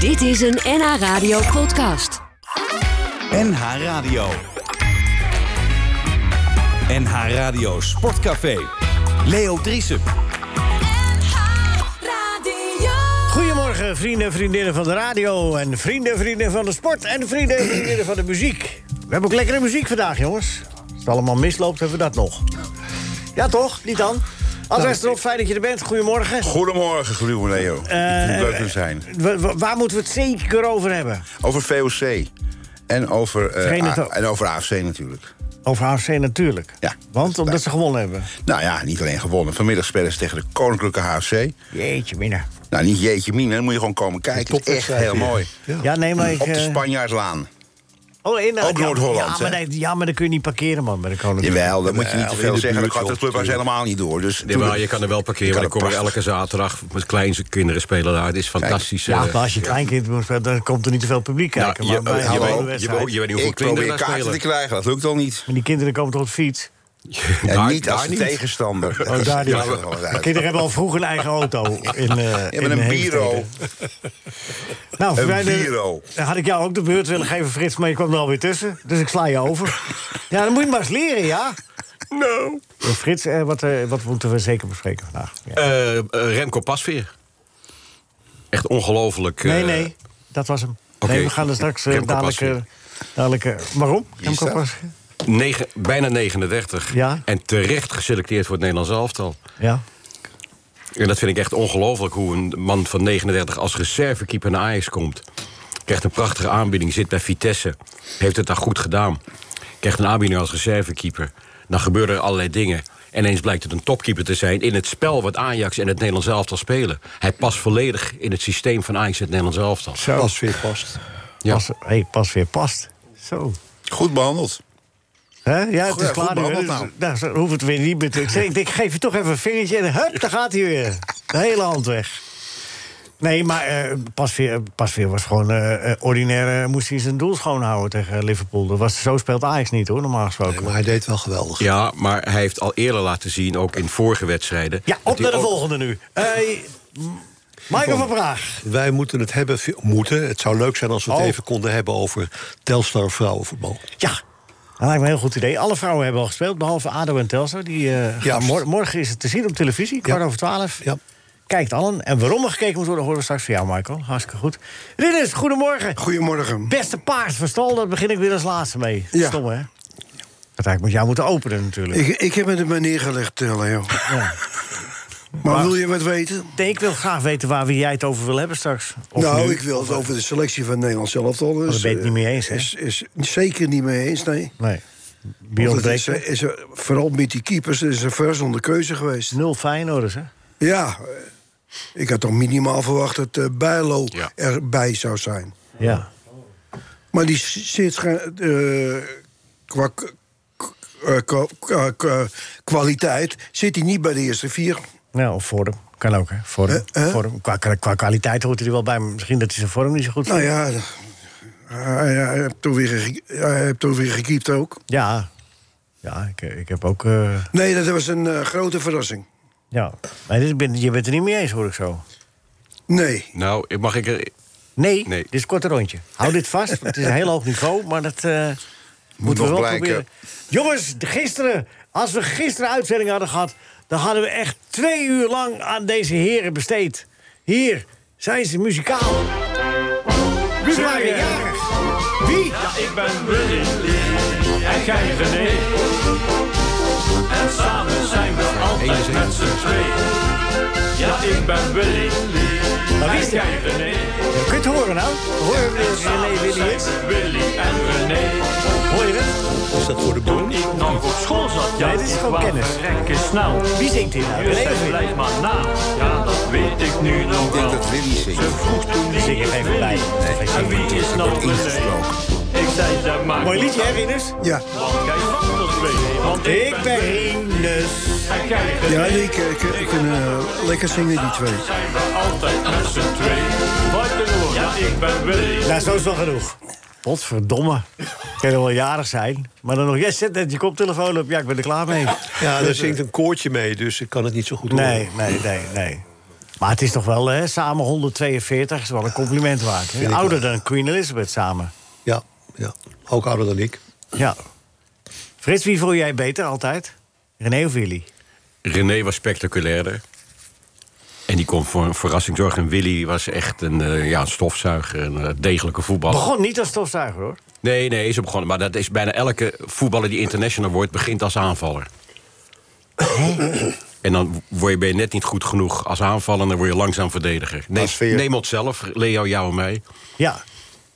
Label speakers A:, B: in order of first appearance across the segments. A: Dit is een NH Radio podcast.
B: NH Radio. NH Radio Sportcafé. Leo Driesen.
C: Goedemorgen, vrienden en vriendinnen van de radio... en vrienden en vriendinnen van de sport en vrienden en vriendinnen van de muziek. We hebben ook lekkere muziek vandaag, jongens. Als het allemaal misloopt, hebben we dat nog. Ja, toch? Niet dan?
D: Nou,
C: Adres erop, fijn dat je er bent. Goedemorgen.
D: Goedemorgen, goedemorgen Leo. Ik vind
C: Eh,
D: het leuk te zijn.
C: Wa- wa- waar moeten we het zeker over hebben?
D: Over VOC. En over, eh,
C: Verenigd-
D: A- en over AFC natuurlijk.
C: Over HFC natuurlijk.
D: Ja.
C: Want omdat ze gewonnen hebben.
D: Nou ja, niet alleen gewonnen. Vanmiddag spelen ze tegen de Koninklijke HFC.
C: Jeetje, minna.
D: Nou, niet jeetje mine, dan moet je gewoon komen kijken. Het is echt heel mooi.
C: Ja, nee, maar ik...
D: Op de
C: eh,
D: Spanjaardlaan.
C: oh, in,
D: ook
C: ja,
D: Noord-Holland,
C: Ja, maar,
D: hè?
C: nee, ja, maar dan kun je niet parkeren, man, bij de koninklijke.
D: Jawel, dat moet je niet te
E: of in
D: veel
E: de
D: zeggen. Dat
E: buurt,
D: gaat de
E: joh,
D: clubhuis
E: tuurlijk.
D: helemaal niet door. Dus
E: Nee, maar je kan er wel parkeren.
D: kan er
E: Dan komen we
D: prachtig-
E: elke zaterdag met kleine kinderen spelen daar. Het is fantastisch.
C: Ja,
E: eh,
C: maar als je kleinkind moet spelen, dan komt er niet te veel publiek
E: nou,
C: kijken.
E: je,
C: maar bij
E: je,
C: halve
E: weet- je,
C: wedstrijd-
E: weet- je weet niet hoeveel
D: Ik
E: kinderen
D: probeer
E: daar
D: kaarten te
E: spelen.
D: krijgen, dat lukt al niet.
C: Maar die kinderen komen toch op de fiets?
D: En
E: Daar-
D: niet als
E: daar
D: de tegenstander.
C: Oh, daar die.
D: Ja, dat is wel
C: Maar
D: uit.
C: kinderen hebben al vroeg een eigen auto. In, eh
D: Je hebt
C: in
D: een
C: Heemstede.
D: bureau.
C: Nou,
D: Een
C: wij-
D: bureau.
C: Dan had ik jou ook de beurt willen geven, Frits, maar je kwam er alweer tussen. Dus ik sla je over. ja, dan moet je maar eens leren, ja.
E: Nou.
C: Eh, Frits, eh, wat, eh, wat moeten we zeker bespreken vandaag? Ja.
E: Eh, eh, Remco Pasveer. Echt ongelooflijk. eh,
C: nee, nee, dat was hem.
E: oké.
C: Nee, we gaan er straks eh,
E: Remco
C: dadelijk... eh,
E: Pasveer. Waarom?
C: dadelijk eh, waarom?
D: is
C: Remco
D: dat?
C: Pasveer?
E: Negen- bijna 39.
C: Ja.
E: En terecht geselecteerd voor het Nederlands elftal.
C: Ja.
E: En dat vind ik echt ongelooflijk hoe een man van 39 als reservekeeper naar Ajax komt. Krijgt een prachtige aanbieding, zit bij Vitesse. Heeft het daar goed gedaan. Krijgt een aanbieding als reservekeeper. Dan gebeuren er allerlei dingen. En eens blijkt het een topkeeper te zijn in het spel wat Ajax en het Nederlands elftal spelen. Hij past volledig in het systeem van Ajax en het Nederlands elftal.
F: Pas weer past.
E: Ja.
C: Pas, hey, pas weer past. Zo.
D: Goed behandeld.
C: Hè? Ja, het
D: Goed,
C: is
D: ja,
C: klaar
D: goed
C: nu. hè.
D: behandeld
C: Dus,
D: nou.
C: nou, zo hoeft het weer niet meer te... Ik, zeg, ik denk, geef je toch even een vingertje en hup, daar gaat hij weer. De hele hand weg. Nee, maar eh Pasveer, Pasveer was gewoon eh eh, ordinair. eh, moest hij zijn doel schoonhouden tegen Liverpool. Dat was, zo speelt Ajax niet, hoor, normaal gesproken.
F: Maar hij deed wel geweldig.
E: Ja, maar hij heeft al eerder laten zien, ook in vorige wedstrijden.
C: Ja,
E: dat
C: op
E: hij
C: naar de
E: ook-
C: volgende nu. Eh, m- Michael van Praag.
F: Wij moeten het hebben, moeten. Het zou leuk zijn als we het
C: Oh.
F: even konden hebben over Telstar vrouwenvoetbal.
C: Ja, dat lijkt me een heel goed idee. Alle vrouwen hebben al gespeeld, behalve Ado en Telso. Die, eh,
F: Ja,
C: gaan mor-
F: precies.
C: morgen is het te zien op televisie, kwart over twaalf.
F: Ja.
C: Kijkt allen. En waarom er gekeken moet worden, horen we straks van jou, Michael. Hartstikke goed. Ridders, goedemorgen.
G: Goedemorgen.
C: Beste paard van stal, daar begin ik weer als laatste mee.
G: Ja.
C: Stom, hè? Dat had ik met jou moeten openen, natuurlijk.
G: Ik, ik heb het er maar neergelegd, eh, Leo. Maar wil je wat weten?
C: Nee, ik wil graag weten waar we jij het over wil hebben straks. Of
G: nou,
C: nu.
G: ik wil het over de selectie van Nederland zelf al. Dus,
C: daar ben je het
G: eh,
C: niet mee eens, hè?
G: Is, is zeker niet mee eens, nee.
C: Nee.
G: Want
C: Beyond
G: het is, eh,
C: Break.
G: is er- vooral met die keepers er is een verzonnen keuze geweest.
C: Nul Feyenoorders, hè?
G: Ja, eh, ik had toch minimaal verwacht dat eh, Bijlo
E: Ja.
G: erbij zou zijn.
C: Ja.
G: Maar die s- zit scha- eh, qua k- k- eh, kwa- kwa- kwa- kwaliteit zit hij niet bij de eerste vier.
C: Nou, of vorm. Kan ook, hè? Vorm.
G: Eh, eh?
C: vorm. Qua, qua, qua kwaliteit hoort hij er wel bij. maar Misschien dat hij zijn vorm niet zo goed
G: Nou
C: vindt.
G: ja, hij, hij heeft toen weer, ge- hij heeft toen weer gekiept ook.
C: Ja. Ja, ik, ik heb ook... eh,
G: Nee, dat was een eh, grote verrassing.
C: ja. Maar dit, ik ben- je bent er niet mee eens, hoor ik zo.
G: Nee.
E: Nou, mag ik er...
C: Nee,
E: Nee.
C: dit is een korte rondje. Hou dit vast. want Het is een heel hoog niveau, maar dat eh, moeten we
D: nog
C: wel
D: blijken.
C: proberen. Jongens, de- gisteren, als we gisteren uitzending hadden gehad... dan hadden we echt twee uur lang aan deze heren besteed. Hier zijn ze muzikaal. Wie waren jarig? Wie?
H: Ja, ik ben Willy Lee en jij René. En samen zijn we altijd met z'n twee. Ja, ik ben Willy Lee
C: Maar wie is
H: en
C: dit?
H: jij René.
C: Je kunt het horen nou. Hoor je René
H: Zijn
C: Williams?
H: we Willy en René.
C: Hoor je het?
F: Is dat voor de boom?
H: Toen ik nog op school zat, ja,
C: Nee, dit is
H: ik
C: gewoon
H: wou
C: kennis.
H: verrekken snel.
C: Wie zingt hier nou? René
H: Dus
C: of
H: hij
C: Willy?
H: blijft maar na. Ja, dat weet ik nu nog
D: Ik denk
H: wel.
D: dat Willy zingt.
H: Ze vroeg toen wie
C: Zing
H: is
C: er even bij.
H: Willy. En wie is nou
D: wordt
H: René?
D: ingesproken.
H: Ik zei, dat maakt
C: Mooi
H: niet
C: liedje, hè,
H: uit,
C: Rinus?
G: Ja,
H: Want jij was er twee. Want
C: Ik ben Rinus.
H: En jij René.
G: ja die k- k- kunnen eh, lekker zingen, die twee.
H: zijn we altijd met z'n twee. Buitengewoon, ja, ik ben Willy.
C: Nou, zo is wel genoeg. Potverdomme. Kan je wel jarig zijn. Maar dan nog, jij zet net je koptelefoon op. Ja, ik ben er klaar mee.
F: Ja, daar zingt een koortje mee, dus ik kan het niet zo goed
C: Nee,
F: horen.
C: nee, nee, nee. Maar het is toch wel, hè, samen 142 is wel een compliment waard.
F: Vind
C: Hè?
F: ik
C: Ouder dan Queen Elizabeth samen.
F: Ja, ja, ook ouder dan ik.
C: Ja. Frits, wie voel jij beter altijd? René of Willy?
E: René was spectaculairder. En die kon voor een verrassing zorgen. En Willy was echt een, eh, ja, een stofzuiger, een eh, degelijke voetballer.
C: Begon niet als stofzuiger, hoor.
E: Nee, nee, ze begonnen. Maar dat is bijna elke voetballer die international wordt, begint als aanvaller. en dan word je, ben je net niet goed genoeg als aanvaller en dan word je langzaam verdediger. Neem,
D: Als veer-
E: neem ons zelf, Leo, jou en mij.
C: Ja.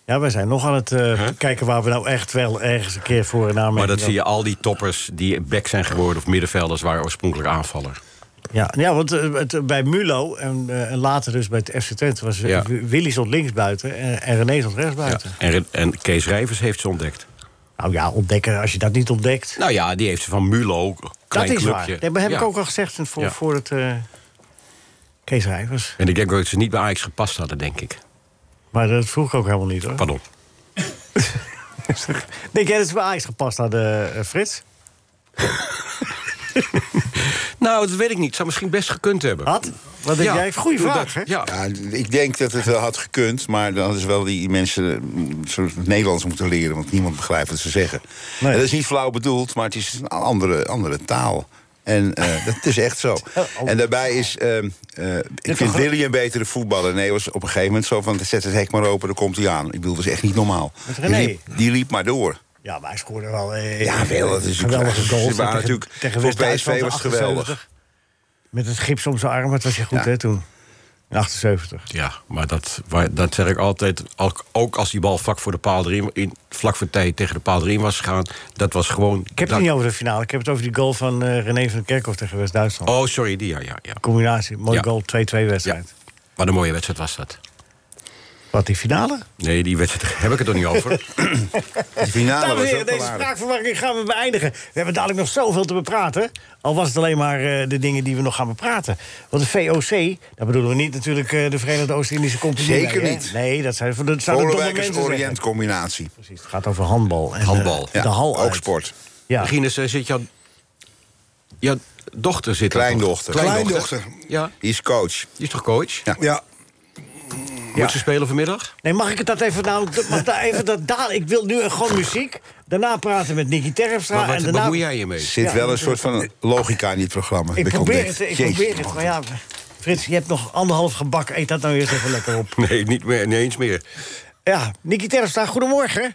C: Ja, wij zijn nog aan het eh, kijken waar we nou echt wel ergens een keer voor en aan
E: Maar dat zie je al die toppers die back zijn geworden of middenvelders waren oorspronkelijk aanvaller.
C: Ja, ja want eh, het, bij Mulo en, eh, en later dus bij het FC Twente was eh,
E: Ja.
C: Willy stond linksbuiten en, en René stond
E: Ja.
C: rechtsbuiten.
E: En, en Kees Rijvers heeft ze ontdekt.
C: Nou ja, ontdekken als je dat niet ontdekt.
E: Nou ja, die heeft ze van Mulo, klein
C: dat is
E: clubje.
C: waar. Nee, maar heb
E: Ja.
C: ik ook al gezegd voor,
E: Ja.
C: voor het eh Kees Rijvers.
E: En ik denk ook dat ze niet bij Ajax gepast hadden, denk ik.
C: Maar dat vroeg ik ook helemaal niet hoor.
E: Pardon.
C: Denk jij dat ze bij Ajax gepast hadden, eh, Frits?
E: Nou, dat weet ik niet. Zou misschien best gekund hebben.
C: Had? Ah, Wat denk
E: Ja,
C: jij? Goeie
E: doe
C: vraag, hè?
E: dat. Ja.
D: Ja, ik denk dat het wel had gekund, maar dan hadden ze wel die mensen mm, zo het Nederlands moeten leren, want niemand begrijpt wat ze zeggen.
C: Nee.
D: En dat is niet flauw bedoeld, maar het is een andere, andere taal. En eh, dat is echt zo.
C: oh.
D: En daarbij is. ehm, eh, ik vind Willy een betere voetballer. Nee, was op een gegeven moment zo van. Zet het hek maar open, dan komt hij aan. Ik bedoel, dat is echt niet normaal.
C: Met
D: Die
C: René.
D: liep, die liep maar door.
C: Ja, maar hij scoorde wel. eh,
D: Ja, wel, dat is
C: geweldige
D: natuurlijk-
C: goals.
D: ze waren
C: Tegen-
D: natuurlijk-
C: tegen
D: voor
C: West-Duitsland
D: PSV was
C: in
D: het geweldig.
C: 78. Met het gips om zijn arm, dat was je goed,
D: Ja.
C: hè, toen. In 78.
E: Ja, maar dat, waar, dat zeg ik altijd. Ook- Ook als die bal vlak voor de paal erin, in, vlak voor tijd tegen de paal erin was gegaan, dat was gewoon.
C: Ik heb het niet over de finale. Ik heb het over die goal van eh, René van Kerkhoff tegen West-Duitsland.
E: Oh, sorry, die ja, ja, ja.
C: Combinatie. Mooie
E: Ja.
C: goal, 2-2 wedstrijd.
E: Wat een mooie wedstrijd was dat.
C: Wat, die finale?
E: Nee, die wedstrijd heb ik het er niet over.
D: Die finale
C: Dames en
D: was
C: heren,
D: ook wel
C: deze
D: aardig.
C: spraakverwarring gaan we beëindigen. We hebben dadelijk nog zoveel te bepraten. Al was het alleen maar eh, de dingen die we nog gaan bepraten. Want de VOC, daar bedoelen we niet natuurlijk eh, de Verenigde Oost-Indische Compagnie.
D: Zeker
C: bij, hè?
D: niet.
C: Nee, dat zijn dat zouden domme mensen zeggen.
D: Polenwijkers-Orient combinatie.
C: Precies, het gaat over handbal. En, eh,
E: Handbal,
D: Ja,
C: de hal
D: ook
C: uit.
D: sport.
C: Ja.
E: Rinus, eh, zit jouw. Jouw dochter zit er
D: Kleindochter.
E: toch?
D: Kleindochter.
E: Ja,
D: Die is coach.
E: die is toch coach?
D: Ja.
G: Ja,
E: Moet ze spelen vanmiddag?
C: Nee, mag ik het dat even nou... dat- Mag daar even dat, daar, ik wil nu gewoon muziek. Daarna praten met Nicky Terpstra.
E: Maar
C: en
E: wat,
C: daarna,
E: wat moet jij hiermee?
D: Er zit
C: Ja,
D: wel een soort van logica in dit programma. heb
C: Ik probeer het,
D: ontdekt.
C: ik
D: Jeetje,
C: probeer het. Maar ja, Frits, je hebt nog anderhalf gebak. Eet dat nou eerst even lekker op.
E: Nee, niet, meer, niet eens meer.
C: Ja, Nicky Terpstra, goedemorgen.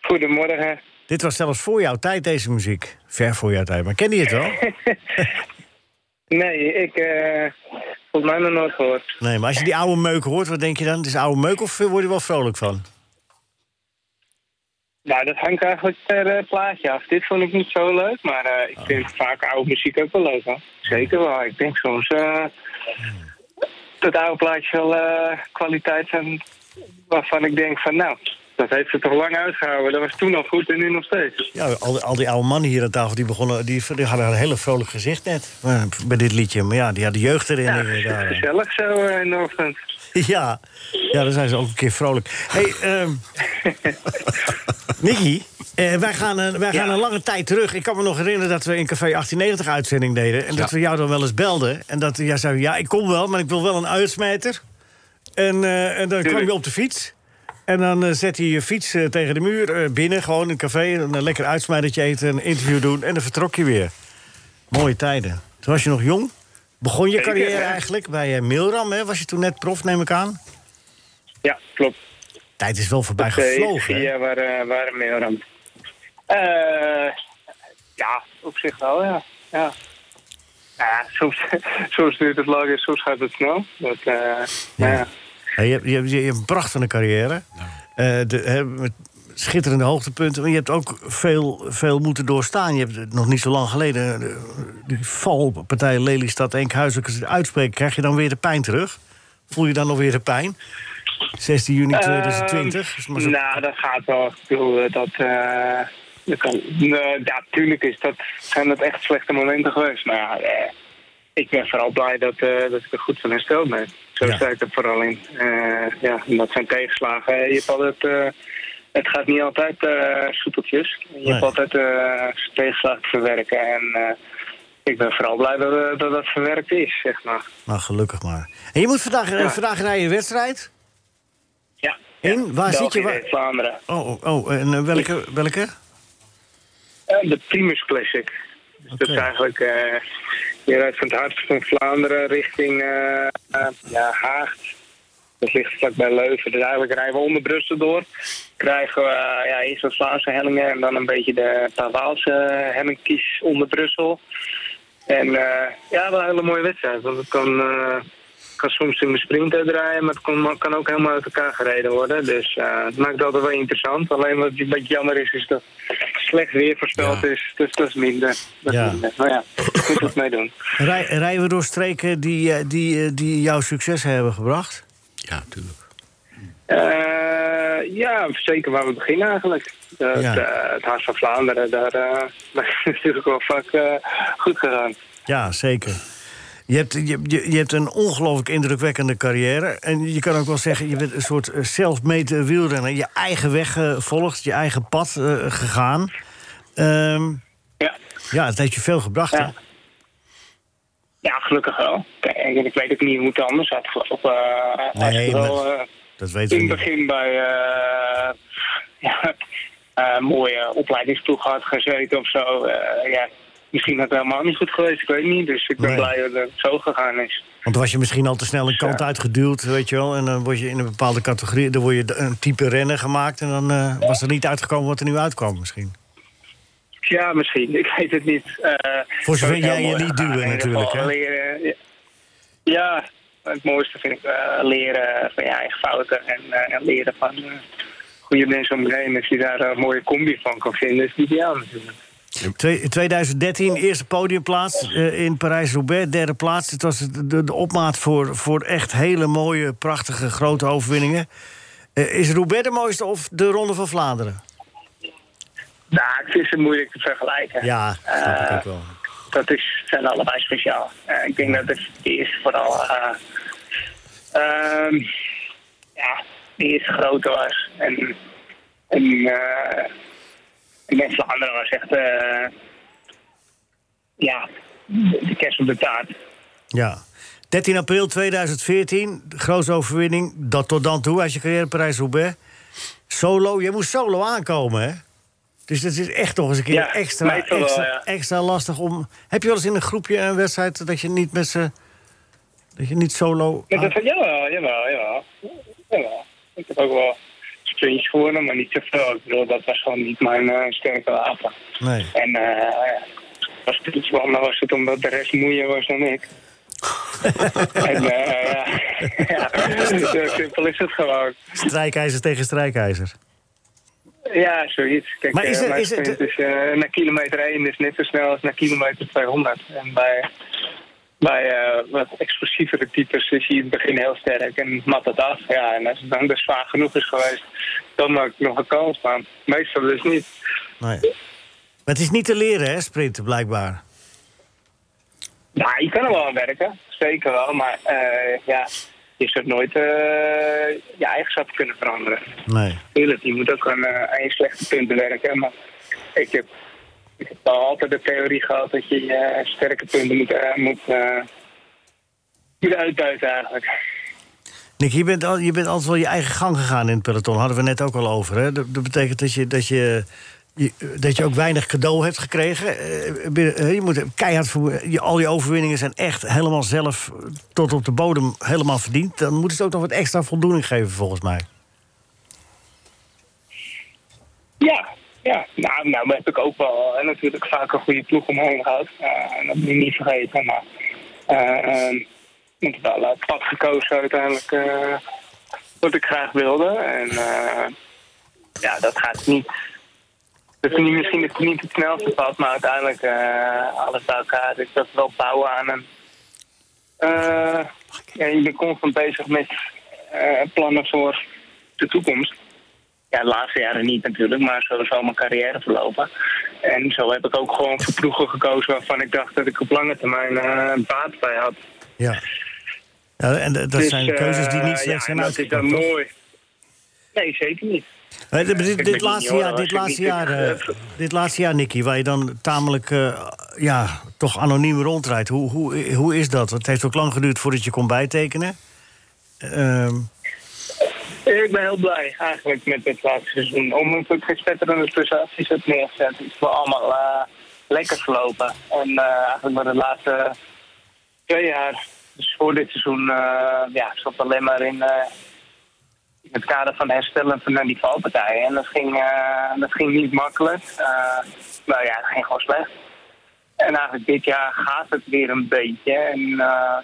I: Goedemorgen.
C: Dit was zelfs voor jouw tijd, deze muziek. Ver voor jouw tijd, maar ken je het wel?
I: Nee, ik eh volgens mij nog nooit gehoord.
C: Nee, maar als je die oude meuk hoort, wat denk je dan? Het is oude meuk of word je wel vrolijk van?
I: Nou, dat hangt eigenlijk per eh, plaatje af. Dit vond ik niet zo leuk, maar eh, ik vind vaak oude muziek ook wel leuk. Hoor. Zeker wel. Ik denk soms eh, dat oude plaatjes wel eh, kwaliteit zijn waarvan ik denk van nou, dat heeft ze toch lang uitgehouden. Dat was toen al goed en nu nog steeds.
C: Dus Ja, al, die- al die oude mannen hier aan tafel, die, begonnen, die, die hadden een hele vrolijk gezicht net. eh, Bij dit liedje, maar ja, die hadden jeugd erin.
I: Ja,
C: eh, daar.
I: gezellig zo eh, in de ochtend.
C: Ja, ja, dan zijn ze ook een keer vrolijk. Hey, ehm Nicky, eh, wij gaan, een- wij gaan
I: Ja.
C: een lange tijd terug. Ik kan me nog herinneren dat we in Café 1890 uitzending deden. En dat
E: Ja.
C: we jou dan wel eens belden. En dat jij zei, ja, ik kom wel, maar ik wil wel een uitsmijter. En, eh, en dan kwam je op de fiets. En dan eh, zet hij je fiets eh, tegen de muur eh, binnen, gewoon in een café. Een eh, lekker uitsmijdertje eten, een interview doen. En dan vertrok je weer. Mooie tijden. Toen was je nog jong. Begon je
I: Zeker,
C: carrière
I: ja.
C: eigenlijk bij eh, Milram, hè? Was je toen net prof, neem ik aan?
I: Ja, klopt.
C: Tijd is wel voorbij
I: Twee,
C: gevlogen. hè?
I: vier waren, waren meer dan. Eh, ja, op zich wel, ja. ja. Nou ja, soms, soms duurt het lang en soms gaat het snel. Dat, eh, nou ja.
C: Ja, je, hebt- je, hebt- je hebt een prachtige carrière. Eh, de, hè, met schitterende hoogtepunten. Maar je hebt ook veel, veel moeten doorstaan. Je hebt het nog niet zo lang geleden eh, die val op partij Lelystad Enkhuizen. Als je het uitspreekt, krijg je dan weer de pijn terug? Voel je dan nog weer de pijn? 16 juni 2020. is maar zo-
I: Ehm, nou, dat gaat wel. Ik bedoel, eh, dat... eh, dat kan, Nee, ja, tuurlijk is dat, zijn dat echt slechte momenten geweest. Maar ja, eh, ik ben vooral blij dat, eh, dat ik er goed van hersteld ben. Zo
C: Ja.
I: sta ik er vooral in. Eh, ja, en dat zijn tegenslagen. Eh, Je hebt altijd... eh, het gaat niet altijd eh soepeltjes. Je
C: Nee.
I: hebt altijd eh, tegenslagen te verwerken. En eh, ik ben vooral blij dat eh, dat, dat verwerkt is, zeg maar.
C: Nou, gelukkig maar. En je moet vandaag, eh,
I: Ja.
C: vandaag naar je wedstrijd?
I: Ja.
C: In? Waar zit je?
I: België
C: Waar...
I: tegen Vlaanderen.
C: Oh, oh, oh, en eh, welke? welke?
I: En Eh, de Primus Classic. Dus dat is
C: Oké.
I: eigenlijk... eh je rijdt van het hart van Vlaanderen richting eh, eh, ja, Haag. Dat ligt vlakbij Leuven. Dus eigenlijk rijden we onder Brussel door. Krijgen we eh, ja, eerst wat Vlaamse hellingen en dan een beetje de paar Waalse hellingkies onder Brussel. En eh, ja, wel een hele mooie wedstrijd. Want het kan, eh, kan soms in de sprint uitdraaien, maar het kan, kan ook helemaal uit elkaar gereden worden. Dus eh, het maakt het altijd wel interessant. Alleen wat een beetje jammer is, is dat slecht weer voorspeld is. Dus dat is minder. Dat is
C: Ja.
I: minder. Maar ja, goed het mee doen.
C: Rij, rijden we door streken die, eh, die, eh, die jou succes hebben gebracht?
E: Ja, tuurlijk.
I: Eh, ja, zeker waar we beginnen eigenlijk. Dat,
C: Ja.
I: eh, het Hart van Vlaanderen, daar eh, is natuurlijk wel vaak eh, goed gegaan.
C: Ja, zeker. Je hebt, je, je, je hebt een ongelooflijk indrukwekkende carrière. En je kan ook wel zeggen, je bent een soort eh, self-made eh, wielrenner. Je eigen weg gevolgd, je eigen pad eh, gegaan. Ehm,
I: Ja.
C: ja, het heeft je veel gebracht, hè?
I: Ja. ja, gelukkig wel. Kijk, en ik weet ook niet hoe het anders had gelopen. Eh, als
C: Nee,
I: je wel,
C: maar-
I: eh,
C: Dat weten we
I: in
C: niet.
I: het begin bij eh, ja, een mooie opleidingsploeg had gezeten of zo. eh, ja, misschien had het helemaal niet goed geweest, ik weet niet. Dus ik ben
C: Nee.
I: blij dat het zo gegaan is.
C: Want dan was je misschien al te snel een kant uitgeduwd, weet je wel. En dan word je in een bepaalde categorie, dan word je d- een type renner gemaakt. En dan eh, was er niet uitgekomen wat er nu uitkwam misschien.
I: Ja, misschien. Ik weet het niet. Eh,
C: Voor zover
I: het is
C: jij
I: heel
C: je
I: mooi
C: niet
I: gegaan.
C: duwen
I: In ieder
C: natuurlijk,
I: geval
C: hè?
I: leren, ja. ja, het mooiste vind ik eh, leren van je eigen fouten en, eh, en leren van eh, goede mensen om je heen. Als je daar een mooie combi van kan vinden, is het ideaal natuurlijk.
C: Twee- in 2013, eerste podiumplaats eh, in Parijs-Roubaix, derde plaats. Het was de, de- de opmaat voor, voor echt hele mooie, prachtige, grote overwinningen. Eh, is Roubaix de mooiste of de Ronde van Vlaanderen?
I: Nou, ik vind ze moeilijk te vergelijken.
C: Ja, snap ik ook wel.
I: dat is, zijn allebei speciaal. Eh, ik denk dat het de eerste vooral. eh, ehm, ja, de eerste grote was. En. En. eh, en de Vlaanderen was echt. eh, ja, de, de kerst op de taart.
C: Ja. 13 april 2014, de grootste overwinning. Dat tot dan toe, als je carrière Parijs-Roubaix. Solo, je moest solo aankomen, hè? Dus dat is echt nog eens een keer
I: Ja,
C: extra,
I: meestal wel,
C: extra,
I: ja.
C: extra lastig om... Heb je wel eens in een groepje een wedstrijd dat je niet met z'n... dat je niet solo...
I: Ja,
C: aan-
I: dat, jawel, jawel, jawel, jawel. Ik heb ook wel sprintjes gewonnen, maar niet zoveel. Ik bedoel, dat was gewoon niet mijn eh, sterke wapen.
C: Nee.
I: En eh als het iets anders was het omdat de rest moeier was dan ik. en eh, ja. ja, zo simpel is het gewoon.
C: Strijkijzer tegen strijkijzer.
I: Ja, zoiets. Kijk,
C: Maar is
I: eh,
C: er-
I: mijn
C: is er-
I: sprint is eh, naar kilometer 1 is net zo snel als naar kilometer 200. En bij, bij eh, wat explosievere types is hij in het begin heel sterk en mat het af. Ja, en als het dan dus zwaar genoeg is geweest, dan maak ik nog een kans aan. Meestal dus niet.
C: Nee. Maar het is niet te leren, hè, sprinten, blijkbaar.
I: Nou, je kan er wel aan werken, zeker wel, maar eh, ja, je zult nooit eh, je eigenschappen kunnen veranderen.
C: Nee.
I: Tuurlijk, je moet ook aan, eh, aan je slechte punten werken, maar ik heb, ik heb al altijd de theorie gehad dat je je sterke punten moet, eh, moet, eh, moet uitbuiten eigenlijk.
C: Nick, je bent, al, je bent altijd wel je eigen gang gegaan in het peloton. Hadden we net ook al over. Hè? Dat, dat betekent dat je, dat, je, je- dat je ook weinig cadeau hebt gekregen. Eh, binnen- eh, Je moet er keihard voor, je, al je overwinningen zijn echt helemaal zelf eh, tot op de bodem helemaal verdiend. Dan moet het ook nog wat extra voldoening geven, volgens mij.
I: Ja, ja. Nou, nou heb ik ook wel eh, natuurlijk vaak een goede ploeg omheen gehad. Eh, dat moet je niet vergeten, maar eh, ehm, ik heb wel het pad gekozen uiteindelijk eh, wat ik graag wilde. En eh, ja, dat gaat niet. Dat is niet, misschien het, niet het snelste pad, maar uiteindelijk eh, alles bij elkaar. Dus dat is wel bouwen aan een. eh, ja, je bent constant bezig met eh, plannen voor de toekomst ja, de laatste jaren niet natuurlijk, maar zo is al mijn carrière verlopen. En zo heb ik ook gewoon voor ploegen gekozen waarvan ik dacht dat ik op lange termijn eh baat bij had.
C: Ja. ja en d- dat
I: Dus,
C: zijn keuzes die
I: eh,
C: niet slecht zijn
I: ja, en Dat is
C: uitgepakt.
I: dan
C: toch?
I: mooi. Nee, zeker niet.
C: Hé, dit- dit,
I: ben
C: dit,
I: niet
C: laatste
I: hoor,
C: jaar,
I: als
C: dit,
I: ik
C: laatste
I: niet-
C: jaar, eh, dit laatste jaar, Nicky, waar je dan tamelijk eh, ja, toch anoniem rondrijdt. Hoe, hoe, hoe is dat? Het heeft ook lang geduurd voordat je kon bijtekenen. Ehm,
I: Ik ben heel blij eigenlijk met dit laatste seizoen. Om natuurlijk geen spetterende prestaties heb neergezet. Het is wel allemaal eh, lekker verlopen. En eh, eigenlijk bij de laatste twee jaar, dus voor dit seizoen, eh ja, ik zat alleen maar in, eh, in het kader van herstellen van die valpartijen. En dat ging, eh, dat ging niet makkelijk. Eh, nou ja, dat ging gewoon slecht. En eigenlijk dit jaar gaat het weer een beetje. En, eh,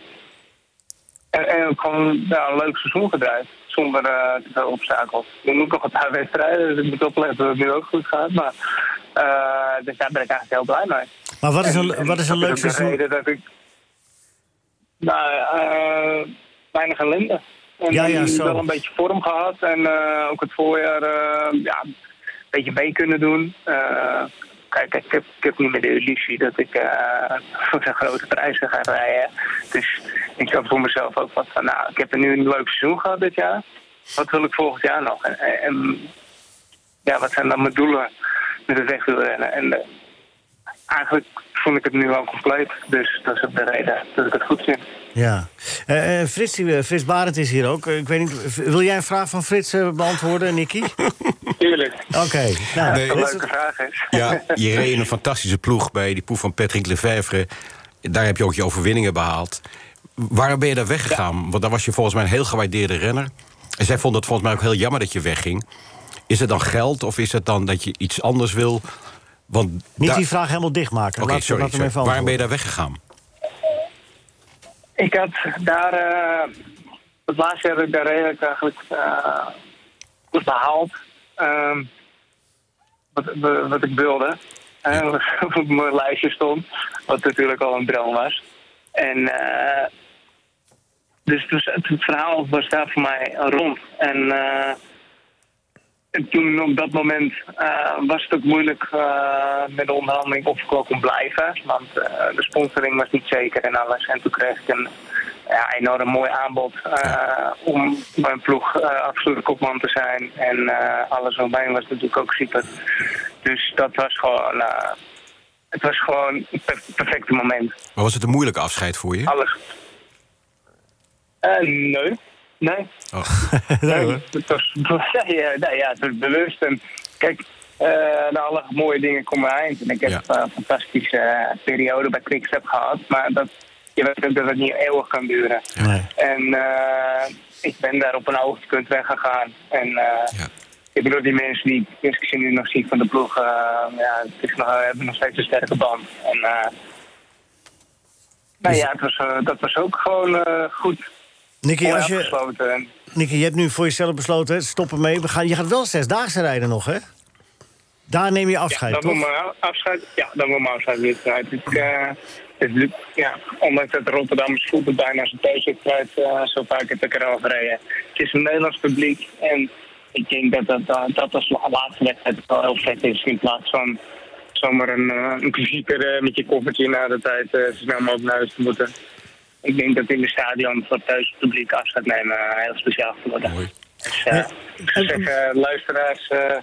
I: en, en ook gewoon ja, een leuk seizoen gedraaid. Zonder eh, te veel obstakels. Er moet nog een paar wedstrijden, dus ik moet opletten dat het nu ook goed gaat. Maar, eh, dus daar ben ik eigenlijk heel blij mee.
C: maar wat is een,
I: En-
C: wat is een
I: en dat
C: leuk
I: ook de
C: seizoen?
I: reden dat ik. Nou, eh, weinig ellende. En
C: Ja, ja, zo.
I: wel een beetje vorm gehad. En eh, ook het voorjaar eh, ja, een beetje mee kunnen doen. Eh, kijk, ik heb, ik heb niet meer de illusie dat ik eh, voor zo'n grote prijzen ga rijden. Dus ik had voor mezelf ook wat van, nou, ik heb er nu een leuk seizoen gehad dit jaar. Wat wil ik volgend jaar nog? En, en- en ja, wat zijn dan mijn doelen met het wegwielrennen? En eh, eigenlijk vond ik het nu al compleet. Dus dat is ook de reden dat ik het goed vind.
C: Ja. Eh, eh, Frits, die, eh, Frits Barend is hier ook. Eh, Ik weet niet, v- wil jij een vraag van Frits eh, beantwoorden, Nicky? Oké.
I: Tuurlijk.
C: nou,
I: Een
C: dat is-
I: leuke vraag is.
E: Ja, je reed in een fantastische ploeg bij die ploeg van Patrick Lefevre. Daar heb je ook je overwinningen behaald. Waarom ben je daar weggegaan? Want daar was je volgens mij een heel gewaardeerde renner. En zij vonden het volgens mij ook heel jammer dat je wegging. Is het dan geld of is het dan dat je iets anders wil? Want
C: niet
E: daar-
C: die vraag helemaal dichtmaken.
E: Oké,
C: Laat-
E: sorry.
C: laat hem
E: sorry.
C: even
E: Waarom ben je
C: antwoorden.
E: daar weggegaan?
I: Ik had daar eh, het laatste jaar heb ik daar redelijk eigenlijk eh, goed behaald. Ehm, wat, wa- wat ik wilde. Eh, wat op mijn lijstje stond. Wat natuurlijk al een droom was. En eh, dus, dus het, het verhaal was daar voor mij rond. En eh, en toen op dat moment eh, was het ook moeilijk eh, met de onderhandeling of ik wel kon blijven. Want eh, de sponsoring was niet zeker en alles. En toen kreeg ik een ja, enorm mooi aanbod eh, om bij een ploeg eh absolute kopman te zijn. En eh, alles omheen was natuurlijk ook super. Dus dat was gewoon, eh, het was gewoon het per- perfecte moment.
E: Maar was het een moeilijke afscheid voor
C: Ah.
E: je?
I: Alles. Eh, nee. Nee,
E: Oh.
I: Nee, het was, nee, eh, nee, ja, het was bewust. En kijk, eh na alle mooie dingen komen eind. En ik heb
E: Ja.
I: eh, een fantastische eh, periode bij Quickstep gehad. Maar dat, je weet ook dat het niet eeuwig kan duren.
C: Nee.
I: En eh, ik ben daar op een hoogtepunt weggegaan. En eh,
E: Ja.
I: ik bedoel, die mensen die ik ze nu nog zie van de ploeg... eh, ja, het is nog, eh, hebben nog steeds een sterke band. En, eh, nou ja, het was, eh, dat was ook gewoon eh, goed.
C: Nicky,
I: Mooi
C: als je,
I: afgesloten. En-
C: Nicky, je hebt nu voor jezelf besloten, hè, stoppen mee. We gaan, je gaat wel zesdaagse rijden nog, hè? Daar neem je afscheid,
I: Ja, dan
C: toch?
I: moet mijn afscheid. Ja, dan moet mijn afscheid weer uit. Ik, eh, het lukt, ja, ondanks dat de Rotterdamse voet het bijna zijn thuis heeft kwijt, eh, zo vaak heb ik erover gereden. Het is een Nederlands publiek en ik denk dat dat, dat, dat als la- laatste wedstrijd wel heel vet is in plaats van zomaar een, eh een klassieker eh, met je koffertje na de tijd eh, zo snel mogelijk naar huis te moeten. Ik denk dat in het stadion voor thuis het publiek afscheid nemen eh, heel speciaal gaat worden.
E: Mooi.
I: Dus eh, ik zou zeggen, luisteraars eh,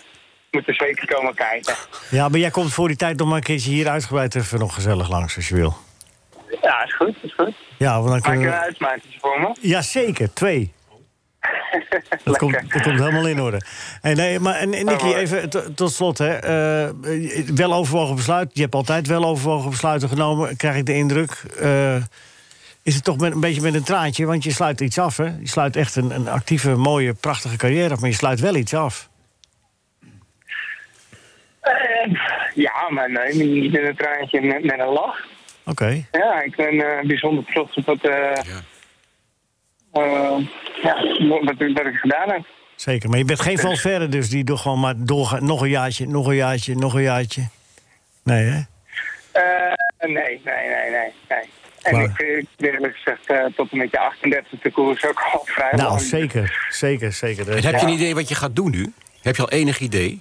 I: moeten zeker komen kijken.
C: Ja, maar jij komt voor die tijd nog maar een keertje hier uitgebreid even nog gezellig langs, als je wil.
I: Ja, is goed, is goed.
C: Ja, want dan
I: Maak je
C: kunnen
I: een
C: we...
I: uitmakertje voor me?
C: Jazeker, twee. Dat
I: Lekker.
C: komt, dat komt helemaal in orde. En, nee, maar, en, en Nicky,
I: mooi.
C: even t- tot slot. Hè. Eh, wel overwogen besluit. Je hebt altijd wel overwogen besluiten genomen, krijg ik de indruk. Eh, is het toch met, een beetje met een traantje? Want je sluit iets af, hè? Je sluit echt een, een actieve, mooie, prachtige carrière af. Maar je sluit wel iets af.
I: Eh, ja, maar nee, niet in een treintje met, met een lach.
C: Oké.
I: Ja, ik ben eh, bijzonder trots op wat, eh,
E: Ja.
I: eh, ja, wat, wat ik wat ik gedaan heb.
C: Zeker, maar je bent geen Valverde dus die toch gewoon maar doorgaat. Nog een jaartje, nog een jaartje, nog een jaartje. Nee, hè?
I: Eh, nee, nee, nee, nee, nee. En
C: Maar-
I: ik vind eerlijk gezegd eh, tot en met je 38e koers ook al vrij
C: Nou,
I: lang.
C: zeker, zeker, zeker.
E: En heb je een idee wat je gaat doen nu? Heb je al enig idee?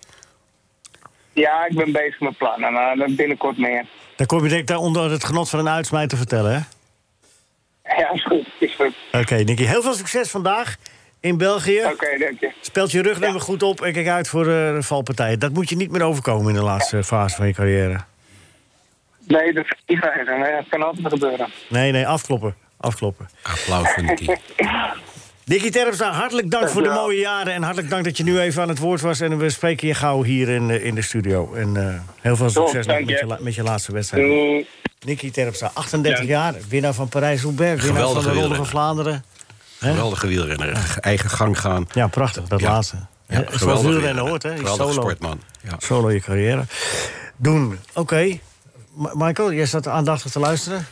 I: Ja, ik ben bezig met plannen, maar dan binnenkort meer.
C: Dan kom je denk ik daar onder het genot van een uitsmijt te vertellen, hè?
I: Ja, is goed, is goed.
C: Oké, Nicky, heel veel succes vandaag. in België.
I: Oké, dank je.
C: Speelt je rugnummer goed op en kijk uit voor eh, valpartijen. Dat moet je niet meer overkomen in de laatste fase van je carrière.
I: Nee, dat is niet waar. Nee, dat kan altijd gebeuren.
C: Nee, nee, afkloppen. Afkloppen.
E: Applaus voor Nicky.
C: Dickie Terpstra, hartelijk dank voor de
I: Dankjewel.
C: mooie jaren. En hartelijk dank dat je nu even aan het woord was. En we spreken je gauw hier in, eh, in de studio. En eh, heel veel
I: Top,
C: succes nog
I: dank
C: met
I: je.
C: je, la- met je laatste wedstrijd.
I: Doei.
C: Nicky Terpstra, 38 jaar. Winnaar van Parijs-Roubaix. Winnaar
E: Geweldige
C: van de Ronde van
E: wielrenner.
C: Vlaanderen.
E: Geweldige wielrenner. Eigen gang gaan.
C: Ja, prachtig, dat
E: Ja.
C: laatste. Ja,
E: geweldige
C: Zoals wielrennen
E: wielrenner.
C: hoort, hè? Is
E: Geweldige
C: solo.
E: sportman. Ja.
C: Solo je carrière. Doen. Oké. Ma- Michael, jij staat aandachtig te luisteren.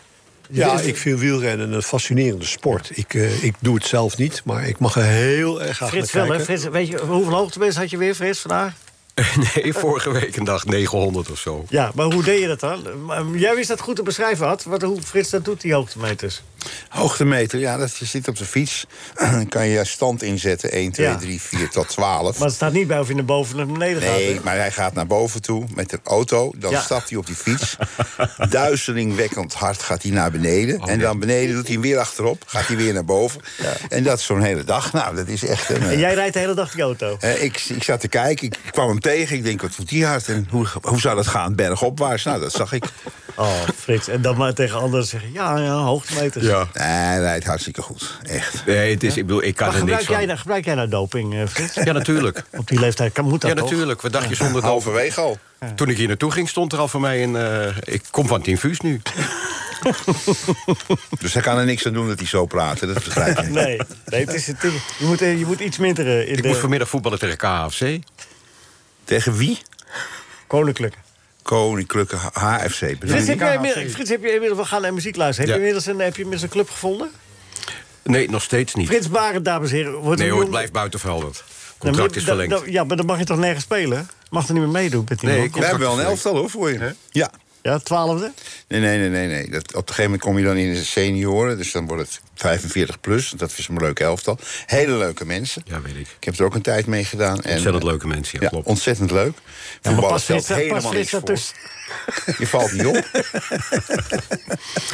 F: Ja, ik vind wielrennen een fascinerende sport. Ik, eh, ik doe het zelf niet, maar ik mag er heel erg graag
C: Frits
F: naar
C: wel, hè?
F: kijken.
C: Frits, weet je hoeveel hoogtebeest had je weer, Frits, vandaag?
E: Nee, vorige week een dag 900 of zo.
C: Ja, maar hoe deed je dat dan? Maar mm, Jij wist dat goed te beschrijven, had. Wat, hoe Frits dat doet, die hoogtemeters.
D: Hoogtemeter, ja, dat, je zit op de fiets. Dan kan je stand inzetten. 1, 2,
C: Ja.
D: 3, 4 tot 12.
C: Maar het staat niet bij of je naar boven of naar beneden
D: Nee,
C: gaat.
D: maar hij gaat naar boven toe met de auto. Dan
C: Ja.
D: stapt hij op die fiets. Duizelingwekkend hard gaat hij naar beneden. en dan beneden doet hij hem weer achterop. Gaat hij weer naar boven. En dat is zo'n hele dag. Nou, dat is echt een... eh,
C: hè? En jij rijdt de hele dag die auto.
D: eh, ik, ik zat te kijken, ik kwam hem tegen. Ik denk, wat doet die hard? En hoe, hoe zou dat gaan? Bergopwaarts? Nou, dat zag ik.
C: Oh, Frits. En dan maar tegen anderen zeggen, ja, ja, hoogtemeters.
D: Nee, hij rijdt hartstikke goed. Echt.
E: Nee, het is, ik bedoel, ik kan
C: Maar
E: er niks
C: gebruik jij,
E: van.
C: nou, gebruik jij nou doping, eh, Frits?
E: Ja, natuurlijk.
C: Op die leeftijd kan, moet dat
E: Ja,
C: toch?
E: natuurlijk. Wat dacht je zonder dat?
D: Halverwege al.
E: Toen ik hier naartoe ging, stond er al voor mij een... eh, ik kom van het infuus nu.
D: Dus hij kan er niks aan doen dat hij zo praat. hè, Dat begrijp ik.
C: Nee, nee het is, het is- je, moet, eh, je moet iets minderen in
E: Ik
C: de
E: moet vanmiddag voetballen tegen KFC.
D: Tegen wie?
C: koninklijke.
D: Koninklijke HFC. bedoel
C: Frits,
D: je?
C: heb jij, inmiddels- Frits, heb je inmiddels... We gaan naar muziek luisteren. Heb,
E: Ja.
C: je inmiddels een, heb je inmiddels een club gevonden?
E: Nee, nog steeds niet.
C: Frits Barend, dames en heren. Wordt
E: Nee
C: een
E: hoor, het
C: jong-
E: blijft buiten verhelderd.
C: Dan moet-
E: Contract is
C: dan-
E: verlengd.
C: dan- ja, Nou, maar dan mag je toch nergens spelen? Mag er niet meer meedoen met die
E: Nee,
C: man?
E: ik-
D: We hebben wel een elftal hoor, voor je. Ja.
C: Ja, twaalfde?
D: Nee, nee, nee, nee. nee. Dat, op een gegeven moment kom je dan in de senioren. Dus dan wordt het 45 plus. Dat is een leuke elftal. Hele leuke mensen.
E: Ja, weet ik.
D: Ik heb er ook een tijd mee gedaan. En,
E: Ontzettend leuke mensen, ja,
D: Ja,
E: klopt.
D: ontzettend leuk.
C: Maar
D: Voetballen
C: pas
D: stelt
C: Frits, pas
D: helemaal
C: Frits
D: niks voor.
C: daartussen.
D: Je valt niet op. Oh,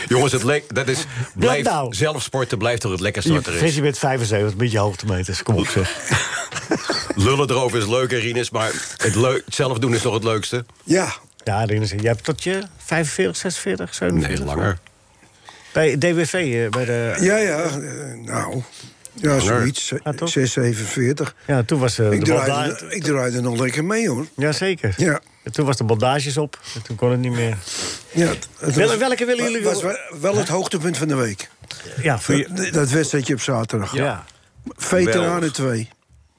E: Jongens, het leek, dat is, blijft,
C: nou.
E: zelf sporten blijft toch het lekkerste
C: Je-
E: wat er
C: Frits,
E: is.
C: je bent 75 met je hoogtemeters. Kom op, zeg.
E: Lullen erover is leuk, hè, Rinus, maar het, leuk, het zelf doen is nog het leukste.
G: Ja,
C: Ja, Rinus, jij hebt tot je 45, 46, 47?
E: Nee, langer.
C: Bij DWV, eh, bij de...
G: ja, ja. eh, nou, ja, zoiets.
C: Ja, toch?
G: 6, 47.
C: Ja, toen was eh, de
G: Ik
C: bandage...
G: draaide, ik draaide nog lekker mee, hoor.
C: Jazeker.
G: Ja.
C: En Toen was de bandages op. En toen kon het niet meer.
G: Ja, het- het
C: Wel-
G: was-
C: welke willen jullie-
G: was wel- wel het hoogtepunt van de week.
C: Ja, voor je...
G: Dat, dat wedstrijdje op zaterdag.
C: Ja.
G: Veteranen 2,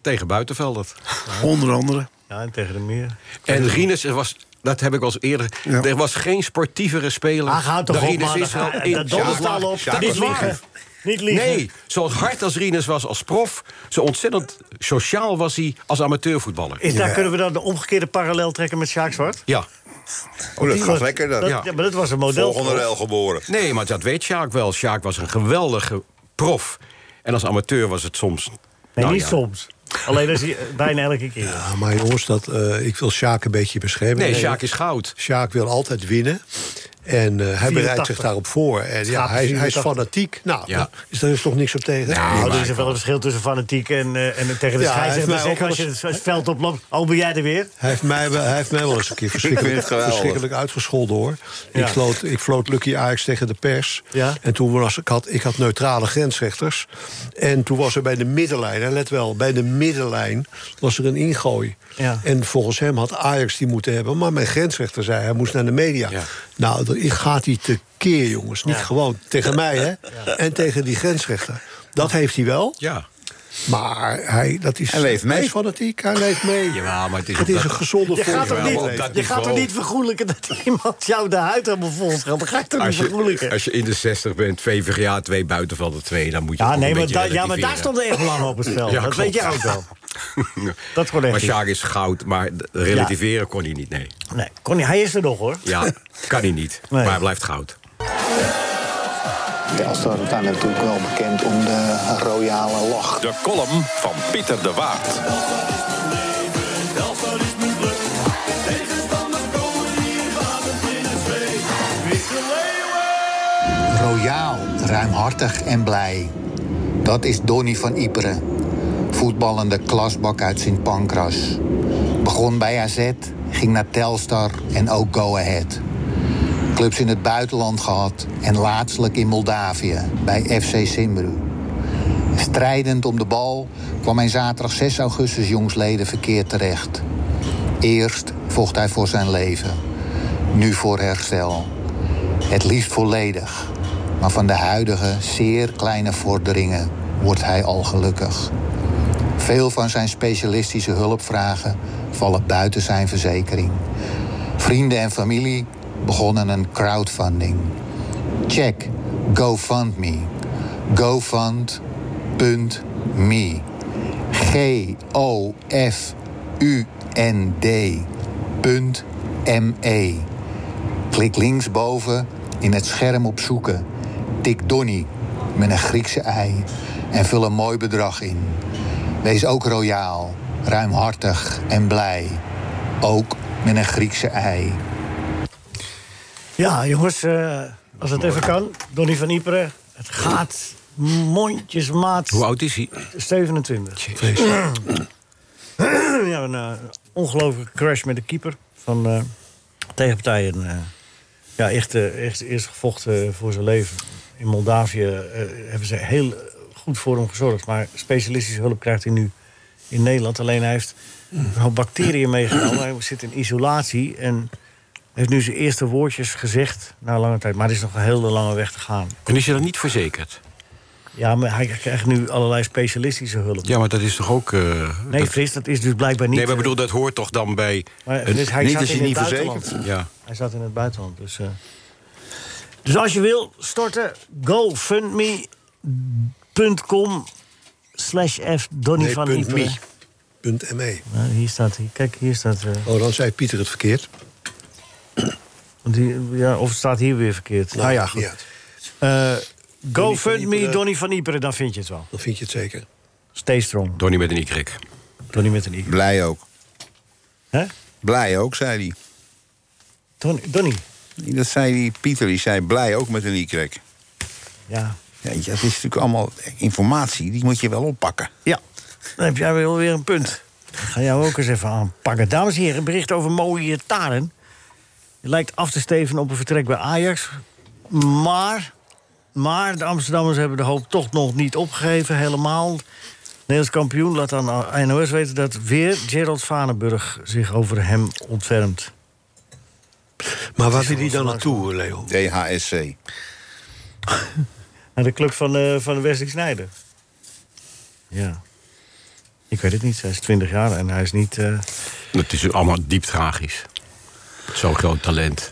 E: Tegen buitenveldert.
G: onder andere.
C: Ja, en tegen de meer.
E: En Rinus, er was, dat heb ik al eens eerder...
G: Ja.
E: Er was geen sportievere speler
C: Ah, ga toch
E: dan
C: op,
E: Rinus
C: man.
E: Israël
C: Ga-
E: in
C: Dat donderstaal
E: Sjaak.
C: op.
E: Sjaak
C: Niet
E: was liegen.
C: liegen. Niet liegen.
E: Nee, zo hard als Rinus was als prof... zo ontzettend sociaal was hij als amateurvoetballer.
C: Is, daar kunnen we dan de omgekeerde parallel trekken met Sjaak Zwart?
E: Ja.
D: Oh, dat gaat
C: was-
D: lekker dan.
C: dat-
D: Ja.
C: ja, maar dat was een model.
D: Volgende rel geboren.
E: Nee, maar dat weet Sjaak wel. Sjaak was een geweldige prof. En als amateur was het soms...
C: Nee,
E: nou
C: niet
E: ja.
C: soms. Alleen dat is hij bijna elke keer.
F: Ja, maar jongens, dat, eh, ik wil Sjaak een beetje beschermen.
E: Nee, Sjaak is goud.
F: Sjaak wil altijd winnen. En eh, hij bereidt zich
C: 84.
F: daarop voor. En ja, hij, hij is
C: 84.
F: fanatiek. Nou,
E: Ja.
F: daar is daar is toch niks op tegen.
C: Nou, er is er wel een verschil tussen fanatiek en, eh, en tegen de
F: Ja, hij heeft
C: scheidsrechter
F: mij
E: nou
C: zeggen...
F: ook
C: als je
F: wel
C: het veld oploopt, oh, ben jij er weer?
F: Hij heeft, mij, wel- hij heeft mij wel eens een keer
D: vind
F: verschrikkelijk,
D: het geweldig.
F: verschrikkelijk uitgescholden hoor.
C: Ja.
F: Ik, floot, ik floot Lucky Ajax tegen de pers.
C: Ja.
F: En toen was ik, had, ik had neutrale grensrechters. En toen was er bij de middenlijn, en let wel, bij de middenlijn was er een ingooi.
C: Ja.
F: En volgens hem had Ajax die moeten hebben. Maar mijn grensrechter zei, hij moest naar de media.
E: Ja.
F: Nou, dan gaat hij tekeer jongens. Niet
C: Ja.
F: gewoon tegen mij hè. En tegen die grensrechter. Dat heeft hij wel.
E: Ja.
F: Maar hij, dat is,
D: Hij leeft mee.
F: is fanatiek, hij leeft mee.
E: Jawel, maar het is
F: het
E: op
F: is
E: dat-
F: een gezonde
C: Je gaat
F: vorm
C: toch
F: van
E: wel,
C: niet,
E: op
F: leven.
E: dat
C: je gaat toch
E: niveau.
C: niet vergoelijken dat iemand jou de huid helemaal vol scheldt? Dan ga je toch niet
E: Als
C: vergoelijken?
E: je, als je in de 60 bent, twee VGA, twee buitenvelden, twee, dan moet je.
C: Ja,
E: toch
C: nee,
E: een
C: maar,
E: beetje
C: da- ja, maar daar
E: relativeren.
C: stond er echt belang op het spel.
E: Ja,
C: dat
E: klopt.
C: weet jij ook wel. Dat kon echt
E: Maar
C: niet.
E: Sjaak is goud, maar d- relativeren kon hij niet, nee.
C: Nee, Connie, hij is er nog hoor.
E: Ja, kan hij niet.
C: Nee.
E: Maar hij blijft goud.
J: Telstar is natuurlijk wel bekend om de royale lach.
B: De column van Pieter de Waard.
J: Royaal, ruimhartig en blij. Dat is Donny van Ypres. voetballende klasbak uit Sint Pancras. Begon bij AZ, ging naar Telstar en ook Go Ahead. Clubs in het buitenland gehad en laatstelijk in Moldavië bij FC Simbru. Strijdend om de bal kwam hij zaterdag 6 augustus jongsleden verkeerd terecht. Eerst vocht hij voor zijn leven, nu voor herstel. Het liefst volledig, maar van de huidige zeer kleine vorderingen wordt hij al gelukkig. Veel van zijn specialistische hulpvragen vallen buiten zijn verzekering. Vrienden en familie begonnen een crowdfunding. Check GoFundMe. GoFund.me. G-O-F-U-N-D. punt E. M-E. Klik linksboven in het scherm op zoeken. Tik Donny met een Griekse ei en vul een mooi bedrag in. Wees ook royaal, ruimhartig en blij. Ook met een Griekse ei.
C: Ja, jongens, eh, als het even kan. Donny van Ieperen, het gaat mondjesmaat.
E: Hoe oud is hij?
C: 27. ja, een eh, ongelooflijke crash met de keeper van eh tegenpartij. En, eh, ja, echt, eh, echt eerst gevochten voor zijn leven. In Moldavië eh, hebben ze heel goed voor hem gezorgd. Maar specialistische hulp krijgt hij nu in Nederland. Alleen hij heeft een hoop bacteriën meegenomen. Hij zit in isolatie en heeft nu zijn eerste woordjes gezegd na lange tijd. Maar er is nog een hele lange weg te gaan.
E: En is je dat niet verzekerd?
C: Ja, maar hij krijgt nu allerlei specialistische hulp.
E: Ja, maar dat is toch ook... eh,
C: Nee,
E: dat-
C: Frits, dat is dus blijkbaar niet.
E: nee, maar ik bedoel, dat hoort toch dan bij...
C: Maar
E: een-
C: dus hij zat in het buitenland.
E: Ja.
C: Hij zat in het buitenland. Dus, eh. dus als je wil storten, gofundme.com slash f Donny
F: Nee,
C: van
F: punt
C: Ieperen.
F: me. Punt ME.
C: Nou, hier staat hij. Kijk, hier staat... eh,
F: Oh, dan zei Pieter het verkeerd.
C: want hier- ja, of het staat hier weer verkeerd. Nou ja, goed.
F: Ja,
C: Eh
F: Donny van
C: GoFundMe,
F: Ieperen.
C: Donny van Ieperen, dan vind je het wel.
F: dan vind je het zeker.
C: Stay strong.
E: Donnie met een Y.
C: Donny met een i.
D: Blij ook.
C: Hè?
D: Blij ook, zei hij.
C: Donny, Donny.
D: Nee, Dat zei die Pieter, die zei blij ook met een Y.
C: Ja.
D: Ja, dat is natuurlijk allemaal informatie, die moet je wel oppakken.
C: Ja, dan heb jij wel weer een punt. Ik ga jou ook eens even aanpakken. Dames en heren, een bericht over mooie Taren. Je lijkt af te steven op een vertrek bij Ajax. Maar, maar de Amsterdammers hebben de hoop toch nog niet opgegeven, helemaal. Nederlands kampioen laat aan NOS weten dat weer Gerald Vanenburg zich over hem ontfermt.
F: Maar waar wil hij dan naartoe, Leon?
D: DHSC.
C: Naar de club van, eh van Wesley Snijder. Ja. Ik weet het niet, hij is 20 jaar en hij is niet... eh,
E: Dat is allemaal diep tragisch. Zo'n groot talent.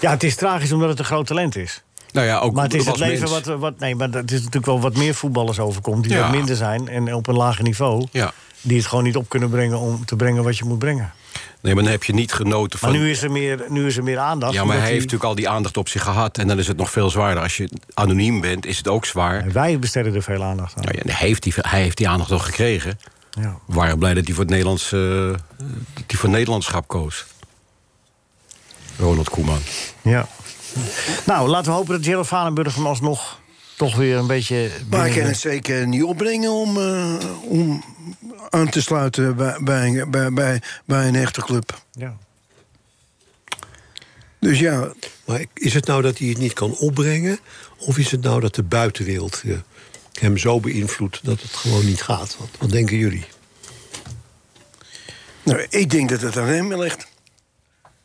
C: Ja, het is tragisch omdat het een groot talent is.
E: Nou ja, ook
C: Maar het is
E: er
C: het
E: was
C: leven
E: mens.
C: wat, wat. Nee, maar het is natuurlijk wel wat meer voetballers overkomt. die
E: Ja.
C: wat minder zijn en op een lager niveau.
E: Ja.
C: die het gewoon niet op kunnen brengen om te brengen wat je moet brengen.
E: Nee, maar dan heb je niet genoten
C: Maar
E: van...
C: nu is er meer, nu is er meer aandacht.
E: ja, maar
C: omdat
E: hij heeft
C: die-
E: natuurlijk al die aandacht op zich gehad. En dan is het nog veel zwaarder. Als je anoniem bent, is het ook zwaar.
C: Nee, Wij besteden er veel aandacht aan.
E: Nou ja, hij, heeft die, hij heeft die aandacht al gekregen.
C: Ja.
E: We waren blij dat hij voor het, Nederlands, eh, dat hij voor Nederlandschap koos. Ronald Koeman.
C: ja. Nou, laten we hopen dat Gerald Vanenburg hem alsnog toch weer een beetje.
G: Maar ik
C: binnen-
G: kan het zeker niet opbrengen om, eh, om aan te sluiten bij, bij, bij, bij, bij een echte club.
C: Ja.
G: Dus ja,
F: Maar ik- is het nou dat hij het niet kan opbrengen? Of is het nou dat de buitenwereld eh, hem zo beïnvloedt dat het gewoon niet gaat? Wat, wat denken jullie?
G: nou, ik denk dat het aan hem ligt.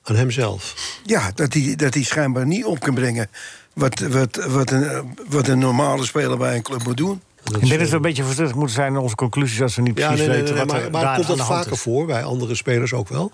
F: Aan hemzelf.
G: Ja, dat hij, dat hij schijnbaar niet op kan brengen wat, wat, wat, een, eh, wat een normale speler bij een club moet doen.
C: Ik denk dat
F: eh,
C: we een beetje voorzichtig moeten zijn in onze conclusies als we niet
F: Ja,
C: precies
F: nee, nee, nee,
C: weten wat
F: maar,
C: er
F: maar
C: daar
F: komt
C: aan
F: dat
C: de hand
F: vaker
C: is.
F: voor bij andere spelers ook wel?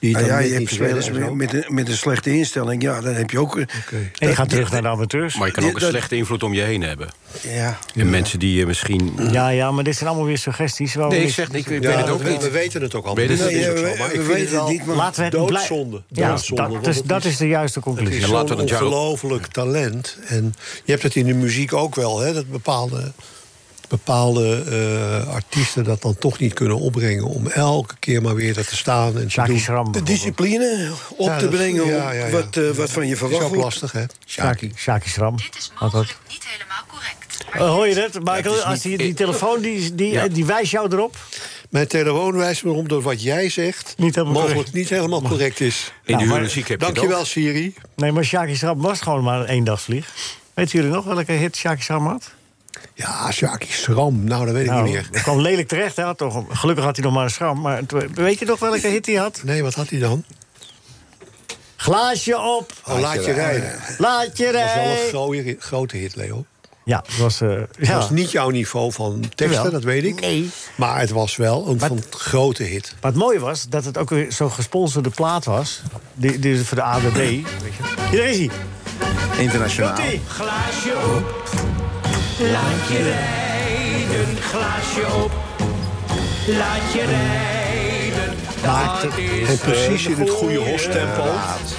F: Die het
G: Nou
F: dan
G: ja,
F: net
G: je hebt
F: niet spelers
G: spelers met, met, een, met een slechte instelling. Ja, dan heb je ook... eh,
C: En je
G: dat-
C: gaat terug naar de amateurs.
E: Maar je kan ook een
G: Dat-
E: slechte invloed om je heen hebben.
G: Ja.
E: En mensen die je misschien...
C: Ja, ja, maar dit zijn allemaal weer suggesties. waar we
E: Nee, ik
C: niks-
E: zeg, ik
F: Ja,
E: weet het
F: dat
E: ook
F: we- We
E: niet.
F: weten het ook al.
E: Weet het
F: Dat
E: niet.
F: is ook
G: Nee,
F: zo,
G: we-
F: maar
G: we
F: ik
G: weten
F: vind het
G: het
F: wel
G: niet, maar-
C: Laten we het blij-
F: doodzonde.
C: Ja,
F: Doodzonde,
C: dat,
F: want
C: is,
F: het
C: dat
F: is-
C: is de juiste conclusie.
F: Het is
E: En laten
F: zo'n
E: we het jaar op-
F: ongelooflijk talent. En je hebt het in de muziek ook wel, hè, dat bepaalde, bepaalde eh, artiesten dat dan toch niet kunnen opbrengen. Om elke keer maar weer dat te staan en te
C: Shaki
F: doen.
C: Schram
G: De
C: bijvoorbeeld.
G: discipline op
F: Ja,
G: te
F: dat-
G: brengen
F: ja, ja, ja.
G: Wat, eh, wat van je
F: is
G: verwacht
F: ook
G: wordt.
F: lastig, hè?
C: Shaki Shaki Schram.
K: Dit is
C: had dat.
K: mogelijk niet helemaal correct.
C: Eh, hoor je dat, Michael?
E: niet-
C: als die, die telefoon, die, die,
E: Ja.
C: eh, die wijst jou erop.
F: Mijn telefoon wijst me om dat wat jij zegt...
C: Niet helemaal
F: mogelijk
C: correct.
F: niet helemaal correct is.
E: In de
C: maar-
E: journalistiek heb je het
F: Dankjewel,
E: ook.
F: Siri.
C: Nee, maar Shaki Schram was gewoon maar een eendagvlieg. Weten jullie nog welke hit Shaki Schram had?
F: Ja, Sjaki Ah, Schram. Nou, dat weet ik niet
C: Nou,
F: meer.
C: dat kwam lelijk terecht. Hè? Had toch, een- gelukkig had hij nog maar een schram. Maar het- weet je nog welke hit hij had?
F: Nee, wat had hij dan?
C: Glaasje op,
F: Oh, laat je rijden.
C: laat je
F: Dat was wel een
C: rijden.
F: grote, grote hit, Leo.
C: Ja, het was... eh, ja.
F: Dat was niet jouw niveau van teksten,
C: Jawel.
F: dat weet ik.
C: Nee.
F: Maar het was wel een van grote hit.
C: Maar het mooie was dat het ook weer zo'n gesponsorde plaat was. Die, die is voor de AWB. Weet je. Hier is hij.
D: Internationaal.
C: Komt-ie.
H: Glaasje op, laat je rijden. Glaasje op, laat je rijden.
F: Maar
H: Dat is
F: en precies in het goede
H: goeie
F: hostempo.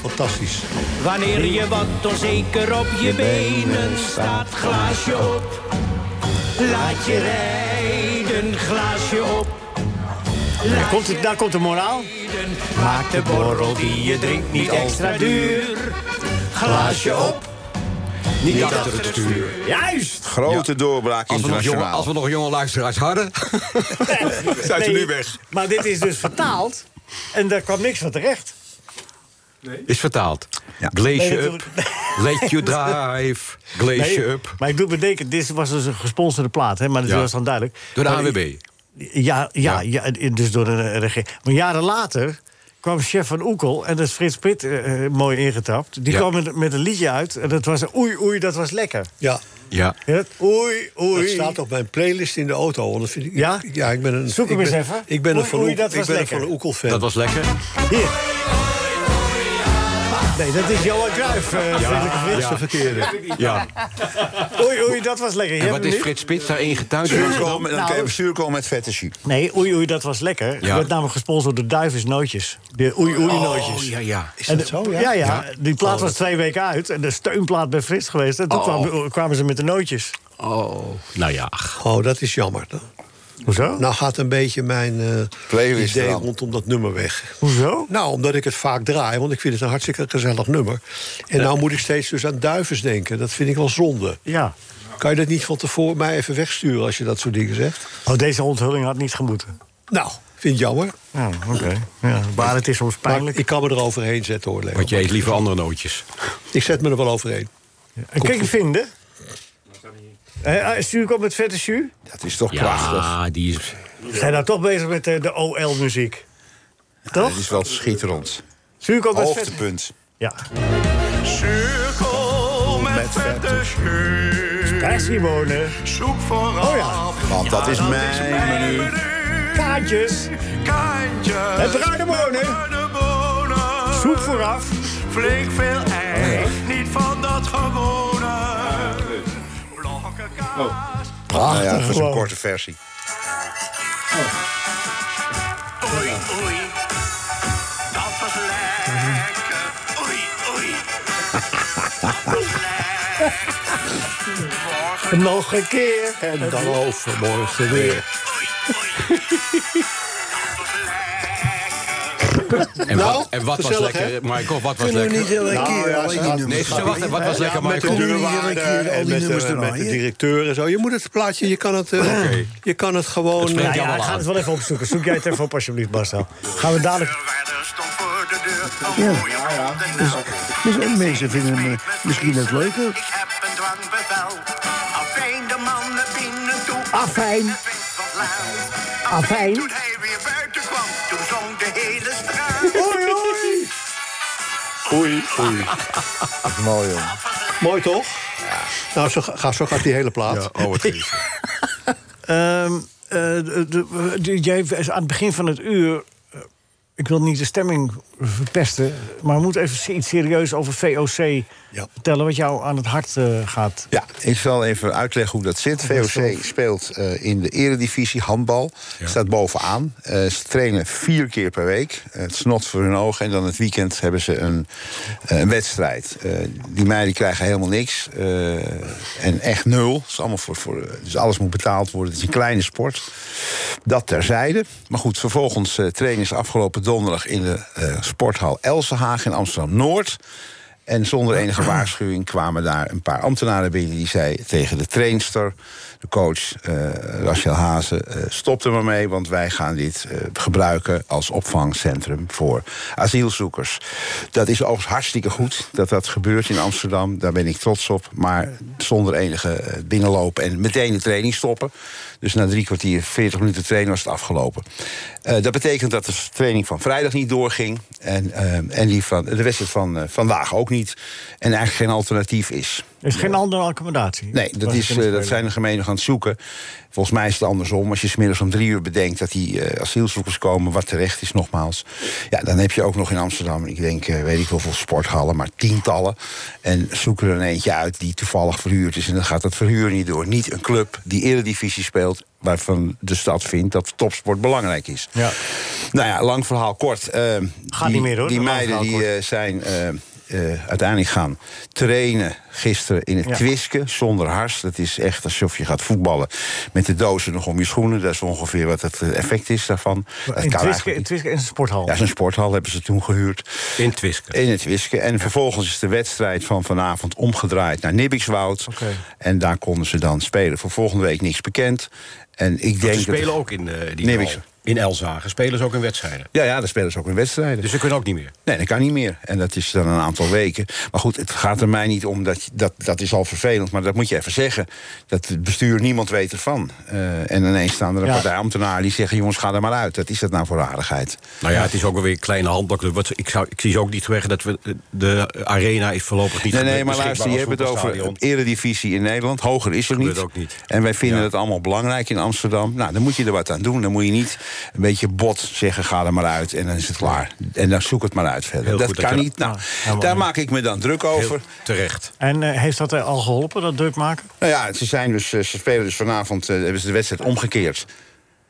F: Fantastisch.
H: Wanneer je wat onzeker op je benen staat, glaasje op. Laat je rijden, glaasje op.
C: Daar komt, het, daar komt de moraal.
H: Maak de borrel die je drinkt niet extra duur. Glaasje op,
E: Niet achter het stuur.
C: Juist!
D: Grote doorbraak
E: Als we, nog jonge,
D: internationaal.
E: als we nog jonge luisteraars hadden, zijn ze
C: Nee,
E: nu weg.
C: Maar dit is dus vertaald. En daar kwam niks van terecht.
E: Is vertaald.
D: Ja.
E: Glaze
C: Nee,
E: up, let you drive, glaze
C: Nee,
E: up.
C: Maar ik doe bedenken, dit was dus een gesponsorde plaat. Hè? Maar dat
E: Ja.
C: was dan duidelijk.
E: Door de
C: Maar-
E: AWB.
C: Ja, ja, ja. dus door de regering. Maar jaren later kwam chef van Oekel, en dat is Frits Pitt eh, eh, mooi ingetapt. Die
E: Ja.
C: kwam met, met een liedje uit. En dat was oei, oei, dat was lekker.
F: Ja,
E: Ja.
C: Ja, dat oei, oei.
F: dat staat op mijn playlist in de auto. want dat vind ik,
C: Ja?
F: Ja, ik ben een...
C: Zoek hem
F: ik ben-
C: eens even.
F: Ik ben een
C: Oei,
F: Van
C: oei,
F: Oek-
C: dat
F: ik
C: was
F: ben een
C: lekker.
F: Van Oekel-fan.
E: Dat was lekker.
C: Hier. Nee, dat is Johan Cruijff. eh, vriendelijke Frits.
F: de verkeerde.
E: Ja.
C: Oei, oei, dat was lekker. Je
E: En
C: hebt
E: wat
C: hem
E: is
C: nu?
E: Frits Spits daar ingetuind?
D: Zuurkool,
C: Nou,
D: dan krijgen we zuurkool met vette jus.
C: Nee, oei, oei, dat was lekker.
E: Ja.
C: Werd namelijk gesponsord door Duivens Nootjes. De oei, oei
E: Oh,
C: Nootjes.
E: ja, ja.
F: Is
C: En
F: dat
C: de-
F: zo, ja? Oh.
C: Ja, Die plaat was twee weken uit. En de steunplaat bij Frits geweest. En toen kwamen, kwamen ze met de nootjes.
E: Oh. Nou ja, ach.
F: Oh, dat is jammer. Nou,
C: Hoezo?
F: Nou gaat een beetje mijn eh,
D: Playlist
F: idee
D: eraan.
F: rondom dat nummer weg.
C: Hoezo?
F: Nou, omdat ik het vaak draai, want ik vind het een hartstikke gezellig nummer. En nou moet ik steeds dus aan duivens denken. Dat vind ik wel zonde.
C: Ja.
F: Kan je dat niet van tevoren mij even wegsturen als je dat soort dingen zegt?
C: Oh, deze onthulling had niet gemoeten.
F: Nou, vind ik jammer.
C: Ja, oké. Ja, maar het is soms
F: Maar
C: pijnlijk.
F: ik kan me er overheen zetten hoor, Leo.
E: Want jij eet liever andere nootjes.
F: Ik zet me er wel overheen.
C: en kun je vinden? Eh, eh, Stuur ik op met vette Su?
D: Dat is toch prachtig.
E: Ja, die is...
C: Zijn nou toch bezig met eh, de OL-muziek?
D: Dat
C: Toch?
D: is wel schitterend.
C: Stuur ik op met vette...
D: Hoogtepunt.
C: Ja.
H: zuurkool met vette zuur.
C: Krijg Simone.
H: Zoek vooraf.
C: Oh ja.
D: Want dat is mijn menu. Nou
C: Kaartjes.
H: Kaantjes.
C: Met bruine bonen.
H: Bruine bonen.
C: Zoek vooraf.
H: Flink veel ei.
F: Oh
H: Niet van dat gewone. Blokken kaas.
D: Nou ja, dat is een
C: gewoon.
D: korte versie.
H: Oei, oei. Dat was lekker. Oei, oei. Dat was lekker. Morgen.
C: Nog een keer.
F: En dan overmorgen weer.
H: Oei, oei. Dat was lekker.
E: En
F: Nou,
E: wat, en wat was
F: gezellig,
E: lekker, Michael? Wat was
G: Kunnen we
E: lekker?
G: niet elke
F: Nou,
G: keer
F: ja,
G: al
F: ze
G: die
F: gaat-
G: nummers
E: Nee, ze wachten,
G: draaien?
E: wat was lekker,
F: met de
E: Michael?
G: Kunnen we niet elke
F: deurwaarder
G: keer al
F: en
G: die
F: met
G: nummers
F: de,
C: Oh,
F: met de
G: draaien?
F: directeur en zo. Je moet het plaatje, je kan het, eh, je kan het gewoon...
E: Het spreekt
C: Ja,
E: jou
C: ja,
E: wel
C: ik ga
E: aan.
C: het wel even opzoeken. Zoek jij het even op alsjeblieft, Marcel. Gaan we dadelijk...
H: Deurwaarder stond voor de deur. Een mooie ronde naald.
G: Dus en mensen vinden hem eh, misschien wat leuker.
H: Ik heb een dwangbevel. Afijn de mannen binnen toe.
C: Afijn.
H: Het werd wat laat.
C: Afijn.
H: Toen hij weer buiten kwam, toen zong de hele straat.
C: Oei, oei.
D: Oei, oei. Mooi, hoor.
F: Mooi toch? Nou, zo, ga, zo gaat die hele plaat.
E: Oh, wat is
C: Ehm, eh, de- de- de- jij is aan het begin van het uur. eh, Ik wil niet de stemming verpesten. Maar we moeten even iets serieus over VOC
F: Ja.
C: vertellen. wat jou aan het hart eh, gaat.
D: Ja, ik zal even uitleggen hoe dat zit. VOC speelt eh, in de eredivisie handbal. Staat bovenaan. Eh, ze trainen vier keer per week. Eh, het snot voor hun ogen. En dan het weekend hebben ze een, eh, een wedstrijd. Eh, die meiden krijgen helemaal niks. Eh, en echt nul. Het is allemaal voor, voor, dus alles moet betaald worden. Het is een kleine sport. Dat terzijde. Maar goed, vervolgens eh trainen ze afgelopen donderdag... in de eh, sporthal Elsenhaag in Amsterdam-Noord. En zonder enige waarschuwing kwamen daar een paar ambtenaren binnen... die zei tegen de trainster, de coach eh Rachel Hazen... eh, stop er maar mee, want wij gaan dit eh, gebruiken als opvangcentrum... voor asielzoekers. Dat is overigens hartstikke goed dat dat gebeurt in Amsterdam. Daar ben ik trots op. Maar zonder enige eh, binnenlopen en meteen de training stoppen. Dus na drie kwartier, 40 minuten trainen was het afgelopen. Eh, dat betekent dat de training van vrijdag niet doorging. En, eh, en die van, de wedstrijd van eh, vandaag ook niet. En eigenlijk geen alternatief is.
C: Er is geen andere accommodatie.
D: Nee, dat,
C: Waar ze
D: is,
C: kunnen
D: eh, dat
C: spelen.
D: zijn de gemeenten gaan zoeken. Volgens mij is het andersom. Als je smiddags om drie uur bedenkt dat die eh, asielzoekers komen... wat terecht is nogmaals. Ja, dan heb je ook nog in Amsterdam, ik denk, eh, weet ik wel hoeveel sporthallen... maar tientallen. En zoek er een eentje uit die toevallig verhuurd is. En dan gaat dat verhuur niet door. Niet een club die eredivisie speelt... waarvan de stad vindt dat topsport belangrijk is.
C: Ja.
D: Nou ja, lang verhaal kort. Eh, die,
C: niet meer, hoor,
D: Die
C: lang
D: meiden
C: verhaal
D: die
C: kort.
D: eh, zijn... eh, eh, uiteindelijk gaan trainen gisteren in het
C: Ja.
D: Twiske zonder hars. Dat is echt alsof je gaat voetballen met de dozen nog om je schoenen. Dat is ongeveer wat het eh, effect is daarvan. Dat
C: In Twiske,
D: eigenlijk
C: in
D: niet.
C: Twiske is een sporthal.
D: Ja, zo'n sporthal hebben ze toen gehuurd.
E: In Twiske.
D: In het Wiske. En vervolgens is de wedstrijd van vanavond omgedraaid naar Nibbikswoud.
C: Oké.
D: En daar konden ze dan spelen. Voor volgende week niks bekend. En ik denk
E: Ze
D: dat-
E: spelen ook in eh, die
D: Nee,
E: hal.
D: ik-
E: In Elzagen spelen ze ook in wedstrijden.
D: Ja, ja, daar spelen ze ook in wedstrijden.
E: Dus ze kunnen ook niet meer.
D: Nee, dat kan niet meer. En dat is dan een aantal weken. Maar goed, het gaat er mij niet om. Dat, je- dat, dat is al vervelend, maar dat moet je even zeggen. Dat het bestuur, niemand weet ervan. Eh, en ineens staan er een
C: Ja.
D: partij ambtenaren die zeggen... jongens, ga er maar uit. Dat is dat nou voor aardigheid?
E: Nou ja, het is ook wel weer een kleine handbak. Wat- Ik, zou, ik zie ze ook niet weg dat we. eh, De arena is voorlopig niet
D: Nee, nee,
E: beschikbaar
D: maar luister, je
E: als
D: hebt het over
E: voetbalstadion.
D: eredivisie in Nederland. Hoger is er
E: Gebeurt
D: niet.
E: ook niet.
D: En wij vinden
E: Ja.
D: het allemaal belangrijk in Amsterdam. Nou, dan moet je er wat aan doen. Dan moet je niet een beetje bot zeggen, ga er maar uit. En dan is het klaar. En dan zoek het maar uit verder.
E: Heel
D: dat
E: goed, dat
D: kan
E: je-
D: niet. Nou,
C: helemaal
D: daar
C: niet.
D: maak ik me dan druk over.
E: Heel terecht.
C: En eh, heeft dat eh, al geholpen, dat druk maken?
D: Nou ja, ze, zijn dus, eh, ze spelen dus vanavond eh, hebben ze de wedstrijd omgekeerd.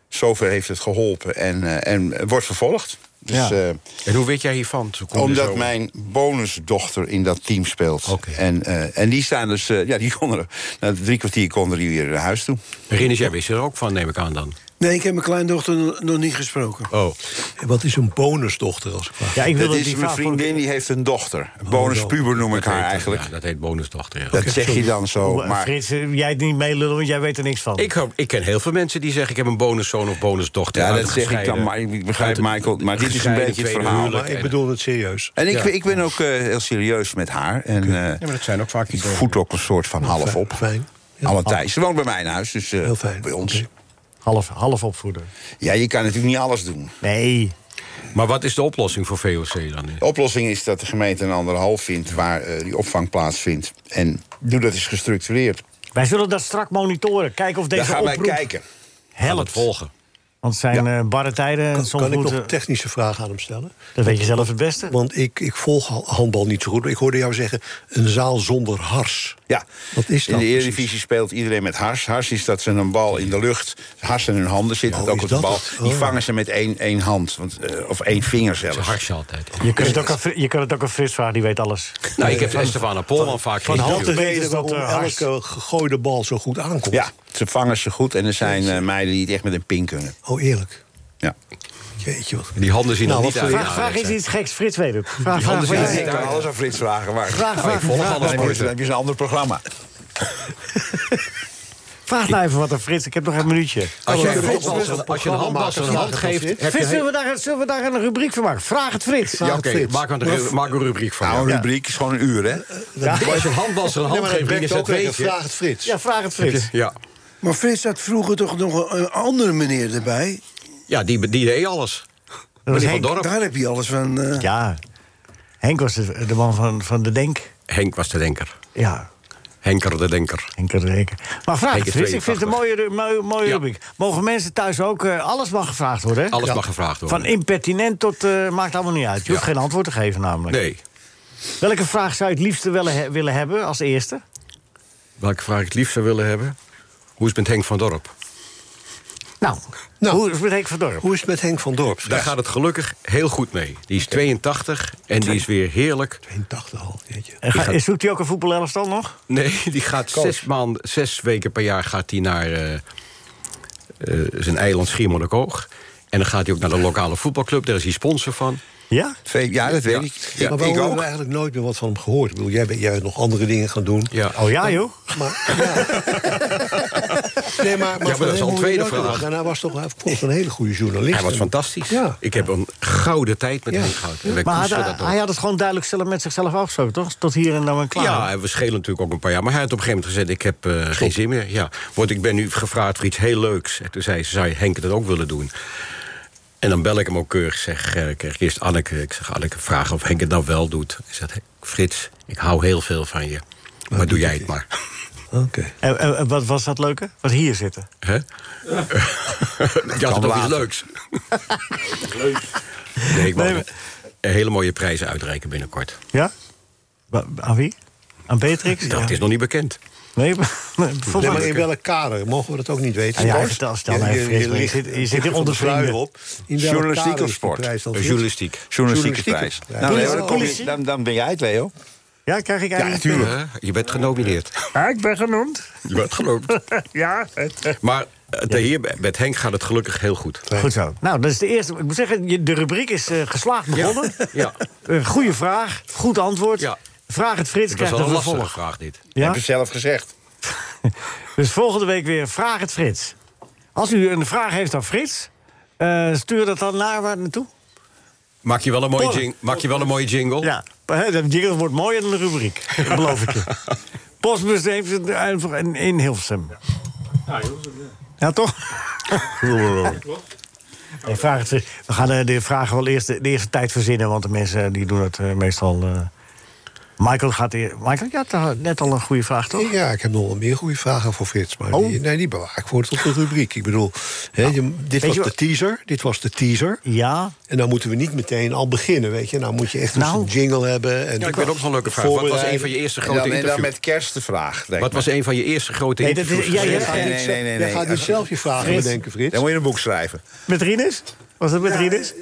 D: Zover heeft het geholpen en, eh, en eh, wordt vervolgd. Dus,
C: Ja.
D: eh,
E: En hoe weet jij hiervan? Hoe kom je
D: omdat
E: zo-
D: mijn bonusdochter in dat team speelt.
E: Oké.
D: En, eh, en die staan dus, eh, ja, die konden, na drie kwartier konden die weer naar huis toe.
E: Rinus, jij wist er ook van, neem ik aan dan.
D: Oh,
G: Nee, ik heb mijn kleindochter nog- nog niet gesproken.
E: Oh,
F: En Wat is een bonusdochter als ik vraag?
C: Ja, ik
D: Dat
C: wilde
D: is
C: die
D: mijn
C: vraag voor-
D: vriendin, die heeft een dochter. Een bonuspuber noem ik haar eigenlijk.
E: eh, ja, Oh, dat heet bonusdochter. ja.
D: Dat zeg je dan zo,
C: Oh, eh,
D: maar...
C: Frits, eh, jij het niet meelullen, want jij weet er niks van.
E: Ik, hoop- ik ken heel veel mensen die zeggen: ik heb een bonuszoon of bonusdochter.
D: Ja,
E: uit
D: dat zeg ik dan,
E: gescheiden-
D: maar ik
E: uit
D: begrijp
E: het-
D: Michael, maar dit is een
E: gescheiden
D: beetje het
E: tweede
D: verhaal.
E: huwelijk.
F: Maar ik bedoel het serieus.
D: En ik, ik ben ook eh, heel serieus met haar. En, eh,
E: Ja, maar dat zijn ook vaak die
D: Ik voed ook een soort van half
F: fijn,
D: op.
F: fijn. Ja.
D: Alle tijd. Ze woont bij mij in huis, dus eh,
F: Heel fijn.
D: bij ons.
F: Oké.
C: Half, half opvoeden.
D: Ja, je kan natuurlijk niet alles doen.
C: Nee.
E: Maar wat is de oplossing voor VOC dan?
D: De oplossing is dat de gemeente een ander hal vindt... waar eh, die opvang plaatsvindt. En doe dat eens gestructureerd.
C: Wij zullen dat strak monitoren. Kijken of
D: Daar
C: deze
D: gaan wij
C: oproep
D: kijken.
E: Aan het
C: helpt.
E: volgen.
C: Want het zijn eh, barre tijden. en
F: Kan,
C: soms
F: kan ik nog
C: moeten-
F: een technische vraag aan hem stellen?
C: Dat weet je zelf het beste.
F: Want ik, ik volg ha- handbal niet zo goed. maar Ik hoorde jou zeggen, een zaal zonder hars.
D: Ja.
F: Wat is
D: In
F: dat
D: de
F: precies?
D: Eredivisie speelt iedereen met hars. Hars is dat ze een bal in de lucht... hars in hun handen zitten,
F: Oh,
D: ook
F: is
D: op de
F: dat
D: bal.
F: het?
D: Die
F: Oh.
D: vangen ze met één, één hand. Want, eh, of één vinger zelfs.
E: Ze harsje altijd. Eh,
C: Je kunt, het ook aan, Fri- je kunt het ook aan Frits vragen, die weet alles.
E: Nou, ik heb Estefana Polman vaak
C: van hand
F: De
E: geïnterviewd.
C: tot- Weet
F: reden
C: dus dat,
F: waarom
C: eh, hars-
F: elke gegooide bal zo goed aankomt.
D: Ja, ze vangen ze goed. En er zijn eh, meiden die het echt met een pin kunnen.
F: Oh, eerlijk.
D: Ja.
F: Jeetje, wat...
E: Die handen zien
F: Nou,
E: er niet
F: wat
E: uit.
F: voor-
E: Ja,
C: Vraag, vraag
E: dat
C: is
E: zijn-
C: iets geks, Frits weet het. Vraag,
E: handen zijn
C: vraag, vraag.
E: niet-
D: Ik kan alles aan Frits vragen. Maar...
C: Vraag,
D: maar
C: vraag,
D: ik volg
C: vraag.
D: alles.
C: Dan
D: Dan heb je een ander programma.
C: Vraag nou even wat aan Frits, ik heb nog een minuutje.
E: Als jij
F: Oh,
E: een
F: dat is
E: handbal-
F: best een
E: als je een
F: programma
E: handbal
F: maken.
E: een hand geeft...
F: Frits,
E: heb je
C: Frits,
E: heel-
C: zullen we, daar, zullen we daar een rubriek van maken? Vraag het Frits.
E: Ja,
F: Vraag
E: oké,
F: het Frits.
E: maak, een ru- maak een rubriek van.
D: Nou,
E: ja.
D: een rubriek is gewoon een uur, hè?
E: Maar Als je een handbal een hand geeft, dan is dat weet je.
F: vraag het Frits.
C: Ja, vraag het Frits.
E: Ja,
G: Maar Frits had vroeger toch nog een, een andere meneer erbij.
E: ja die, die deed alles.
C: Dat was
E: Meneer Van
C: Henk.
E: Dorp.
G: Daar heb je alles van. eh,
C: Ja, Henk was de, de man van, van de Denk.
E: Henk was de denker.
C: Ja,
E: Henker de denker.
C: Henk had de Denk. Maar vraag
E: Henk
C: het
E: is
C: Frits, ik vind het een
E: 82.
C: mooie, ru- mooie, mooie
E: Ja.
C: rubriek. Mogen mensen thuis ook, eh, alles mag gevraagd worden? hè?
E: Alles mag gevraagd worden.
C: Van impertinent tot, eh, maakt allemaal niet uit. Je hoeft
E: Ja.
C: geen antwoord te geven namelijk.
E: Nee.
C: Welke vraag zou je het liefste willen, he- willen hebben als eerste?
E: Welke vraag ik het liefst zou willen hebben? Hoe is het met Henk van Dorp?
C: Nou,
F: Nou.
C: hoe is het met Henk van Dorp?
F: Hoe is het met Henk van Dorp?
E: Daar gaat het gelukkig heel goed mee. Die is 82 en die is weer heerlijk.
F: 82 al, jeetje.
C: En ga-
E: gaat-
C: is- Zoekt hij ook een voetbalelftal nog?
E: Nee, die gaat zes, maanden, zes weken per jaar gaat die naar eh, eh, zijn eiland Schiermonnikoog. En dan gaat hij ook naar de lokale voetbalclub. Daar is hij sponsor van.
C: Ja?
D: Ja, dat weet ik. Ja,
F: maar eh, waarom
D: ik
F: hebben
D: ook.
F: we eigenlijk nooit meer wat van hem gehoord? Ik bedoel, jij bent, jij bent nog andere dingen gaan doen.
E: Ja.
C: Oh ja, joh.
F: Nee, maar,
E: maar
F: van
E: dat is al een
F: hem hoor je
E: tweede
F: nooit meer
E: vraag.
F: wat. En hij was toch hij was een hele goede journalist.
E: Hij was
F: En-
E: fantastisch.
F: Ja.
E: Ik heb een gouden tijd met
F: Ja.
E: hem gehad. En wij
C: Maar had-
E: koesteren dat ook.
C: hij had het gewoon duidelijk zelf met zichzelf afgesproken, toch? Tot hier en dan en klaar.
E: Ja, en we schelen natuurlijk ook een paar jaar. Maar hij had op een gegeven moment gezegd, ik heb eh, geen zin meer. Ja. Want ik ben nu gevraagd voor iets heel leuks. En toen zei ze, zou je Henk dat ook willen doen? En dan bel ik hem ook keurig. Zeg, eh, kreeg ik eerst Anneke. Ik zeg, Anneke, vraag of Henk het nou wel doet. Hij zegt, "Henk, Frits, ik hou heel veel van je. Maar doe jij het maar.
F: Oké.
C: En, en- en wat was dat leuke? Wat hier zitten.
E: Hè? Je had het ook iets leuks. Nee, ik wou
C: Nee,
E: een hele mooie prijzen uitreiken binnenkort.
C: Ja? Wa- Aan wie? Aan Beatrix? Ja.
E: Dat is nog niet bekend.
C: Nee, maar- volgens
F: Nee,
C: mij...
F: maar in welk kader? Mogen we dat ook niet weten?
C: Ah, ja,
F: Bas?
C: vertel- stel mij, Frits, maar je
F: ligt-
C: zit- je zit hier
F: van
C: onder
F: de sluier
C: vrienden.
F: op. In welk
D: Journalistiek
F: kader
D: of
F: is die
D: sport?
F: prijs dan,
E: Eh,
F: Frits?
E: journalistiek.
D: Journalistieke
F: Journalistieke
D: prijs.
F: prijs.
D: Nou, Leo,
C: Politie-
D: dan, kom je,
C: politie?
D: dan, dan ben jij het, Leo.
C: Ja, krijg ik eigenlijk...
E: Hè? Eh, Je bent genomineerd.
C: Ja, ik ben genoemd.
E: Je bent geloofd.
C: Ja.
E: Maar eh, de hier met Henk gaat het gelukkig heel goed.
C: Goed zo. Nou, dat is de eerste. Ik moet zeggen, je- de rubriek is eh, geslaagd begonnen.
E: Ja.
C: Eh, goede vraag, goed antwoord.
E: Ja.
C: Vraag het Frits,
E: Dat is
C: krijgt
E: wel
C: een
E: een lastige
C: vervolg.
E: vraag, dit.
C: Ja?
D: je zelf gezegd.
C: Dus volgende week weer Vraag het Frits. Als u een vraag heeft aan Frits, eh, stuur dat dan naar waar naartoe.
E: Maak je wel een mooie,
C: Porn.
E: jing- maak je wel een mooie jingle?
C: Ja, maar, hè, dat jingle wordt mooier dan de rubriek. Dat beloof ik je. Postbus heeft het einfach in, in Hilversum. Ja, toch? Nee, vraag het, Frits. we gaan eh, de vragen wel eerst de, de eerste tijd verzinnen, want de mensen eh, die doen het eh, meestal. eh. Michael gaat eer- Michael, je had daar net al een goede vraag, toch?
F: Ja, ik heb nog wel meer goede vragen voor Frits. Maar
C: Oh. Nou,
F: die, nee, die bewaar ik voor tot de rubriek. Ik bedoel, hè, je- dit
C: weet
F: was
C: je
F: de
C: wat-
F: teaser. Dit was de teaser.
C: Ja.
F: En dan moeten we niet meteen al beginnen, weet je. Nou moet je echt dus
C: Nou.
F: een jingle hebben. En
E: Ja, ik weet ook nog een leuke vraag. Wat was een van je eerste
D: En
E: grote
D: dan, en dan
E: interviews?
D: met kerst de vraag. lijkt
E: Wat
D: me.
E: was een van je eerste grote
C: Nee, dat is-
E: interviews?
C: ja, ja.
D: Nee, nee, nee. nee, nee,
F: Jij gaat nu zelf je vragen
C: Frits.
F: bedenken, Frits.
D: Dan moet je een boek schrijven.
C: Met Rinus? Was dat met Rinus?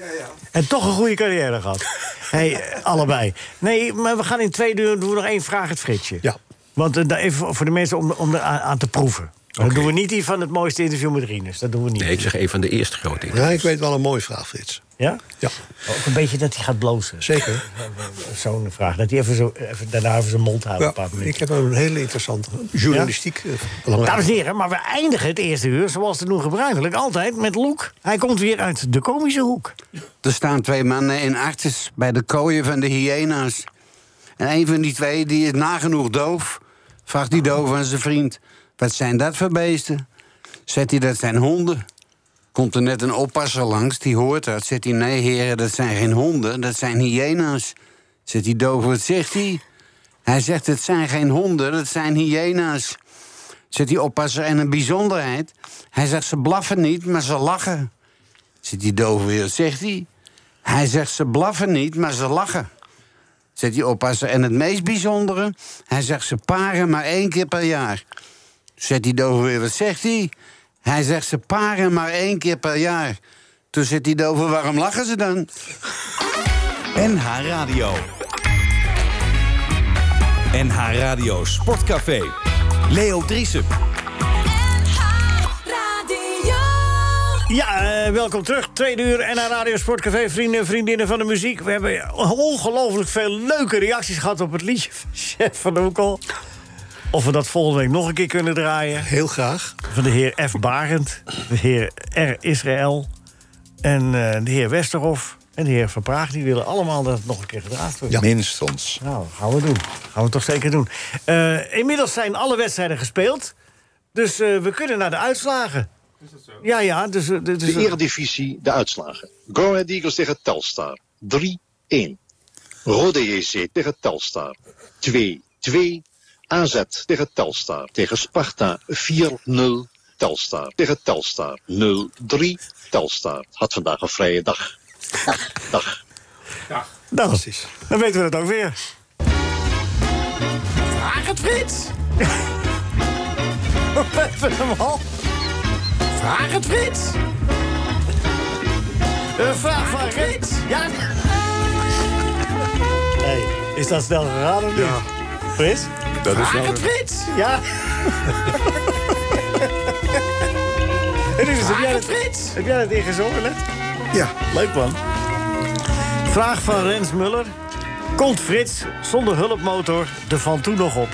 C: En toch een goede carrière gehad. hey, eh, allebei. Nee, maar we gaan in twee uur doen we nog één vraag het Fritsje.
F: Ja.
C: Want eh, daar even voor de mensen om, om er aan, aan te proeven. Dan
E: Oké.
C: doen we niet die van het mooiste interview met Rinus. Dat doen we niet.
E: Nee, ik zeg een van de eerste grote interviews.
F: Ja, ik weet wel een mooie vraag, Frits.
C: Ja?
F: Ja,
C: Ook een beetje dat hij gaat blozen.
F: zeker.
C: Zo'n vraag. Dat hij even zo, even, daarna even zijn mond houdt. een
F: Ja,
C: paar minuten.
F: ik heb een hele interessante journalistiek eh, belangrijk.
C: Dames en heren, maar we eindigen het eerste uur, zoals te doen gebruikelijk, altijd met Loek. Hij komt weer uit de komische hoek.
K: Er staan twee mannen in artis bij de kooien van de hyena's. En een van die twee die is nagenoeg doof. Vraagt die doof aan zijn vriend: Wat zijn dat voor beesten? Zegt hij: Dat zijn honden. Komt er net een oppasser langs, die hoort dat. Zegt hij: Nee, heren, dat zijn geen honden, dat zijn hyena's. Zegt die doof: Wat zegt hij? Hij zegt: Het zijn geen honden, dat zijn hyena's. Zegt die oppasser: En een bijzonderheid. Hij zegt: Ze blaffen niet, maar ze lachen. Zit die doof weer, zegt hij. Hij zegt, ze blaffen niet, maar ze lachen. Zet die oppasser. En het meest bijzondere, hij zegt, ze paren maar één keer per jaar. Zet die doof weer, wat zegt hij? Hij zegt, ze paren maar één keer per jaar. Toen zit die doof, waarom lachen ze dan?
L: NH Radio. NH Radio Sportcafé. Leo Driesen.
C: Ja, eh, welkom terug. Tweede uur en aan Radio Sportcafé, vrienden en vriendinnen van de muziek. We hebben ongelooflijk veel leuke reacties gehad op het liedje van Chef van de Hoekel. Of we dat volgende week nog een keer kunnen draaien.
F: Heel graag.
C: Van de heer F. Barend, de heer R. Israël en eh, de heer Westerhof en de heer Van Praag. Die willen allemaal dat het nog een keer gedraaid wordt.
D: Minstens.
C: Nou, gaan we doen. Gaan we toch zeker doen. Eh, inmiddels zijn alle wedstrijden gespeeld. Dus eh, we kunnen naar de uitslagen. Is dat zo? Ja, ja. Dus, eh, dit is
M: De Eredivisie, de uitslagen. Go Ahead Eagles tegen Telstar, 3-1. Rode JC tegen Telstar, 2-2. AZ tegen Telstar, tegen Sparta, 4-0. Telstar tegen Telstar, 0-3. Telstar had vandaag een vrije dag. Dag.
C: Nou, Dan weten we dat ook weer.
A: Vraag het Frits!
C: We hebben hem al.
A: Vraag het Frits!
C: Een vraag van Rits. Ja. Hey, is dat snel gegaan of niet? Ja. Frits?
D: Dat is
A: Vraag het Frits!
C: Ja. Rinus, heb jij dat, heb jij dat ingezongen, hè?
G: Ja.
C: Leuk, man. Vraag van Rens Muller. Komt Frits zonder hulpmotor de Van Toe nog op?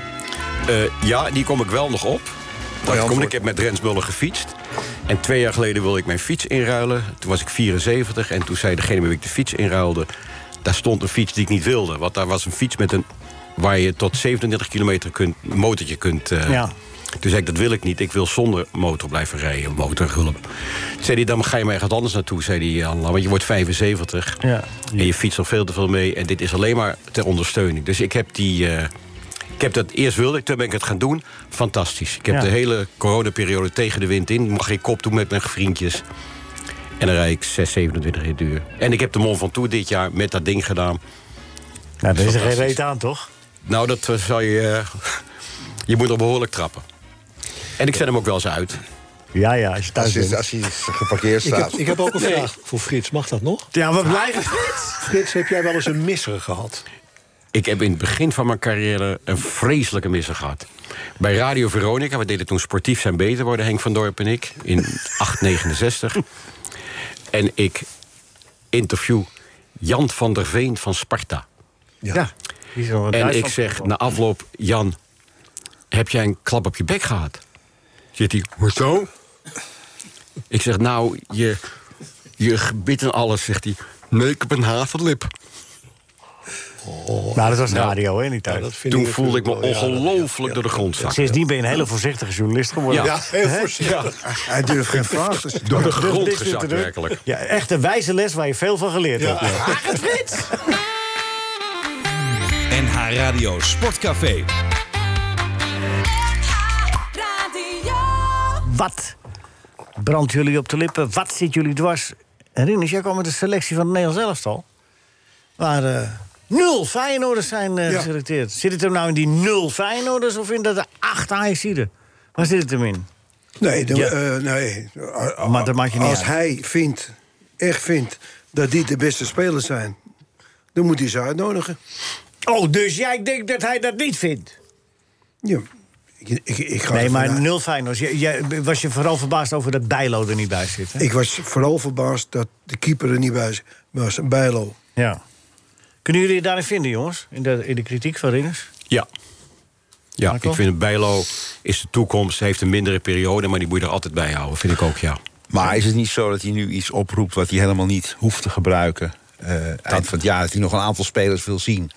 E: Eh, ja, die kom ik wel nog op. Dat komt. Ik heb met Rens Muller gefietst. En twee jaar geleden wilde ik mijn fiets inruilen. Toen was ik 74 en toen zei degene met wie ik de fiets inruilde... daar stond een fiets die ik niet wilde. Want daar was een fiets met een, waar je tot 37 kilometer kunt, een motortje kunt... eh,
C: Ja.
E: Toen zei ik, dat wil ik niet. Ik wil zonder motor blijven rijden, motorhulp. Toen zei hij, dan ga je maar ergens anders naartoe, zei hij. "Anla, Want je wordt 75
C: Ja.
E: en je fietst al veel te veel mee. En dit is alleen maar ter ondersteuning. Dus ik heb die... eh, ik heb dat eerst wilde ik, toen ben ik het gaan doen. Fantastisch. Ik heb
C: Ja.
E: de hele coronaperiode tegen de wind in. Mag geen kop doen met mijn vriendjes. En dan rijd ik 6, 27 in duur. En ik heb de Mont Ventoux dit jaar met dat ding gedaan.
C: Nou, daar is er geen
E: Fantastisch.
C: reet aan, toch?
E: Nou, dat eh, zou je... eh, je moet er behoorlijk trappen. En ik zet hem ook wel eens uit.
C: Ja, ja, als je thuis
D: Als
C: bent.
D: je, als je geparkeerd
F: Ik
D: staat.
F: heb, ik heb ook een
D: Nee.
F: vraag voor Frits. Mag dat nog?
C: Ja, we blijven
F: Frits, heb jij wel eens een misser gehad?
E: Ik heb in het begin van mijn carrière een vreselijke misser gehad. Bij Radio Veronica, we deden toen sportief zijn beter worden, Henk van Dorp en ik, in 869. En ik interview Jan van der Veen van Sparta.
C: Ja. Die is wel wat
E: En ik
C: Duitsland.
E: zeg nou- na afloop, Jan, heb jij een klap op je bek gehad? Zit hij, hoezo? Ik zeg, nou, je, je gebit en alles, zegt hij. Nee, ik heb een havenlip.
C: Nou, dat was
E: Nou,
C: radio, hè, in die tijd.
E: Toen voelde ik me ongelooflijk door de grond zakken.
C: Sindsdien ben je een hele voorzichtige journalist geworden.
E: Ja, Ja, heel
C: Hè?
E: voorzichtig.
C: Ja.
G: Hij durft geen vraag te stellen.
E: Door de grond
C: Dit is
E: gezakt,
C: te doen.
E: werkelijk.
C: Ja, echt een wijze les waar je veel van geleerd hebt. ja.
L: NH Radio Sportcafé.
C: Wat brandt jullie op de lippen? Wat zit jullie dwars? En Rinus, jij kwam met de selectie van het Nederlands elftal. Waar eh, nul Feyenoorders zijn eh, geselecteerd. Zit het hem nou in die nul Feyenoorders of in dat de acht Ajaxiden? Waar zit het hem in?
G: Nee, dan-
C: Ja.
G: eh, nee.
C: Maar dat maakt je niet
G: Als
C: uit.
G: hij vindt, echt vindt, dat die de beste spelers zijn... dan moet hij ze uitnodigen.
C: Oh, dus jij denkt dat hij dat niet vindt?
G: Ja, ik, ik, ik ga
C: nee,
G: ervan
C: maar
G: uit.
C: nul Feyenoorders. Jij, jij- was je vooral verbaasd over dat Bijlo er niet bij zit? Hè?
G: Ik was vooral verbaasd dat de keeper er niet bij was, Bijlo.
C: Ja. Kunnen jullie je daarin vinden, jongens? In de, in de kritiek van Rinus?
E: Ja. Ja,
C: Marco?
E: ik vind het Bijlo is de toekomst. Hij heeft een mindere periode, maar die moet je er altijd bij houden. Vind ik ook, ja.
D: Maar is het niet zo dat hij nu iets oproept wat hij helemaal niet hoeft te gebruiken? Eh eind van het jaar, dat hij nog een aantal spelers wil zien.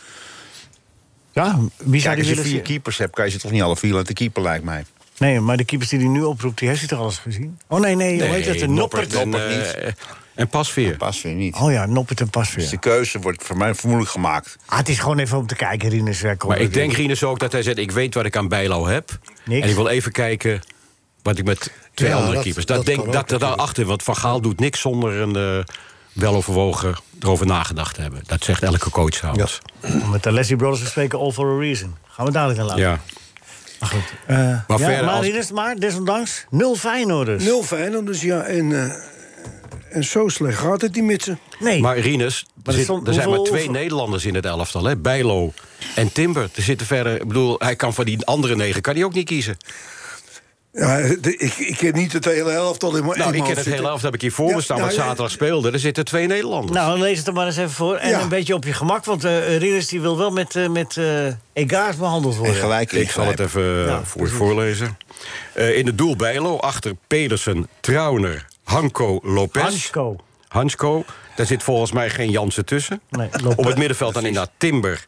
C: Ja, wie zou
D: Kijk,
C: die
D: als je
C: willen
D: vier
C: zien?
D: keepers hebt, kan je ze toch niet alle vier laten keeper, lijkt mij.
C: Nee, maar de keepers die hij nu oproept, die heeft hij toch alles gezien? Oh nee, nee, hoe heet dat? De Noppert.
E: en, eh, en Pasveer.
D: Pasveer niet.
E: eh,
C: Oh ja, Noppert en Pasveer.
D: Dus de keuze wordt voor mij vermoedelijk gemaakt.
C: Ah, het is gewoon even om te kijken, Rinus. eh, kom
E: Maar ik
C: erin.
E: denk, Rinus, ook dat hij zegt... ik weet wat ik aan Bijlo heb.
C: Niks.
E: En ik wil even kijken wat ik met twee
F: Ja,
E: andere
F: dat-
E: keepers... Dat,
F: dat
E: denk
F: kan
E: ik
F: ook
E: dat er daarachter... want Van Gaal doet niks zonder een eh, weloverwogen... erover nagedacht te hebben. Dat zegt elke coach trouwens.
C: Om Met de Leslie Brothers te spreken, all for a reason. Gaan we dadelijk aan
E: Ja.
C: laten. Maar goed. eh,
E: Maar
C: ja,
E: verder
C: maar,
E: als-
C: Rinus, maar desondanks, nul dus. Feyenoorders.
G: Nul Feyenoorders, ja. En, eh, en zo slecht gaat het die met ze.
C: Nee,
E: Maar Rinus, er,
C: er
E: zit-
C: stond-
E: er zijn maar
C: hoeveel-
E: twee
C: hoeveel-
E: Nederlanders in het elftal. Hè? Bijlo en Timber. Er zitten verder, ik bedoel, hij kan van die andere negen kan hij ook niet kiezen.
G: Ja, de- ik, ik heb niet het hele elftal in mijn in
E: Nou, ik
G: mijn
E: ken
G: hoofd
E: het
G: zitten.
E: hele elftal, heb ik hier voor
G: Ja,
E: me staan...
G: ja,
E: wat
G: ja.
E: zaterdag speelde. Er zitten twee Nederlanders.
C: Nou, dan lees het er maar eens even voor. En
G: Ja.
C: een beetje op je gemak, want eh Rinus die wil wel met, eh met eh, egaars behandeld worden.
D: En gelijk
E: Ik zal het
D: ingrijpen.
E: even eh,
C: Ja,
E: voor, voorlezen. Eh, in het doel Bijlo, achter Pedersen, Trauner, Hanko, Lopez.
C: Hansko.
E: Hansko. Daar zit volgens mij geen Jansen tussen.
C: Nee, Lopez.
E: Op het middenveld dan inderdaad Timber,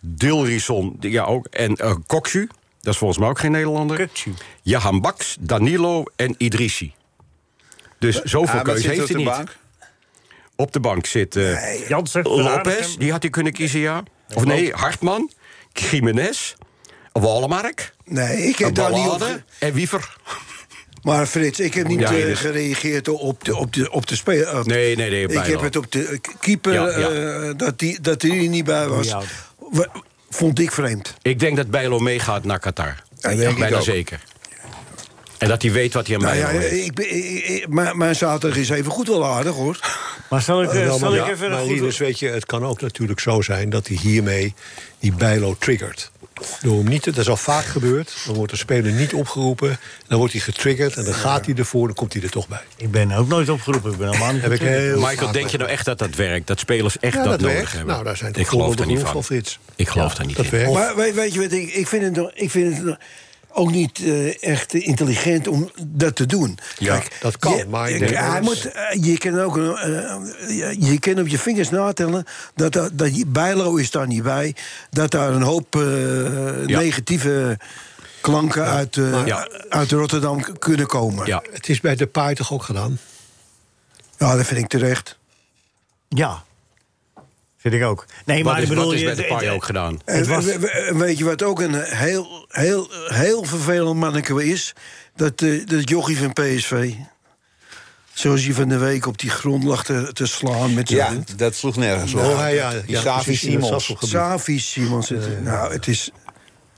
E: Dilrison die- ja, ook, en eh Koksu. Dat is volgens mij ook geen Nederlander.
C: Kukcu.
E: Jahan Baks, Danilo en Idrissi. Dus zoveel
D: Ah, maar
E: keuze
D: zit
E: heeft
D: op
E: hij
D: de
E: niet.
D: bank?
E: Op de bank zit eh,
C: Jansen,
E: Lopez, die had hij kunnen kiezen, ja. Of nee, Hartman, Jiménez, Wallemark,
G: Nee, ik heb daar niet op...
E: Ballade en Wiever.
G: Maar Frits, ik heb niet
E: Ja,
G: eh,
E: Ines.
G: gereageerd op de, op de, op de speler. eh,
E: dus- Nee, nee, nee, op
G: Ik
E: Bijlo.
G: heb het op de eh, keeper,
E: Ja, ja.
G: eh, dat die dat die er niet bij was.
C: Moet je
G: Wa- Vond ik vreemd.
E: Ik denk dat Bijlo meegaat naar Qatar.
G: denk ik
E: Bijna
G: ook.
E: zeker. En dat hij weet wat hij aan
G: Nou
E: Bijlo
G: ja,
E: heeft.
G: ik, ben- ik- ik- mijn, mijn zaterdag is even goed wel aardig, hoor.
C: Maar zal ik, eh,
F: Wel, Nou,
C: zal
F: maar-
C: ik even
F: maar
C: een goed...
F: Rinus, weet je, het kan ook natuurlijk zo zijn dat hij hiermee die Bijlo triggert. Door hem niet, te- dat is al vaak gebeurd. Dan wordt de speler niet opgeroepen. Dan wordt hij getriggerd en dan gaat hij ervoor. Dan komt hij er toch bij.
C: Ik ben ook nooit opgeroepen. Ik ben allemaal niet
F: Heb ik heel
E: Michael, denk je nou echt dat dat werkt? Dat spelers echt
F: Ja,
E: dat,
F: dat
E: nodig
F: werkt.
E: hebben?
F: Nou, daar zijn
E: ik
F: toch
E: geloof daar
F: voorbeelden
E: niet van.
F: genoeg van, Frits.
E: Ik geloof daar niet in.
G: Maar weet, weet je wat, ik, ik vind het, nog- ik vind het nog ook niet eh, echt intelligent om dat te doen.
F: Ja, dat kan,
G: je,
F: maar ik
G: je-
F: denk
G: hij
F: dat-
G: moet, eh, je kan ook eh, je- je kan op je vingers natellen dat, dat, dat je- Bijlo is daar niet bij, dat daar een hoop eh, negatieve klanken uit, eh,
F: Ja.
G: uit Rotterdam k- kunnen komen. Ja.
F: Het is bij de paai toch ook gedaan?
G: dat vind ik terecht.
C: Ja. Vind ik ook. Nee,
G: Wat
C: maar
G: is-
C: ik bedoel...
G: wat is
C: je-
G: met de
C: het-
G: Pai
C: het-
G: ook
E: gedaan?
C: Het
G: En
C: was...
G: we- we- weet je wat ook een heel, heel, heel vervelend manneke is? Dat, eh dat jochie van PSV. Zoals hij van de week op die grond lag te, te slaan met zijn
D: Ja,
G: hand.
D: dat sloeg nergens op.
G: Nou,
D: die Savi
G: precies, in het
D: Simons.
G: Sasselgebied. Savi Simons. het- nou, het is...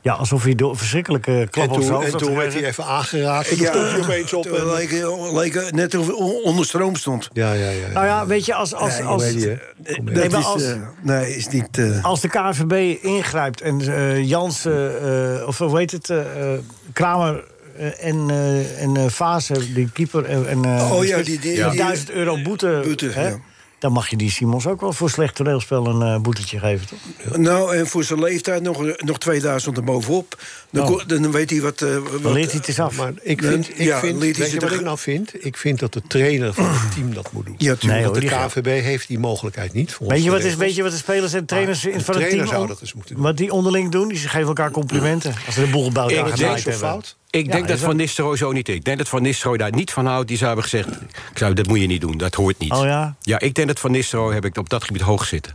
C: Ja, alsof hij door verschrikkelijke klap
G: En
C: op zijn
G: toen-
C: hoofd
G: en
C: had
G: toen
C: gekregen.
G: werd hij
F: Even aangeraakt.
G: Ja,
F: dan stond hij opeens op.
G: het leek, leek eh, net of hij on- onder stroom stond.
F: Ja, ja, ja.
C: Nou ja, weet je, als... als,
G: Nee,
C: als,
G: weet je,
C: Nee,
G: Dat
C: maar
G: is,
C: als,
G: eh, nee, is niet... eh,
C: als de KNVB ingrijpt en eh Jans, eh, eh, of hoe heet het, eh, eh, Kramer eh, en, eh, en eh, Vaas, eh, die keeper... En, en, eh,
G: Oh ja, die- die-
C: die
G: die-
C: 1000 euro boete, hè, dan mag je die Simons ook wel voor slecht toneelspel een eh, boetetje geven, toch?
G: Nou, en voor zijn leeftijd nog, eh, nog 2000 erbovenop. Dan,
C: Nou.
G: ko- dan weet hij wat... eh, wat
C: Dan leert hij het eens af.
F: Maar ik
G: Dan-
F: vind, ik
G: ja,
F: vind
G: leert hij
F: weet je
G: zich
F: wat
G: de-
F: ik nou vind? Ik vind dat de trainer van het team dat moet doen.
G: Ja, tuurlijk.
F: Want
C: Nee, hoor,
F: de KVB heeft die mogelijkheid niet. volgens
C: Nou, Weet je,
F: de
C: wat is,
F: regels.
C: weet je wat de spelers en trainers
F: Maar
C: in-
F: de
C: van het
F: trainer
C: team...
F: zou
C: on-
F: dat eens moeten
C: Wat die onderling doen, die geven elkaar complimenten. Als ze de boel bij elkaar
E: Ik denk,
C: gedraaid hebben.
E: ik
C: Ja,
E: denk dat
C: is
E: Van Nistelrooy zo niet... Ik denk dat Van Nistelrooy daar niet van houdt. Die zou hebben gezegd, ik zou, dat moet je niet doen, dat hoort niet.
C: Oh ja?
E: Ja, ik denk dat Van Nistelrooy heb ik op dat gebied hoog zitten.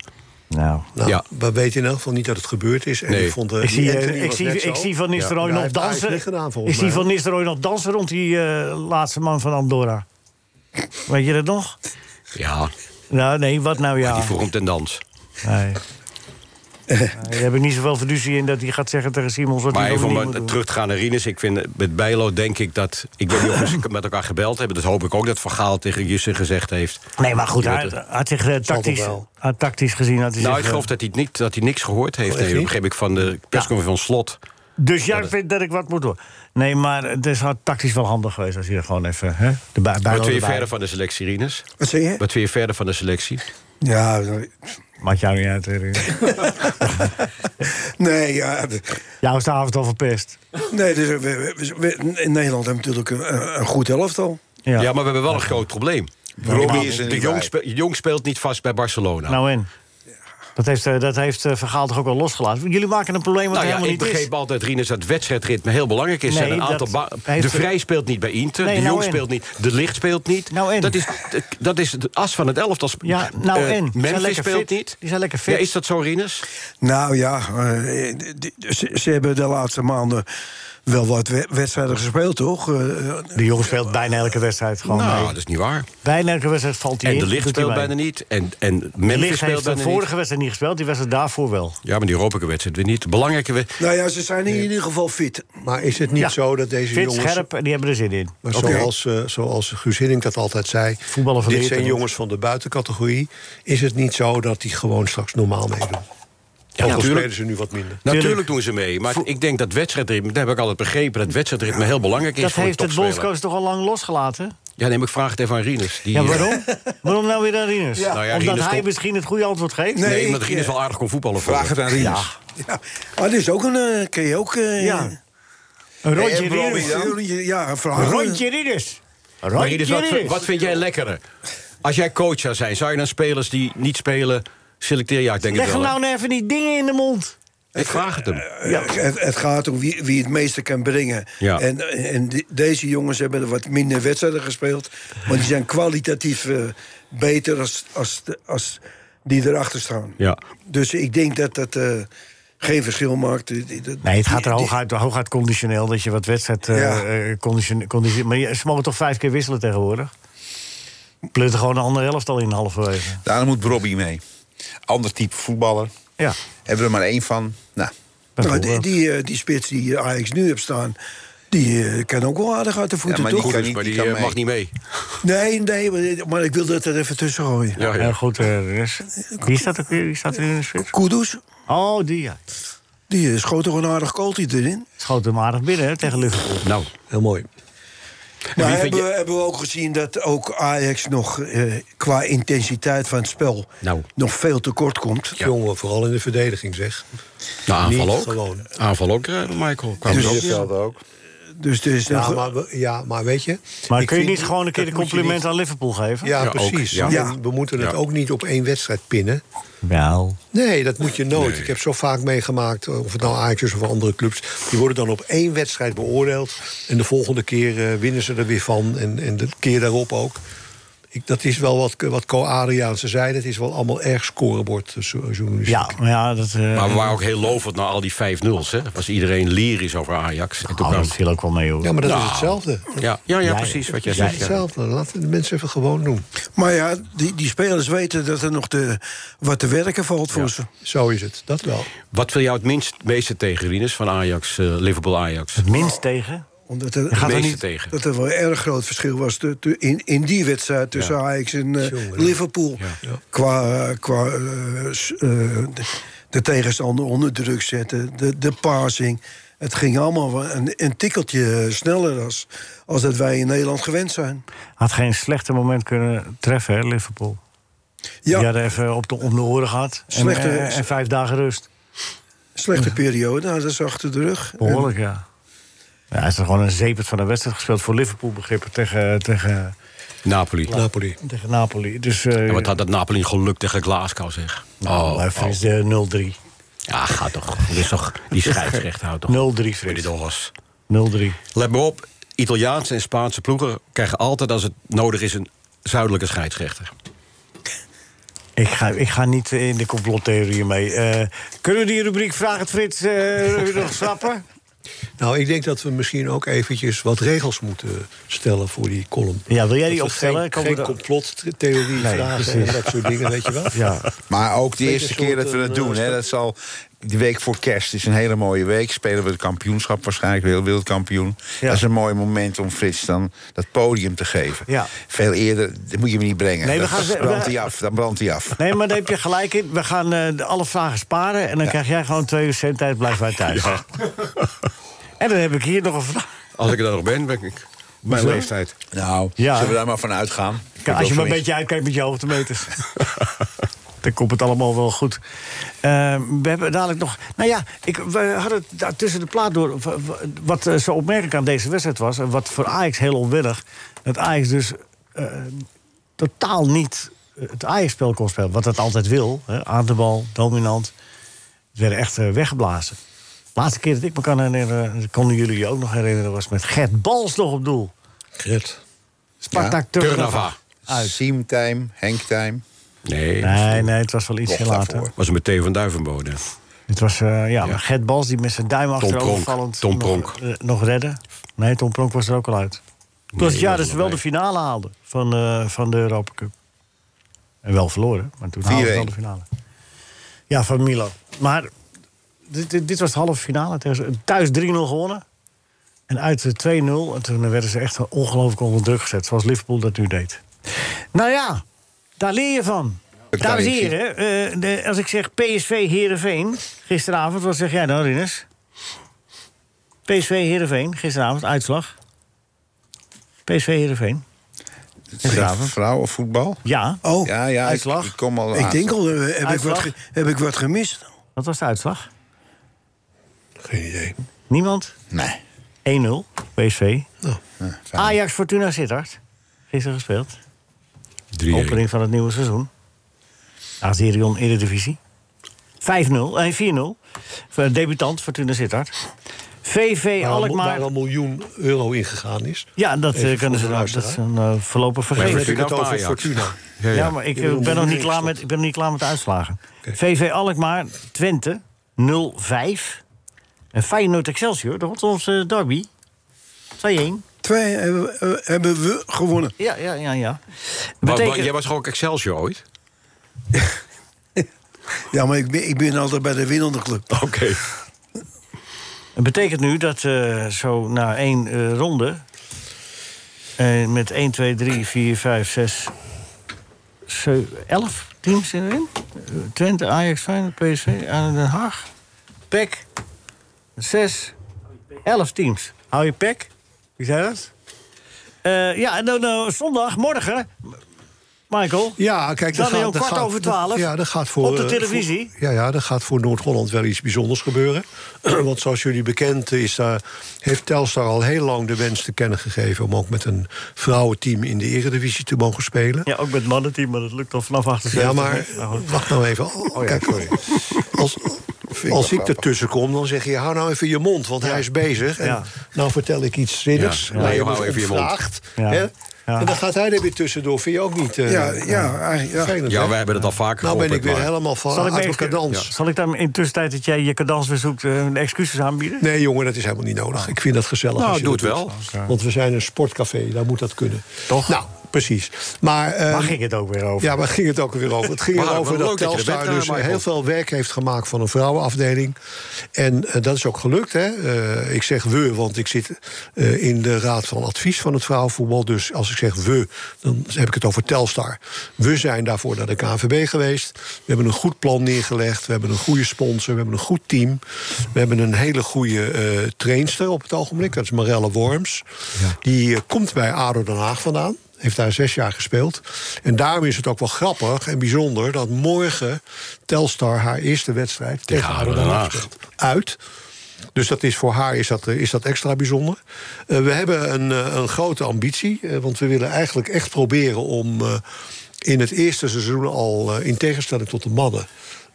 C: Nou,
F: Nou,
E: Ja.
F: We weten in elk geval niet dat het gebeurd is. En
E: Nee.
F: ik, vond, eh,
C: Ik
F: die
C: zie,
F: Anthony
C: eh, ik
F: was
C: zie,
F: net
C: ik
F: zo.
C: zie Van Nistelrooy
F: Ja, Nou, hij
C: nog
F: heeft eigenlijk
C: dansen.
F: niet gedaan,
C: ik
F: volgens
C: zie
F: mij.
C: Van Nistelrooy nog dansen rond die eh, laatste man van Andorra. Weet je dat nog?
E: Ja,
C: Nou, nee, wat nou ja?
E: die vroeg om ten dans.
C: Nee.
F: Eh.
C: Nee, daar heb ik niet zoveel verduzie in dat hij gaat zeggen tegen Simons wat
E: Maar
C: hij
E: even
C: nog
E: om
C: niet
E: maar
C: moet doen.
E: terug te gaan naar Rinus. Ik vind, eh, met Bijlo denk ik dat... Ik weet niet of ze met elkaar gebeld hebben. Dat hoop ik ook dat Van Gaal tegen Jussen gezegd heeft.
C: Nee, maar goed,
E: Je
C: hij
E: weet
C: hij
E: het.
C: had zich eh, tactisch,
E: wel.
C: had tactisch gezien. Had hij
E: Nou,
C: zich, eh,
E: ik geloof dat hij, het niet, dat hij niks gehoord heeft.
C: echt
E: Nee, dat
C: niet?
E: begreep ik van de persconferentie van Slot.
C: eh, dus jij vindt dat ik wat moet doen. Nee, maar het is had tactisch wel handig geweest als hij er gewoon even... Hè, de bij,
E: Wat
C: Bijlo
E: vind je
C: erbij.
E: verder van de selectie, Rinus?
G: Wat zeg je?
E: Wat vind je verder van de selectie?
G: Ja,
C: Maakt jou niet uit, Rinus.
G: nee, ja... d-
C: Jou is de avond al verpest.
G: Nee, dus, we- we- we- in Nederland hebben we natuurlijk een, een goed elftal.
E: Ja. maar we hebben wel een groot probleem.
G: Robbie is er
E: de
G: niet
E: jong,
G: bij.
E: speel- jong speelt niet vast bij Barcelona.
C: Nou en? Dat heeft, eh, dat heeft eh, Vergaal toch ook al losgelaten. Jullie maken een probleem wat
E: nou
C: er
E: ja,
C: helemaal
E: ik
C: niet is.
E: begreep altijd, Rinus, dat wedstrijdritme heel belangrijk is.
C: Nee,
E: en een
C: dat
E: aantal ba-
C: heeft-
E: de Vrij speelt niet bij Inter,
C: Nee,
E: de
C: nou
E: Jong
C: en?
E: speelt niet, de Licht speelt niet.
C: Nou en?
E: Dat is, dat is de as van het elftal.
C: Ja, nou
E: Eh,
C: en? Die zijn
E: Memphis
C: lekker
E: speelt
C: fit.
E: niet.
C: Die zijn lekker fit.
E: Ja, is dat zo, Rinus?
G: Nou ja, eh, d- d- ze, ze hebben de laatste maanden wel wat we- wedstrijden gespeeld, toch? Eh,
C: De jongen speelt bijna elke wedstrijd gewoon
E: nou,
C: mee.
E: dat is niet waar.
C: Bijna elke wedstrijd valt hij
E: En
C: in.
E: de Licht
C: doet hij
E: speelt
C: mee.
E: bijna niet. En, en
C: De
E: Memphis
C: licht
E: speelt
C: heeft de
E: bijna
C: vorige
E: niet.
C: wedstrijd niet gespeeld, die wedstrijd daarvoor wel.
E: Ja, maar die Europese wedstrijd weer niet. De belangrijke wedstrijd.
G: Nou ja, ze zijn in ieder geval fit.
F: Maar is het niet
C: Ja.
F: zo dat deze
C: Fit,
F: jongens...
C: scherp, en die hebben er zin in.
F: Maar
C: Oké.
F: zoals, eh, zoals Guus Hiddink dat altijd zei...
C: Voetballen van
F: dit
C: de
F: zijn
C: internet.
F: jongens van de buitencategorie. Is het niet zo dat die gewoon straks normaal meedoen? Ja, Ook al
E: natuurlijk.
F: spelen ze nu wat minder.
E: Natuurlijk doen ze mee, maar ik denk dat wedstrijdritme... dat heb ik altijd begrepen, dat wedstrijdritme heel belangrijk is
C: Dat
E: voor een
C: heeft het
E: topspeler.
C: bondscoach toch al lang losgelaten?
E: Ja, neem ik vraag het even aan Rinus. Die,
C: Ja,
E: eh,
C: waarom? waarom nou weer aan Rinus?
E: Ja. Nou ja,
C: Omdat
E: Rinus
C: hij
E: kon-
C: misschien het goede antwoord geeft?
E: Nee, omdat Rinus wel aardig kon voetballen.
D: Vraag het aan Rinus.
C: Ja.
G: Ah, dit is ook een... eh, ken je ook... eh,
C: Ja. Een
G: Nee,
C: rondje
G: en Robbie
C: Rinus.
G: dan? Rondje- Ja, een
C: Een
G: vraag.
C: rondje Rinus. Een
E: Maar
C: rondje
E: Rinus, wat,
C: Rinus.
E: wat vind jij lekkerder? Als jij coach zou zijn, zou je dan spelers die niet spelen selecteren? Ja, ik denk
C: Leg
E: het
C: hem
E: wel.
C: nou even die dingen in de mond.
E: hè. Ik vraag het hem.
G: Ja. Eh, Het, het gaat om wie, wie het meeste kan brengen.
E: Ja.
G: En, en de- deze jongens hebben wat minder wedstrijden gespeeld. Maar die zijn kwalitatief eh, beter als, als, de- als die erachter staan.
E: Ja.
G: Dus ik denk dat dat eh, geen verschil maakt. Die- die- dat-
C: Nee, het gaat er
G: die-
C: hooguit, hooguit conditioneel dat je wat wedstrijd. eh
G: Ja.
C: eh, conditione- conditione- maar je- ze mogen toch vijf keer wisselen tegenwoordig? Plutten gewoon een andere helft al in halverwege.
D: Daar moet Robbie mee. Ander type voetballer.
C: Ja.
D: Hebben we er maar één van. Nou,
G: Nou, die,
C: Bijvoorbeeld.
G: die, eh, die spits die Ajax nu hebt staan, die eh, kan ook wel aardig uit de
D: ja,
G: voeten,
D: maar die,
G: toch?
D: kan
E: Maar
D: niet,
E: die,
D: die kan
E: eh,
D: mee.
E: mag niet mee.
G: Nee, nee, maar- maar ik wil dat er even tussen gooien.
E: Ja, ja.
C: Eh, goed, eh, er is- wie staat er, wie staat er nu in de spits?
G: Kudus?
C: Oh, die ja.
G: Die schoot toch een aardig kooltje erin?
C: Schoot hem aardig binnen hè, tegen Liverpool.
E: Nou,
C: heel mooi.
G: Maar hebben, we, hebben we ook gezien dat ook Ajax nog eh, qua intensiteit van het spel nog veel tekort komt.
F: Jongen, vooral in de verdediging zeg.
E: Nou, aanval
F: Niet
E: ook.
F: gewoon.
E: Aanval ook, eh, Michael. Kwam
F: Dus-
E: er ook.
F: Middenveld
D: ook.
G: Dus er is
F: ja,
G: nog-
F: maar, we- ja, maar weet je...
C: Maar
F: ik
C: kun je
F: vind
C: niet gewoon een keer de
F: dat moet je
C: compliment
F: niet-
C: aan Liverpool geven?
F: Ja, precies.
C: Ja.
F: En We moeten het
C: Ja.
F: ook niet op één wedstrijd pinnen.
C: Wel.
F: Nee, dat moet je nooit. Ik heb zo vaak meegemaakt, eh, of het nou Ajax is of andere clubs. Die worden dan op één wedstrijd beoordeeld. En de volgende keer eh, winnen ze er weer van. En, en de keer daarop ook. Ik, dat is wel wat, wat Co-Adriaanse zei. Dat is wel allemaal erg scorebord eh, zo- journalistiek.
C: Ja, maar ja, dat... eh,
E: Maar we waren ook heel lovend naar al die 5-0's. hè. Was iedereen lyrisch over Ajax. En toen
C: Oh, dat viel ook wel mee, hoor.
F: Ja, maar dat
E: Nou.
F: is hetzelfde.
E: Ja, ja, ja, precies wat jij
F: Dat is
E: zegt. ja.
F: hetzelfde. Laten de mensen even gewoon doen.
G: Maar ja, die, die spelers weten dat er nog de, wat te werken valt voor ze.
F: Zo is het, dat wel.
E: Wat wil jou het minst, meeste tegen, Rinus, van Ajax, eh, Liverpool Ajax? Het
C: minst tegen?
G: Omdat er,
E: Het
G: er
E: meeste
G: niet-
E: tegen.
G: dat er wel een erg groot verschil was tu- tu- in, in die wedstrijd tussen Ajax en eh, Liverpool. Qua, eh, qua eh, s- eh, de, de tegenstander onder druk zetten, de, de passing. Het ging allemaal wel een, een tikkeltje sneller als, als dat wij in Nederland gewend zijn.
C: Had geen slechter moment kunnen treffen, hè, Liverpool. Ja. Die hadden even op de, om de oren gehad. En,
G: Slechte-
C: en, en vijf dagen rust.
G: Slechte periode, nou, dat is achter de rug.
C: Behoorlijk, ja. Ja, hij is er gewoon een zeepert van de wedstrijd gespeeld... voor Liverpool begrippen tegen, tegen,
E: Napoli.
F: Napoli.
C: tegen Napoli. Dus eh,
E: Ja, wat had dat Napoli geluk tegen Glasgow, zeg. Oh,
C: Nou, hij verliest, eh, 0-3.
E: Ja, gaat toch. Dat is toch die scheidsrechter houdt toch.
C: 0-3,
E: Voor die dollars.
C: 0-3.
E: Let me op, Italiaanse en Spaanse ploegen krijgen altijd als het nodig is een zuidelijke scheidsrechter.
C: Ik ga, ik ga niet in de complottheorieën mee. Eh, kunnen we die rubriek Vraag het Frits eh, nog schrappen?
F: Nou, ik denk dat we misschien ook eventjes wat regels moeten stellen voor die column.
C: Ja, wil jij die
F: Dat we
C: opstellen?
F: Geen,
C: Komen
F: geen
C: we er-
F: complottheorie
C: Nee,
F: vragen
C: precies.
F: en dat soort dingen, weet je wel?
D: Maar ook de
F: Beetje
D: eerste keer dat we
F: soort,
D: dat
F: eh,
D: doen. Hè, dat zal die week voor kerst is een hele mooie week. Spelen we het kampioenschap waarschijnlijk, heel wereldkampioen. Dat is een mooi moment om Frits dan dat podium te geven.
C: Ja.
D: Veel eerder, dat moet je me niet brengen.
C: Nee, we
D: Dat-
C: gaan
D: dat
C: ze-
D: brandt
C: we-
D: hij af, dan brandt hij af.
C: Nee, maar daar heb je gelijk in. We gaan eh, de- alle vragen sparen en dan krijg jij gewoon twee uur cent tijd. Blijf wij thuis. En dan heb ik hier nog een vraag.
E: Als ik er dan nog ben, ben ik.
D: Mijn
C: Zo?
D: leeftijd. Nou,
C: Ja.
D: zullen we daar maar van uitgaan?
C: Kijk, als je maar een beetje uitkijkt met je hoogtemeters. Dan komt het allemaal wel goed. Eh, we hebben dadelijk nog. Nou ja, ik, we hadden het daar tussen de plaat door. w- w- Wat eh, zo opmerkelijk aan deze wedstrijd was. En wat voor Ajax heel onwillig. Dat Ajax dus eh, totaal niet eh, het Ajax-spel kon spelen. Wat het altijd wil. Hè, aan de bal, dominant. Het werden echt eh, weggeblazen. De laatste keer dat ik me kan herinneren. Dat konden jullie je ook nog herinneren. Was met Gert Bals nog op doel.
F: Gert.
C: Spartak Turnava.
D: Seamtime, Henktime.
E: Nee.
C: Nee, nee, het was wel iets
E: Nog
C: heel later.
E: Was het met Theo van Duivenbode.
C: Het was, eh, ja, maar Gert Bals die met zijn duim
E: Pronk.
C: achterovervallend...
E: Tom
C: nog,
E: Pronk.
C: eh, nog redden. Nee, Tom Pronk was er ook al uit. Toen was het
E: die
C: jaar
E: was
C: dat
E: er
C: ze
E: nog
C: wel de finale haalden van, eh, van de Europa Cup. En wel verloren, maar toen haalden ze wel de
D: 4-1.
C: finale. Ja, van Milo. Maar dit, dit, dit was de halve finale. tegen ze. Thuis 3-0 gewonnen. En uit de 2-0. En toen werden ze echt ongelooflijk onder druk gezet. Zoals Liverpool dat nu deed. Nou ja, daar leer je van.
D: Dat
C: Dames en
D: kan ik
C: heren, eh, de- als ik zeg PSV Herenveen gisteravond, wat zeg jij dan, Rinus? PSV Herenveen gisteravond, uitslag. PSV Herenveen.
D: Vrouwen voetbal?
C: Ja.
G: Oh,
D: ja, ja, ik-
C: uitslag.
D: Ik, kom al
G: Ik
D: aan.
G: denk al, eh, heb ik, wat,
C: Uitslag?
G: ge- heb ik wat gemist?
C: Wat was de uitslag?
F: Geen idee.
C: Niemand?
D: Nee. Oh.
C: 1-0, PSV.
D: Ja, fijn.
C: Ajax Fortuna Sittard. Gisteren gespeeld.
E: 3-1.
C: Opening van het nieuwe seizoen. Azerion Eredivisie. 5-0, eh, 4-0. Voor de Debutant Fortuna Sittard. VV
F: Waar, al-
C: Alkmaar.
F: waar een miljoen euro ingegaan is.
C: Ja, dat eh,
F: Even voor
C: kunnen ze
F: de
C: nou, Dat
F: luisteraar.
C: is een eh, voorlopig vergeten.
F: heb ik het over Fortuna.
C: Ja, maar ik, eh, ben nog niet klaar met, ik ben nog niet klaar met de uitslagen. VV Alkmaar, Twente, 0-5. En Feyenoord Excelsior, de Rotterdamse derby, 2-1.
G: Twee hebben, eh, hebben we gewonnen.
C: Ja, ja, ja, ja.
E: Maar,
C: Betekent-
E: maar jij was gewoon Excelsior ooit?
G: Ja, maar ik ben, ik ben altijd bij de winnende club.
E: Oké.
C: Het betekent nu dat eh, zo na één eh, ronde... eh, met 1, 2, 3, 4, 5, 6, 7, 11 teams erin. Eh, Twente, Ajax, Feyenoord, PSV, ADO Den Haag. Pek. Zes. Elf teams. Hou je pek? Wie zei dat? Eh, ja, en dan eh, zondag, morgen, Michael.
F: Ja, kijk, dat
C: dan heel
F: gaat- dat
C: kwart
F: gaat-
C: over
F: dat-
C: twaalf.
F: ja, dat gaat voor,
C: Op de
F: eh,
C: televisie.
F: voor- ja, ja, dat gaat voor Noord-Holland wel iets bijzonders gebeuren. Want zoals jullie bekend is, daar heeft Telstar al heel lang de wens te kennen gegeven... om ook met een vrouwenteam in de eredivisie te mogen spelen.
C: Ja, ook met mannenteam, maar dat lukt al vanaf achter.
F: Ja, maar wacht nou even.
C: Oh
F: Kijk, Als, als ik ertussen kom, dan zeg je... hou nou even je mond, want hij is bezig. En
C: Ja.
F: Nou vertel ik iets zinnigs.
C: Ja,
F: Ja,
C: ja.
F: je
C: Nou,
F: wordt
C: hou even je mond.
F: ontvraagd,
C: Ja.
F: hè?
C: Ja.
F: En dan gaat hij er weer tussendoor. Vind je ook niet eh
C: Ja,
F: ja, vervelend,
E: Ja,
F: hè?
E: wij hebben het al vaker
F: Nou ben ik
E: gehoord,
F: weer
E: maar-
F: helemaal van
C: Zal ik,
F: uit
C: me
F: mijn kadans.
C: Ja. Zal ik dan in tussentijd dat jij je kadans weer zoekt, eh, een excuses aanbieden?
F: Nee, jongen, dat is helemaal niet nodig. Ik vind dat gezellig.
C: Nou,
F: als je
C: doe
F: dat
C: het
F: doet.
C: wel.
F: Want we zijn een sportcafé, daar moet dat kunnen. Toch? Nou, precies. Maar, eh,
C: Waar ging het ook weer over?
F: Ja, waar ging het ook weer over? Het ging
C: Maar
F: erover
C: wat
F: dat
C: leuk dat je er
F: Telstar
C: bent,
F: dus
C: eh, Michael.
F: heel veel werk heeft gemaakt van een vrouwenafdeling. En eh, dat is ook gelukt. Hè? Eh, ik zeg we, want ik zit eh, in de raad van advies van het vrouwenvoetbal. Dus als ik zeg we, dan heb ik het over Telstar. We zijn daarvoor naar de KNVB geweest. We hebben een goed plan neergelegd. We hebben een goede sponsor. We hebben een goed team. We hebben een hele goede eh, trainster op het ogenblik. Dat is Marelle Worms. Die eh, komt bij ADO Den Haag vandaan. Heeft daar zes jaar gespeeld. En daarom is het ook wel grappig en bijzonder dat morgen Telstar haar eerste wedstrijd tegen ADO Den Haag speelt. Uit. Dus dat is voor haar is dat, eh, is dat extra bijzonder. Eh, we hebben een, eh, een grote ambitie, eh, want we willen eigenlijk echt proberen om eh, in het eerste seizoen al, eh, in tegenstelling tot de mannen,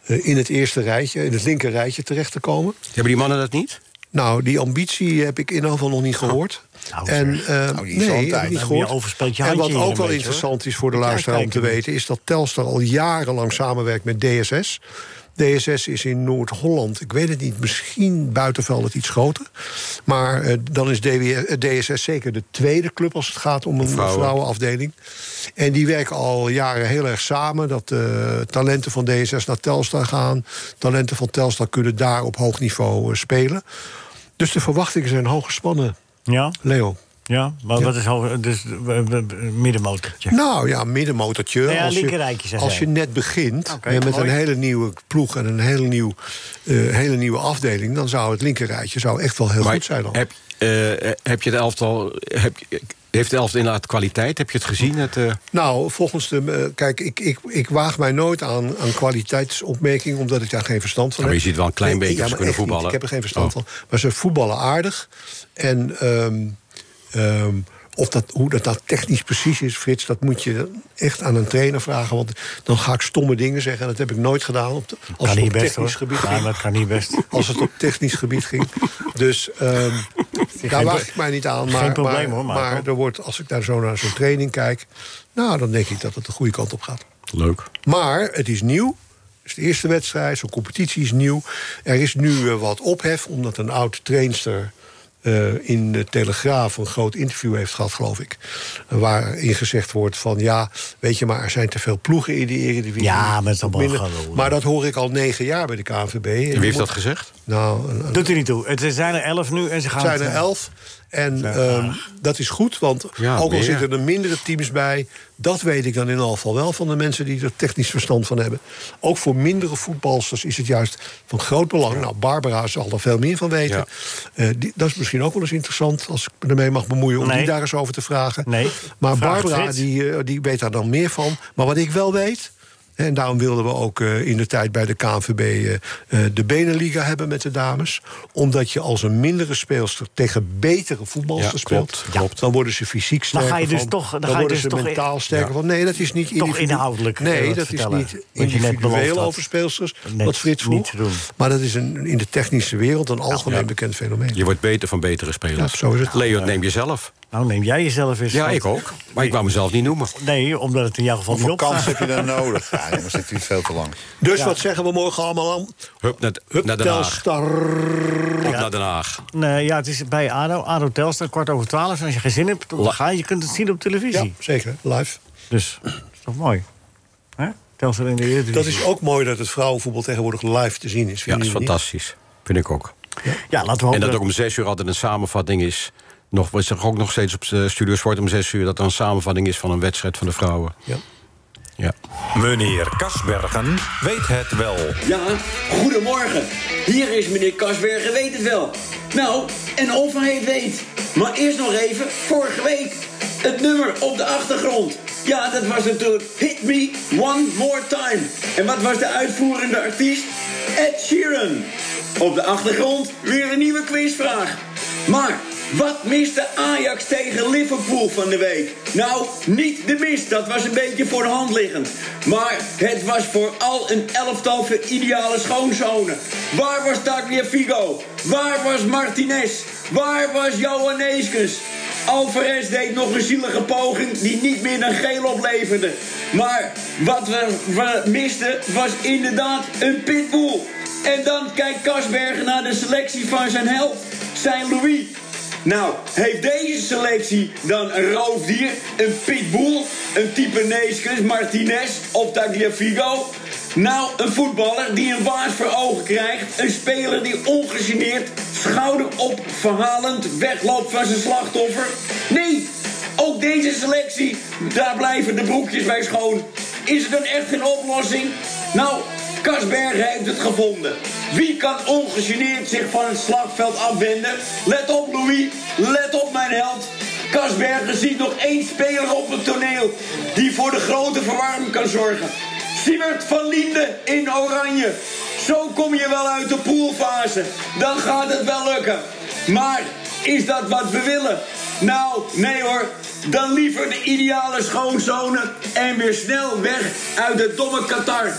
F: eh, in het eerste rijtje, in het linker rijtje terecht te komen.
E: Hebben die mannen dat niet?
F: Nou, die ambitie heb ik in ieder geval nog niet gehoord. en, eh,
C: Nou, is al een
F: nee, heb ik
C: tijd.
F: niet
C: Je overspeelt
F: gehoord. En
C: je handje
F: wat
C: hier een
F: ook wel
C: beetje,
F: interessant
C: hoor.
F: is voor de
C: Ja,
F: luisteraar om
C: kijk
F: te
C: even.
F: weten... is dat Telstar al jarenlang samenwerkt met DSS. DSS is in Noord-Holland, ik weet het niet, misschien buitenveld iets groter. Maar eh, dan is DW- eh, DSS zeker de tweede club als het gaat om een
E: Vrouwen.
F: vrouwenafdeling. En die werken al jaren heel erg samen. Dat eh, talenten van DSS naar Telstar gaan. Talenten van Telstar kunnen daar op hoog niveau eh, spelen. Dus de verwachtingen zijn hoog gespannen,
C: Ja?
F: Leo.
C: Ja, maar
F: Ja.
C: wat is al... Dus, eh, eh, eh, middenmotortje.
F: Nou ja, middenmotortje.
C: Nou ja,
F: als, je,
C: linkerrijtje, zei
F: als
C: zij.
F: je net begint
C: Oké,
F: hè, met
C: mooi.
F: een hele nieuwe ploeg en een hele, nieuw, eh, hele nieuwe afdeling, dan zou het linkerrijtje zou echt wel heel
E: Maar
F: goed zijn. Dan.
E: Heb, eh, heb je het elftal... Heb, je- heeft het elftal inderdaad kwaliteit? Heb je het gezien? Het, eh,
F: Nou, volgens de. eh, kijk, ik, ik, ik waag mij nooit aan, aan kwaliteitsopmerking, omdat ik daar geen verstand van
E: Ja,
F: heb.
E: maar je ziet wel een klein beetje
F: ja,
E: of ze
F: maar
E: kunnen
F: echt niet.
E: voetballen.
F: Ik heb er geen verstand
E: Oh.
F: van. Maar ze voetballen aardig. En ehm, ehm, of dat, hoe dat, dat technisch precies is, Frits, dat moet je echt aan een trainer vragen. Want dan ga ik stomme dingen zeggen. En dat heb ik nooit gedaan. Op de, als
C: kan
F: het
C: niet
F: op
C: best,
F: technisch
C: hoor.
F: gebied
C: Ja,
F: ging.
C: dat kan niet best.
F: Als het op technisch gebied ging. Dus ehm, daar
C: geen
F: waag
C: pro-
F: ik mij niet aan.
C: geen
F: Maar,
C: probleem,
F: maar,
C: hoor, Marco.
F: maar er wordt, als ik daar zo naar zo'n training kijk. Nou, dan denk ik dat het de goede kant op gaat.
E: Leuk.
F: Maar het is nieuw. Het is de eerste wedstrijd. Zo'n competitie is nieuw. Er is nu eh, wat ophef, omdat een oud trainster. eh, in de Telegraaf een groot interview heeft gehad, geloof ik. Waarin gezegd wordt van ja, weet je maar, er zijn te veel ploegen in de Eredivisie.
C: Ja, met allemaal
F: Minder-
C: gelul.
F: Maar dat hoor ik al negen jaar bij de KNVB. En
E: wie heeft dat
F: moet-
E: gezegd?
F: Nou, een- een-
C: Doet er niet toe. Het zijn er elf nu en ze
F: het
C: gaan...
F: zijn
C: het- eh,
F: er elf. En ehm, dat is goed, want
E: Ja,
F: ook al
E: meer.
F: zitten er mindere teams bij... dat weet ik dan in ieder geval wel van de mensen die er technisch verstand van hebben. Ook voor mindere voetbalsters is het juist van groot belang. Nou, Barbara zal er veel meer van weten. Eh, die, dat is misschien ook wel eens interessant, als ik me ermee mag bemoeien... om
C: Nee.
F: die daar eens over te vragen.
C: Nee.
F: Maar
C: Vraag het
F: Barbara,
C: Frits.
F: die, eh, die weet daar dan meer van. Maar wat ik wel weet... En daarom wilden we ook eh, in de tijd bij de KNVB eh, eh, de Beneliga hebben met de dames. Omdat je als een mindere speelster tegen betere voetbalsters
E: Ja,
F: speelt.
E: klopt, klopt.
F: Dan worden ze fysiek
C: Dan
F: sterker
C: ga je dus
F: van,
C: toch- dan ga je
F: worden
C: dus
F: ze
C: toch-
F: mentaal sterker
C: Ja.
F: van. Nee, dat is niet
C: Toch
F: individu-
C: inhoudelijk, eh,
F: Nee,
C: wat
F: dat is
C: vertellen,
F: niet
C: wat je net beloofd
F: individueel
C: had.
F: over speelsters.
C: Net
F: wat Frits
C: niet
F: vroeg.
C: te doen.
F: Maar dat is een, in de technische wereld een algemeen bekend fenomeen.
E: Je wordt beter van betere spelers.
F: Ja, zo is het.
E: Leo, neem jezelf.
C: Nou, neem jij jezelf eens.
E: Ja,
C: want-
E: ik ook. Maar ik wou mezelf niet noemen.
C: Nee, omdat het in jouw geval niet
D: Hoeveel
C: opgaat.
D: kans heb je dan nodig? Ja, jongens, dit duurt veel te lang.
F: Dus wat zeggen we morgen allemaal aan?
E: Hup, naar,
F: Hup,
E: naar Den Haag.
F: Telstar.
E: Op naar Den Haag.
C: Nee, ja, het is bij ADO. ADO Telstar, kwart over twaalf. En als je geen zin hebt, dan
E: La-
C: ga je. Je kunt het zien op televisie.
F: Ja, zeker. Live.
C: Dus, dat is toch mooi. Hè? Telstar in de Eredivisie.
F: Dat is ook mooi dat het vrouwenvoetbal tegenwoordig live te zien is.
E: Ja,
F: vinden
E: dat is
F: jullie niet?
E: fantastisch. Vind ik ook.
C: Ja, laten we hopen
E: En dat ook om zes uur altijd een samenvatting is. Nog, is er ook nog steeds op eh, Studio Sport om zes uur... dat er een samenvatting is van een wedstrijd van de vrouwen.
F: Ja.
E: Ja.
B: Meneer Kasbergen weet het wel.
N: Ja, goedemorgen. Hier is meneer Kasbergen, weet het wel. Nou, en of hij het weet. Maar eerst nog even, vorige week, het nummer op de achtergrond. Ja, dat was natuurlijk Hit Me One More Time. En wat was de uitvoerende artiest? Ed Sheeran. Op de achtergrond weer een nieuwe quizvraag. Maar wat miste Ajax tegen Liverpool van de week? Nou, niet de mist, dat was een beetje voor de hand liggend. Maar het was vooral een elftal voor ideale schoonzonen. Waar was Tagliafico? Waar was Martinez? Waar was Johan Neeskens? Alvarez deed nog een zielige poging die niet meer dan geel opleverde. Maar wat we, we misten was inderdaad een pitbull. En dan kijkt Kasberg naar de selectie van zijn held, zijn Louis. Nou, heeft deze selectie dan een roofdier, een pitbull, een type Neeskens, Martinez of Tagliafico? Nou, een voetballer die een waas voor ogen krijgt. Een speler die ongegeneerd, schouder op, verhalend wegloopt van zijn slachtoffer. Nee, ook deze selectie, daar blijven de broekjes bij schoon. Is er dan echt geen oplossing? Nou, Kasbergen heeft het gevonden. Wie kan ongegeneerd zich van het slagveld afwenden? Let op, Louis. Let op, mijn held. Kasbergen ziet nog één speler op het toneel die voor de grote verwarming kan zorgen. Siewert van Liende in oranje. Zo kom je wel uit de poolfase. Dan gaat het wel lukken. Maar is dat wat we willen? Nou, nee hoor. Dan liever de ideale schoonzonen en weer snel weg uit het domme Qatar.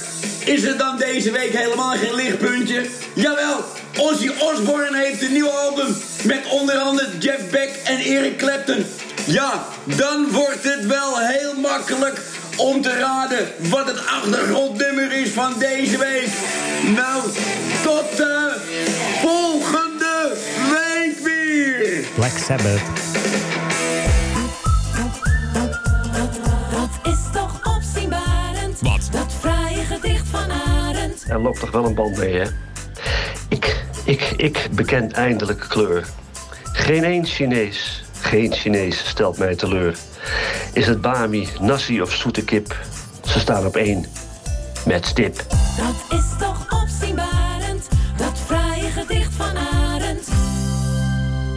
N: Is er dan deze week helemaal geen lichtpuntje? Jawel, Ozzy Osbourne heeft een nieuw album. Met onder andere Jeff Beck en Eric Clapton. Ja, dan wordt het wel heel makkelijk om te raden wat het achtergrondnummer is van deze week. Nou, tot de volgende week weer!
C: Black Sabbath.
O: Dat is toch opzienbarend? Wat? Dat fraaie gedicht van Arend.
P: Er loopt toch wel een band mee, hè? Ik, ik, ik beken eindelijk kleur. Geen één Chinees, geen Chinees stelt mij teleur. Is het bami, nasi of zoete kip? Ze staan op één. Met stip.
O: Dat is toch opzienbarend? Dat fraaie gedicht van Arend.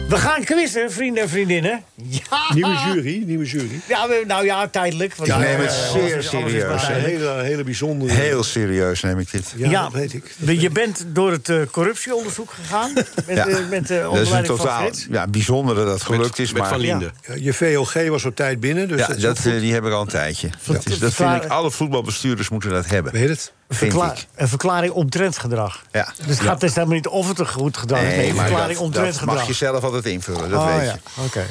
C: We gaan quizzen, vrienden en vriendinnen. Ja.
F: Nieuwe jury, nieuwe jury.
C: Ja, we- nou ja, tijdelijk. want,
D: Ik neem
C: eh,
D: het
C: alles
D: zeer
C: is- alles is maar
D: serieus.
C: tijdelijk.
F: hele bijzondere.
D: Heel serieus neem ik dit.
C: Ja, dat weet ik. Je bent door het eh, corruptieonderzoek gegaan. Met,
D: Ja.
C: eh, met
D: dat
C: de
D: is een
C: onderleiding van
D: totaal
C: Frits.
D: ja, bijzonder dat dat gelukt is. maar
F: Ja, je VOG was op tijd binnen, dus
D: Ja,
F: dat is
D: dat,
F: ook goed.
D: eh, die heb ik al een tijdje. Dat, is, dat vind
C: verklaren-
D: ik, alle voetbalbestuurders moeten dat hebben. Weet
F: het?
D: Vind
C: Verkla-
D: ik.
C: een verklaring omtrent gedrag.
D: Ja.
C: Dus het gaat dus helemaal niet of het er goed gedaan is. Nee,
D: Nee,
C: een
D: maar
C: verklaring
D: dat,
C: omtrent
D: dat
C: gedrag.
D: mag je zelf altijd invullen, dat
C: Oh,
D: weet
C: ja.
D: je.
C: Oké.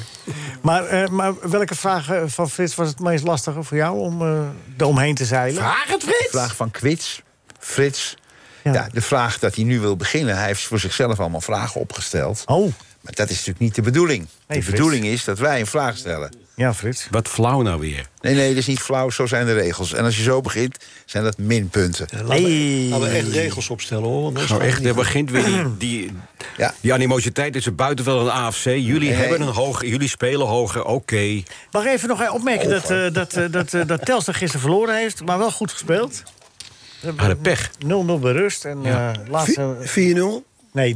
C: Maar, eh, maar welke vraag eh, van Frits was het meest lastige voor jou om eh eromheen te zeilen?
D: Vraag het Frits! Vraag van Kwits. Frits. Ja. de vraag dat hij nu wil beginnen. Hij heeft voor zichzelf allemaal vragen opgesteld.
C: Oh.
D: Maar dat is natuurlijk niet de bedoeling. de
E: Frits.
D: bedoeling is dat wij een vraag stellen.
C: Ja, Frits.
E: Wat flauw nou weer.
D: Nee, nee, dat is niet flauw. Zo zijn de regels. En als je zo begint, zijn dat minpunten.
F: Laten we- laten we echt regels opstellen, hoor. want anders
E: Nou
F: gaat
E: echt,
F: het
E: er
F: niet
E: begint weer die, die, die animositeit tussen buitenveld en AFC. Jullie hebben een hoger, jullie spelen hoger, oké.
C: Mag ik even nog eh, opmerken dat, eh, dat, eh, dat, eh, dat Telstar gisteren verloren heeft, maar wel goed gespeeld.
E: Ah, de pech.
C: 0-0 bij rust en
E: Ja.
C: eh, laatste...
G: 4-0?
C: Nee,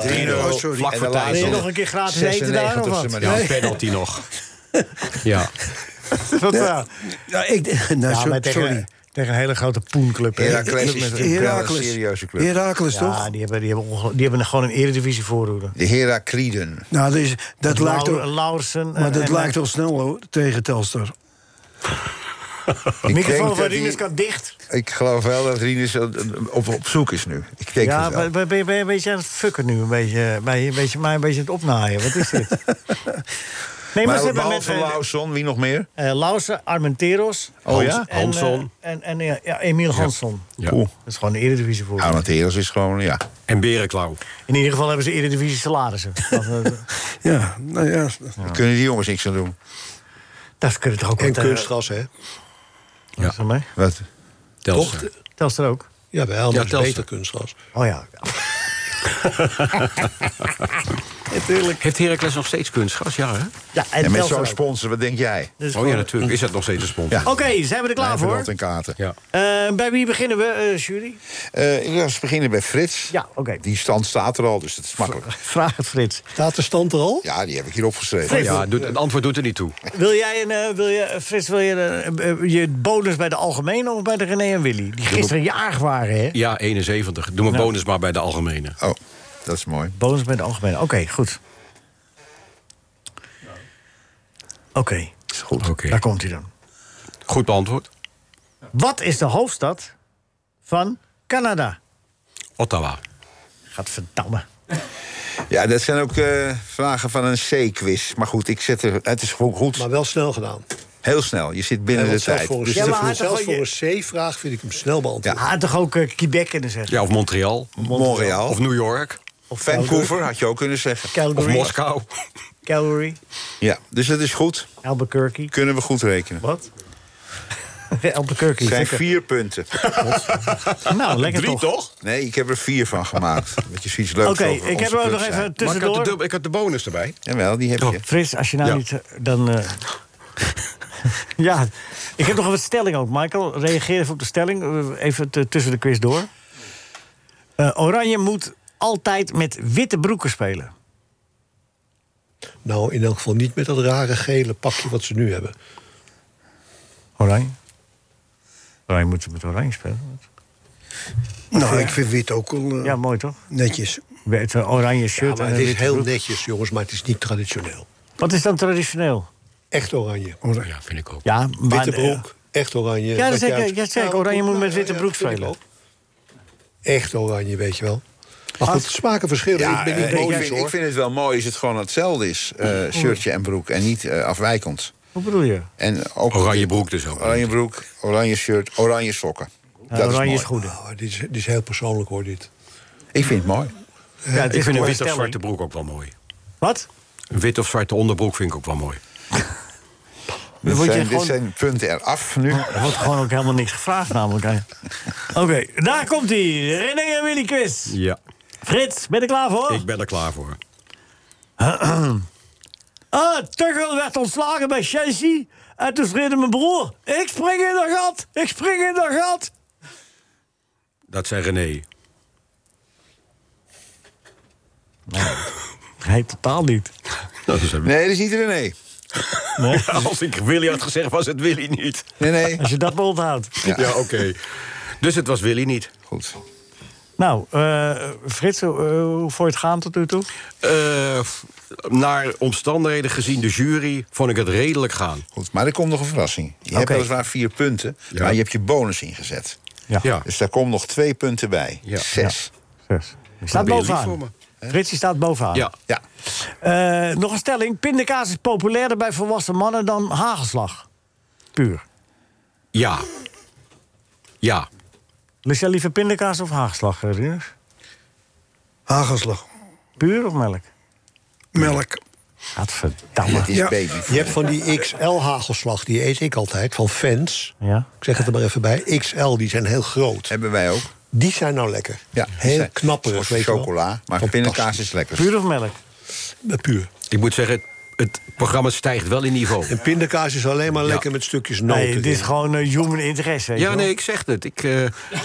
E: 3-0. 3-0.
C: Oh, sorry.
E: Vlak
C: En
E: voor
C: de laatste-
E: tijd.
C: Wil je nog een keer gratis eten daar of
D: 96e
C: wat?
D: minuut.
E: Ja,
C: Nee.
E: een penalty nog. Ja.
C: Wat,
G: Nee.
C: eh,
G: Ja, ik, nou,
C: ja,
G: zo-
C: maar tegen,
G: sorry.
C: tegen een hele grote poenclub. hè.
G: Heracles
C: Club
G: is
C: met-
G: natuurlijk wel een Heracles. serieuze club. Heracles,
C: ja,
G: toch?
C: Die hebben, die, hebben ongel- die hebben gewoon een eredivisie voorhoede.
D: De Herakriden.
G: Nou, dus, dat
C: Lauwer-
G: lijkt al,
C: Lauwersen,
G: maar
C: eh,
G: dat
C: en-
G: lijkt al snel hoor, tegen Telstar.
C: De microfoon
D: denk
C: van
D: dat
C: Rinus
D: die-
C: kan dicht.
D: Ik geloof wel dat Rinus op, op zoek is nu. Ik denk
C: Ja,
D: het wel.
C: ben, ben, ben, ben je een beetje aan het fucken nu? Een beetje, ben je een beetje mij een beetje aan het opnaaien? Wat is dit? Nee, maar, ze hebben met
D: behalve Lauwson, wie nog meer?
C: eh, Lauwersen, Armenteros...
D: Oh
C: Hans-
D: ja?
C: en,
D: Hansson.
C: eh, En, en, ja, ja, Emiel Hansson.
D: Ja. Oeh.
C: Dat is gewoon de Eredivisie voor.
D: Nou, want Heras is gewoon, ja.
E: En Berenklauw.
C: In ieder geval hebben ze Eredivisie salarissen. Dat, eh,
G: Ja, nou ja.
D: Daar kunnen die jongens niks aan doen.
C: dat kunnen toch ook
F: En
C: wat, eh,
F: kunstgras, hè?
C: Wat is er mee?
D: Wat?
F: Telstar.
C: Telstar ook? Oh
F: Ja, wel, maar
C: Ja,
F: het is
C: Telstar.
F: beter kunstgras.
C: Oh ja. Natuurlijk.
E: Heeft Heracles nog steeds kunstgas? Ja, hè?
C: Ja, en
D: en met
C: Telstra
D: zo'n
C: ook.
D: sponsor, wat denk jij?
C: Dus
E: Oh ja, natuurlijk. Is dat nog steeds een sponsor?
C: Oké, zijn we er klaar voor?
D: en kaarten.
E: Ja.
C: Eh, bij wie beginnen we, eh, jury?
D: Eh, ik was beginnen bij Frits.
C: Ja, oké.
D: Die stand staat er al, dus dat is makkelijk.
C: Vraag het Frits.
F: Staat de stand er al?
D: Ja, die heb ik hier opgeschreven.
C: Frits. Ja, doet-
E: het antwoord doet er niet toe.
C: Wil jij, een, eh, wil je, Frits, wil je een, eh, je bonus bij de Algemene of bij de René en Willy? Die gisteren jarig waren, hè?
E: Ja, 71. Doe mijn
C: Nou.
E: bonus maar bij de algemene.
D: Oh, dat is mooi.
C: Bonus bij de Algemene. Oké, goed. Oké,
D: Is goed.
C: daar komt hij dan.
E: Goed beantwoord.
C: Wat is de hoofdstad van Canada?
E: Ottawa.
C: Gaat verdammen.
D: Ja, dat zijn ook eh, vragen van een C-quiz. Maar goed, ik zet er, het is gewoon goed. Maar
F: wel snel gedaan.
D: Heel snel, je zit binnen
F: Ja,
D: de
F: want zelfs
D: tijd.
F: voor een,
D: Dus
F: zelfs
D: de
F: voor-
D: vroeg-
F: zelfs voor een C-vraag vind ik hem snel beantwoord.
C: Hij had toch ook eh, Quebec kunnen zeggen?
E: Ja, of Montreal.
D: Montreal.
E: Of New York.
D: Of Vancouver had je ook kunnen zeggen. Of
C: Calgary.
D: Moskou.
C: Calgary,
D: Ja, dus dat is goed.
C: Albuquerque.
D: Kunnen we goed rekenen.
C: Wat? Albuquerque.
D: Het zijn
C: lekker.
D: vier punten.
C: Nou, lekker
E: Drie toch?
D: Nee, ik heb er vier van gemaakt. Dat je zoiets leuks
C: Oké,
D: over
C: ik
D: onze
C: heb er ook
D: club
C: nog
D: zei.
C: even
E: Maar ik had, de
C: tussendoor.
E: dubbel- ik had de bonus erbij.
D: Jawel, die heb je.
C: Frits, als je nou
E: Ja.
C: niet... eh, Dan, eh, ja, ik heb nog een wat stelling ook, Michael. Reageer even op de stelling, eh, even t- tussen de quiz door. Eh, Oranje moet altijd met witte broeken spelen.
F: Nou, in elk geval niet met dat rare gele pakje wat ze nu hebben.
C: Oranje? Oranje moet met oranje spelen.
G: Nou, ik vind wit ook wel eh,
C: Ja, mooi toch?
G: netjes.
C: Met een oranje
F: Oh. Ja,
C: shirt
F: maar
C: en
F: het
C: een
F: is
C: witte
F: heel
C: broek.
F: netjes, jongens, maar het is niet traditioneel.
C: Wat is dan traditioneel?
F: Echt oranje.
C: Oh,
E: Ja, vind ik ook.
C: Ja, maar... eh,
F: Witte broek, echt oranje.
C: Ja, dat
F: Wat
C: zeg
F: jij-
C: ik- ja, zeg ik, oranje moet met witte broek
F: nou, vind ik
C: spelen.
F: ook. Echt oranje, weet je wel. Maar goed, smaken verschillen.
D: Ja,
F: ik ben niet
D: eh, ik,
F: boos,
D: vind,
F: hoor. Mm.
D: ik vind het wel mooi als het gewoon hetzelfde is. eh, shirtje en broek en niet eh, afwijkend.
C: Hoe bedoel je?
D: En ook
E: Oranje broek dus ook.
D: Oranje broek, oranje shirt, oranje sokken.
C: Ja,
D: dat
C: oranje
D: is
C: is
D: mooi.
C: goed.
F: Oh, dit, is, dit is heel persoonlijk, hoor, dit.
D: Ik vind het mooi.
C: Ja, het
E: Ik
C: is
E: vind een
C: een
E: wit of
C: stelling.
E: zwarte broek ook wel mooi.
C: Wat?
E: Een wit of zwarte onderbroek vind ik ook wel mooi.
D: Dit
C: word je
D: zijn, dit
C: gewoon-
D: zijn punten eraf nu.
F: Oh.
C: Er wordt gewoon ook helemaal niks gevraagd namelijk. hè. Oké, daar komt hij. René en Willy quiz.
E: Ja,
C: Frits, ben je er klaar voor?
E: ik ben er klaar voor.
C: Ah, Tuchel werd ontslagen bij Chelsea. En toen schreeuwde mijn broer... Ik spring in dat gat! Ik spring in dat gat!
E: Dat zei René.
C: Nee, totaal niet.
E: Dat is hem.
D: Nee, dat is niet René.
E: Nou, Als ik Willy had gezegd, was het Willy niet.
D: Nee, nee.
C: Als je dat maar onthoudt.
E: Ja, oké. Dus het was Willy niet.
D: Goed.
C: Nou, eh, Frits, hoe- eh, hoe vond je het gaan tot nu toe?
E: Eh, f- naar omstandigheden gezien de jury vond ik het redelijk gaan.
D: Goed, maar er komt nog een verrassing. Je hebt
C: Oké.
D: weliswaar vier punten,
E: Ja.
D: maar je hebt je bonus ingezet.
C: Ja.
E: Ja.
D: Dus daar komen nog twee punten bij.
E: Ja.
D: Zes.
C: Zes. Je staat
E: ben je lief voor
C: bovenaan. Frits, je staat bovenaan.
E: Ja.
D: Ja.
C: Eh, nog een stelling. Pindakaas is populairder bij volwassen mannen dan hagelslag. Puur.
E: Ja. Ja.
C: Lust jij liever pindakaas of hagelslag, eh, Rinus?
G: Hagelslag.
C: Puur of melk?
G: Melk.
D: Het
C: Gadverdamme.
D: is
G: Ja.
D: baby.
F: Je hebt van die XL-hagelslag, die eet ik altijd, van fans.
C: Ja.
F: Ik zeg het er maar even bij. XL, die zijn heel groot.
D: Hebben wij ook.
F: Die zijn nou lekker.
D: Ja,
F: heel
D: Zijn-
F: knapperig,
D: soort
F: weet je wel.
D: chocola, maar
F: Fantastisch.
D: pindakaas is lekker.
C: Puur of melk?
F: Eh, Puur.
E: Ik moet zeggen, het, het programma stijgt wel in niveau.
F: En pindakaas is alleen maar lekker met stukjes noten.
C: Nee, dit is
F: in.
C: gewoon eh, human interesse. weet
E: Ja,
C: je wel.
E: nee, ik zeg het. Ik, eh,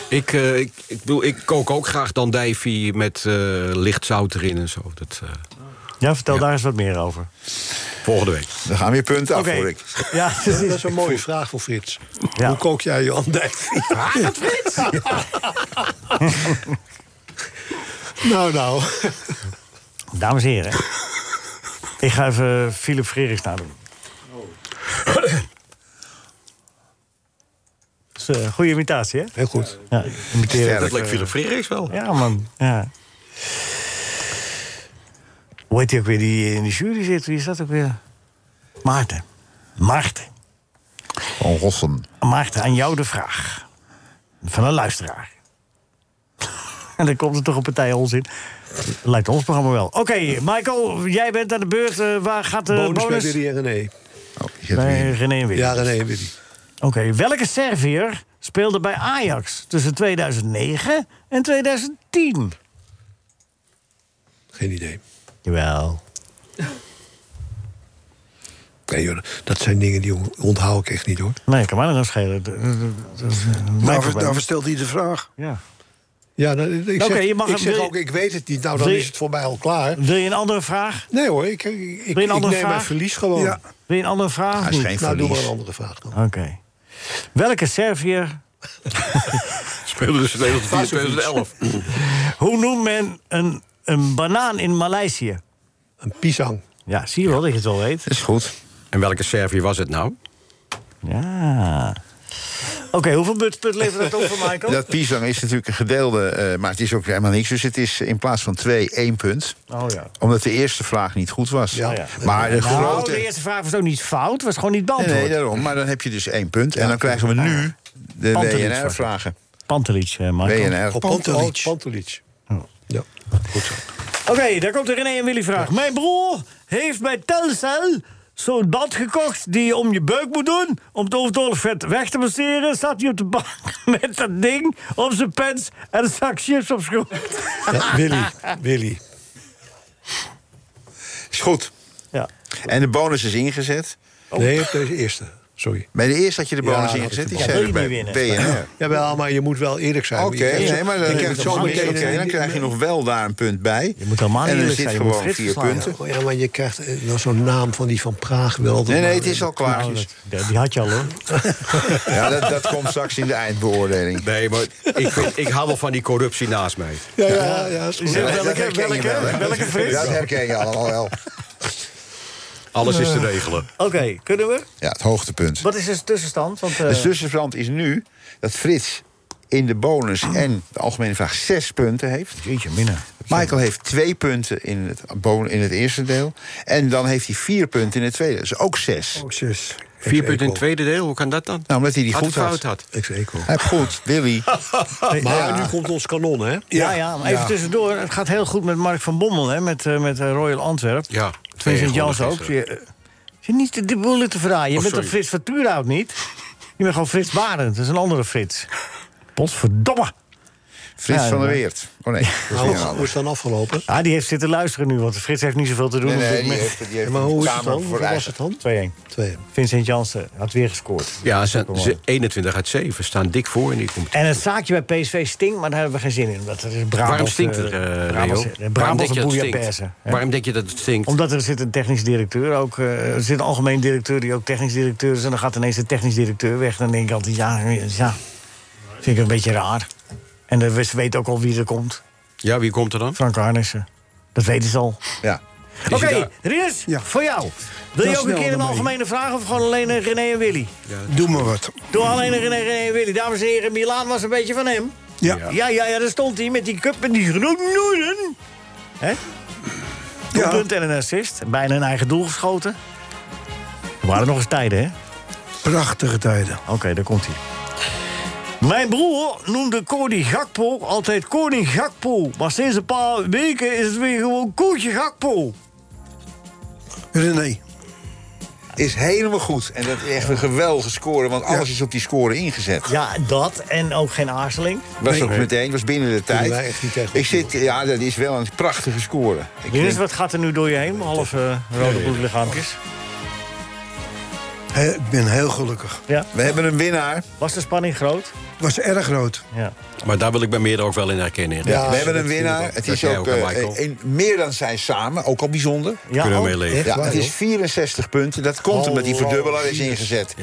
E: ik, eh, ik, ik, bedoel, ik kook ook graag dan dijfie met eh, licht zout erin en zo. Dat, eh,
C: Ja, vertel daar eens wat meer over.
E: volgende week.
D: Er gaan weer punten
C: Oké.
D: af, hoor ik.
C: Ja,
F: Dat
C: precies.
F: is een mooie vraag voor Frits.
C: Ja.
F: Hoe kook jij Johan Dijk?
A: Frits!
F: nou, nou.
C: Dames en heren. ik ga even Philip Frerichs nadoen. Dat is een goede imitatie, hè?
F: Heel goed.
C: Ja, imiteren.
E: dat leek Philip Frerichs wel.
C: Ja, man. Ja. Hoe heet die ook weer die eh, in de jury zit? Wie is dat ook weer? Maarten. Maarten.
D: Van Rossum.
C: Maarten, aan jou de vraag. Van een luisteraar. En dan komt er toch een partij onzin. Lijkt ons programma wel. Oké, Michael, jij bent aan de beurt. Eh, waar gaat de bonus?
F: Bonus bij Willy en René.
D: Oh, je hebt
C: Bij
D: weer-
C: René en Willy. dus.
F: Ja, René en Willy.
C: Oké, welke Serviër speelde bij Ajax tussen 2009 en 2010?
F: Geen idee.
C: Jawel.
F: Nee, joh, dat zijn dingen die onthoud ik echt niet hoor.
C: Nee, kan mij dat nou schelen. Dat- dat- dat is mijn
D: Nou,
F: Daar
C: probleem.
F: stelt hij de vraag.
C: Ja.
F: Ja, nou, ik zeg,
C: Oké, je mag
F: ik
C: hem-
F: zeg
C: wil je-
F: ook, ik weet het niet. Nou, dan
C: Wil je-
F: is het voor mij al klaar.
C: Wil je een andere vraag?
F: Nee hoor, ik, ik, ik,
C: Wil je een
F: ik
C: andere
F: neem
C: vraag?
F: mijn verlies gewoon.
C: Ja. Wil je een andere vraag? of
F: Hij is
C: niet?
F: geen Nou, doe verlies. maar een andere vraag
C: Oké. Welke Serviër...
E: Speelde dus 2004,
C: Vast of iets.
E: 2011.
C: Hoe noemt men een, een banaan in Maleisië?
F: Een pisang.
C: Ja, zie je wel dat je het wel weet.
D: Is goed.
E: En welke Servië was het nou?
C: Ja. Oké, hoeveel budsput levert dat op voor Michael?
D: Dat Pisang is natuurlijk een gedeelde, eh, maar het is ook helemaal niks. Dus het is in plaats van twee, één punt.
C: Oh ja.
D: Omdat de eerste vraag niet goed was. Maar de
C: Nou,
D: grote...
C: de eerste vraag was ook niet fout. Was gewoon niet
D: Nee,
C: beantwoord.
D: nee, daarom. Maar dan heb je dus één punt. En dan krijgen we nu de
C: Pantelic
D: WNR-vragen.
C: Pantelic, eh, Michael.
D: WNR.
C: Oh, Pantelic.
D: Hm.
F: Ja.
C: Oké, daar komt de René en Willy vraag. Mijn broer heeft bij Telcel zo'n band gekocht die je om je beuk moet doen... om het overtollig vet weg te masseren. Zat hij op de bank met dat ding op zijn pens en een zak chips op schoot.
F: Ja, Willy, Willy.
D: Is goed.
C: Ja.
D: En de bonus is ingezet.
C: Oh.
F: Nee, op deze eerste. Sorry.
D: Bij de eerste had je de
F: Ja,
D: bonus
F: dat
D: ingezet.
F: is
D: Die
F: de
D: zei
F: bonus.
D: ik
F: Ja,
D: bij
F: wil je niet
D: WNR.
F: Jawel, maar je moet wel eerlijk zijn.
D: Oké,
F: Je-
D: nee, maar
F: je
D: dan,
F: moet
D: krijg je zo
F: allemaal
D: meteen,
F: eerlijk
D: oké, dan
F: zijn.
D: krijg je nog wel daar een punt bij. Je
C: moet helemaal
D: En er
C: eerlijk
D: zit
C: zijn, je moet
D: gewoon
C: Frits
D: vier
C: verslaan.
D: punten.
F: Ja, maar je krijgt eh, nou, zo'n naam van die van Praag wel. altijd
D: Nee, nee,
F: maar
D: het is
F: in-
D: al klaar.
F: Nou, dat-
C: Ja, die had je al, hoor.
D: Ja, dat, dat komt straks in de eindbeoordeling.
E: Nee, maar ik, vind, ik hou wel van die corruptie naast mij.
F: Ja, ja, ja. is goed.
D: Ja, dat
C: Welke,
D: herken je
C: welke,
D: wel, hè?
C: welke Frits?
D: Dat herken je allemaal wel.
E: Alles is te regelen.
C: Oké, kunnen we?
D: Ja, het hoogtepunt.
C: Wat is de tussenstand? Want, eh,
D: De tussenstand is nu dat Frits in de bonus en de algemene vraag zes punten heeft.
C: Jeetje, minna.
D: Michael heeft twee punten in het, bon- in het eerste deel. En dan heeft hij vier punten in het tweede. Dus ook zes.
F: Ook zes.
E: Vier punten in het tweede deel, hoe kan dat dan?
D: Nou, omdat hij die goed
E: het
D: had.
E: fout had.
F: Ex eco.
D: Hij heeft goed, Willy.
F: Maar
D: Ja.
F: nu komt ons kanon, hè?
C: Ja, ja, maar even tussendoor. Het gaat heel goed met Mark van Bommel, hè, met, eh, met eh, Royal Antwerp.
E: Ja,
C: Vincent Jans
E: gewonnen
C: ook. Je,
E: gisteren.
C: eh, je niet de, de boelen te verraaien. Je
E: Oh,
C: bent
E: sorry.
C: een Frits van Tuurhout niet. Je bent gewoon Frits Barend. Dat is een andere Frits. Potverdomme.
D: Frits
C: Ja,
D: van der
C: maar-
D: Weert. Oh nee, dat is
F: Nou,
D: weer een
F: hoe
D: ander.
F: is het dan afgelopen?
C: Ah, die heeft zitten luisteren nu, want Frits heeft niet zoveel te doen.
D: Nee,
C: op
D: nee,
C: dit
D: die
C: moment.
D: heeft, die heeft
F: Maar hoe
D: een
F: is het
D: kamer
F: dan?
D: voor
F: Hoe was
D: eigen.
F: het dan?
C: 2-1.
F: Twee.
C: Vincent Jansen had weer gescoord.
E: Ja, ze, ze 21 uit 7 staan dik voor in die competitie.
C: En het zaakje bij PSV stinkt, maar daar hebben we geen zin in. Omdat er is Brabant,
E: Waarom stinkt het,
C: eh,
E: eh, Leo?
C: Brabant,
E: Waarom
C: Brabant
E: denk je
C: en
E: dat het
C: bouillabaisse,
E: stinkt?
C: hè?
E: Waarom denk je dat het stinkt?
C: Omdat er zit een technisch directeur ook. eh, er zit een algemeen directeur die ook technisch directeur is. En dan gaat ineens de technisch directeur weg. Dan denk ik altijd, ja, ja. Vind ik een beetje raar. En de, ze weten ook al wie er komt.
E: Ja, wie komt er dan?
C: Frank Arnissen. Dat weten ze al.
D: Ja.
E: Is
C: Oké,
E: hij
C: Rinus,
E: daar?
C: voor jou. Wil
G: Dan
C: je ook een
G: snel
C: keer een
G: ermee.
C: algemene vraag of gewoon alleen een René en Willy?
G: Doe maar wat.
C: Doe alleen een René, René en Willy. Dames en heren, Milaan was een beetje van hem.
G: Ja.
C: Ja, ja, ja, daar stond hij met die cup en die groenen. Hè?
G: Ja.
C: Doelpunt en een assist. Bijna een eigen doel geschoten. Er waren nog eens tijden, hè?
G: Prachtige tijden.
C: Oké, daar komt hij. Mijn broer noemde Cody Gakpo altijd koning Gakpo. Maar sinds een paar weken is het weer gewoon Koetje Gakpo.
G: René.
D: Is helemaal goed. En dat is echt een geweldige score, want alles is op die score ingezet.
C: Ja, dat en ook geen aarzeling.
D: Was ook meteen, was binnen de
F: wij
D: tijd.
F: echt niet tegen
D: Ik zit, ja, dat is wel een prachtige score. Ik
C: Dennis,
D: denk-
C: wat gaat er nu door je heen? Behalve eh, rode bloedlichaampjes.
G: He, ik ben heel gelukkig.
C: Ja.
D: we hebben een winnaar.
C: Was de spanning groot?
G: Was erg groot.
C: Ja.
E: Maar daar wil ik bij meerder ook wel in herkennen. Erik.
F: Ja,
D: we hebben
F: dat
D: een
F: vind ik
D: winnaar.
F: ook.
D: Het
E: Dat
D: is
E: jij
D: ook
E: ook, hè,
D: eh,
E: Michael?
D: een- meer dan zij samen, ook al bijzonder.
C: Ja,
E: Kunnen we
C: ook.
E: meeleven.
F: Echt Oh,
D: Ja,
F: waar,
D: het is
F: joh.
D: 64 punten. Dat komt omdat die
C: Hallo,
D: verdubbelaar is
C: Jezus.
D: ingezet.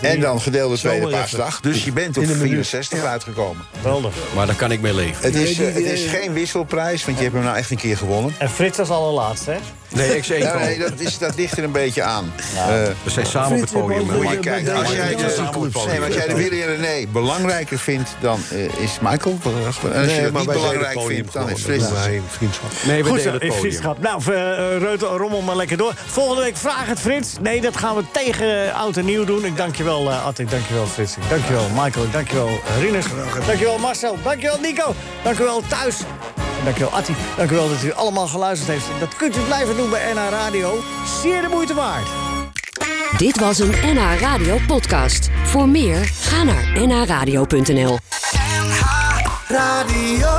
D: En dan gedeelde tweede
F: maar even.
D: paasdag. Dus je bent op
F: In een minuut.
D: 64 uitgekomen.
C: Geweldig.
E: Maar daar kan ik mee leven.
D: Het is,
F: die-
D: eh, het is geen wisselprijs, want je hebt hem nou echt een keer gewonnen.
C: En Frits als allerlaatste, hè?
E: Nee, ik zei
D: Ja, nee, dat, is, dat ligt er een beetje aan. Eh,
E: We zijn samen op het podium.
D: moet je
E: Mike.
D: kijken.
E: Ja,
D: Als jij
E: ja, samen op het
D: de,
E: podium.
D: nee, maar als jij de Willy en René belangrijker vindt, dan eh, is Michael. belangrijker. En als je dat niet belangrijk vindt, dan is Frits.
F: vriendschap.
E: Nee, we
C: Goed zo,
E: delen
C: in
E: het podium.
C: vriendschap. Nou, eh, Reuter, rommel maar lekker door. Volgende week vraag het Frits. Nee, dat gaan we tegen eh, Oud en Nieuw doen. Ik dank je wel, eh Ad. Ik dank je wel, Frits. Ik dank je wel, Michael. Ik dank je wel, eh, Rinus. Dank je wel, Marcel. Dank je wel, Nico. Dank je wel, Thuis. En dank je wel, Attie. Dank u wel dat u allemaal geluisterd heeft. Dat kunt u blijven doen bij NH Radio. Zeer de moeite waard.
Q: Dit was een NH Radio podcast. Voor meer, ga naar nhradio.nl.
A: Radio.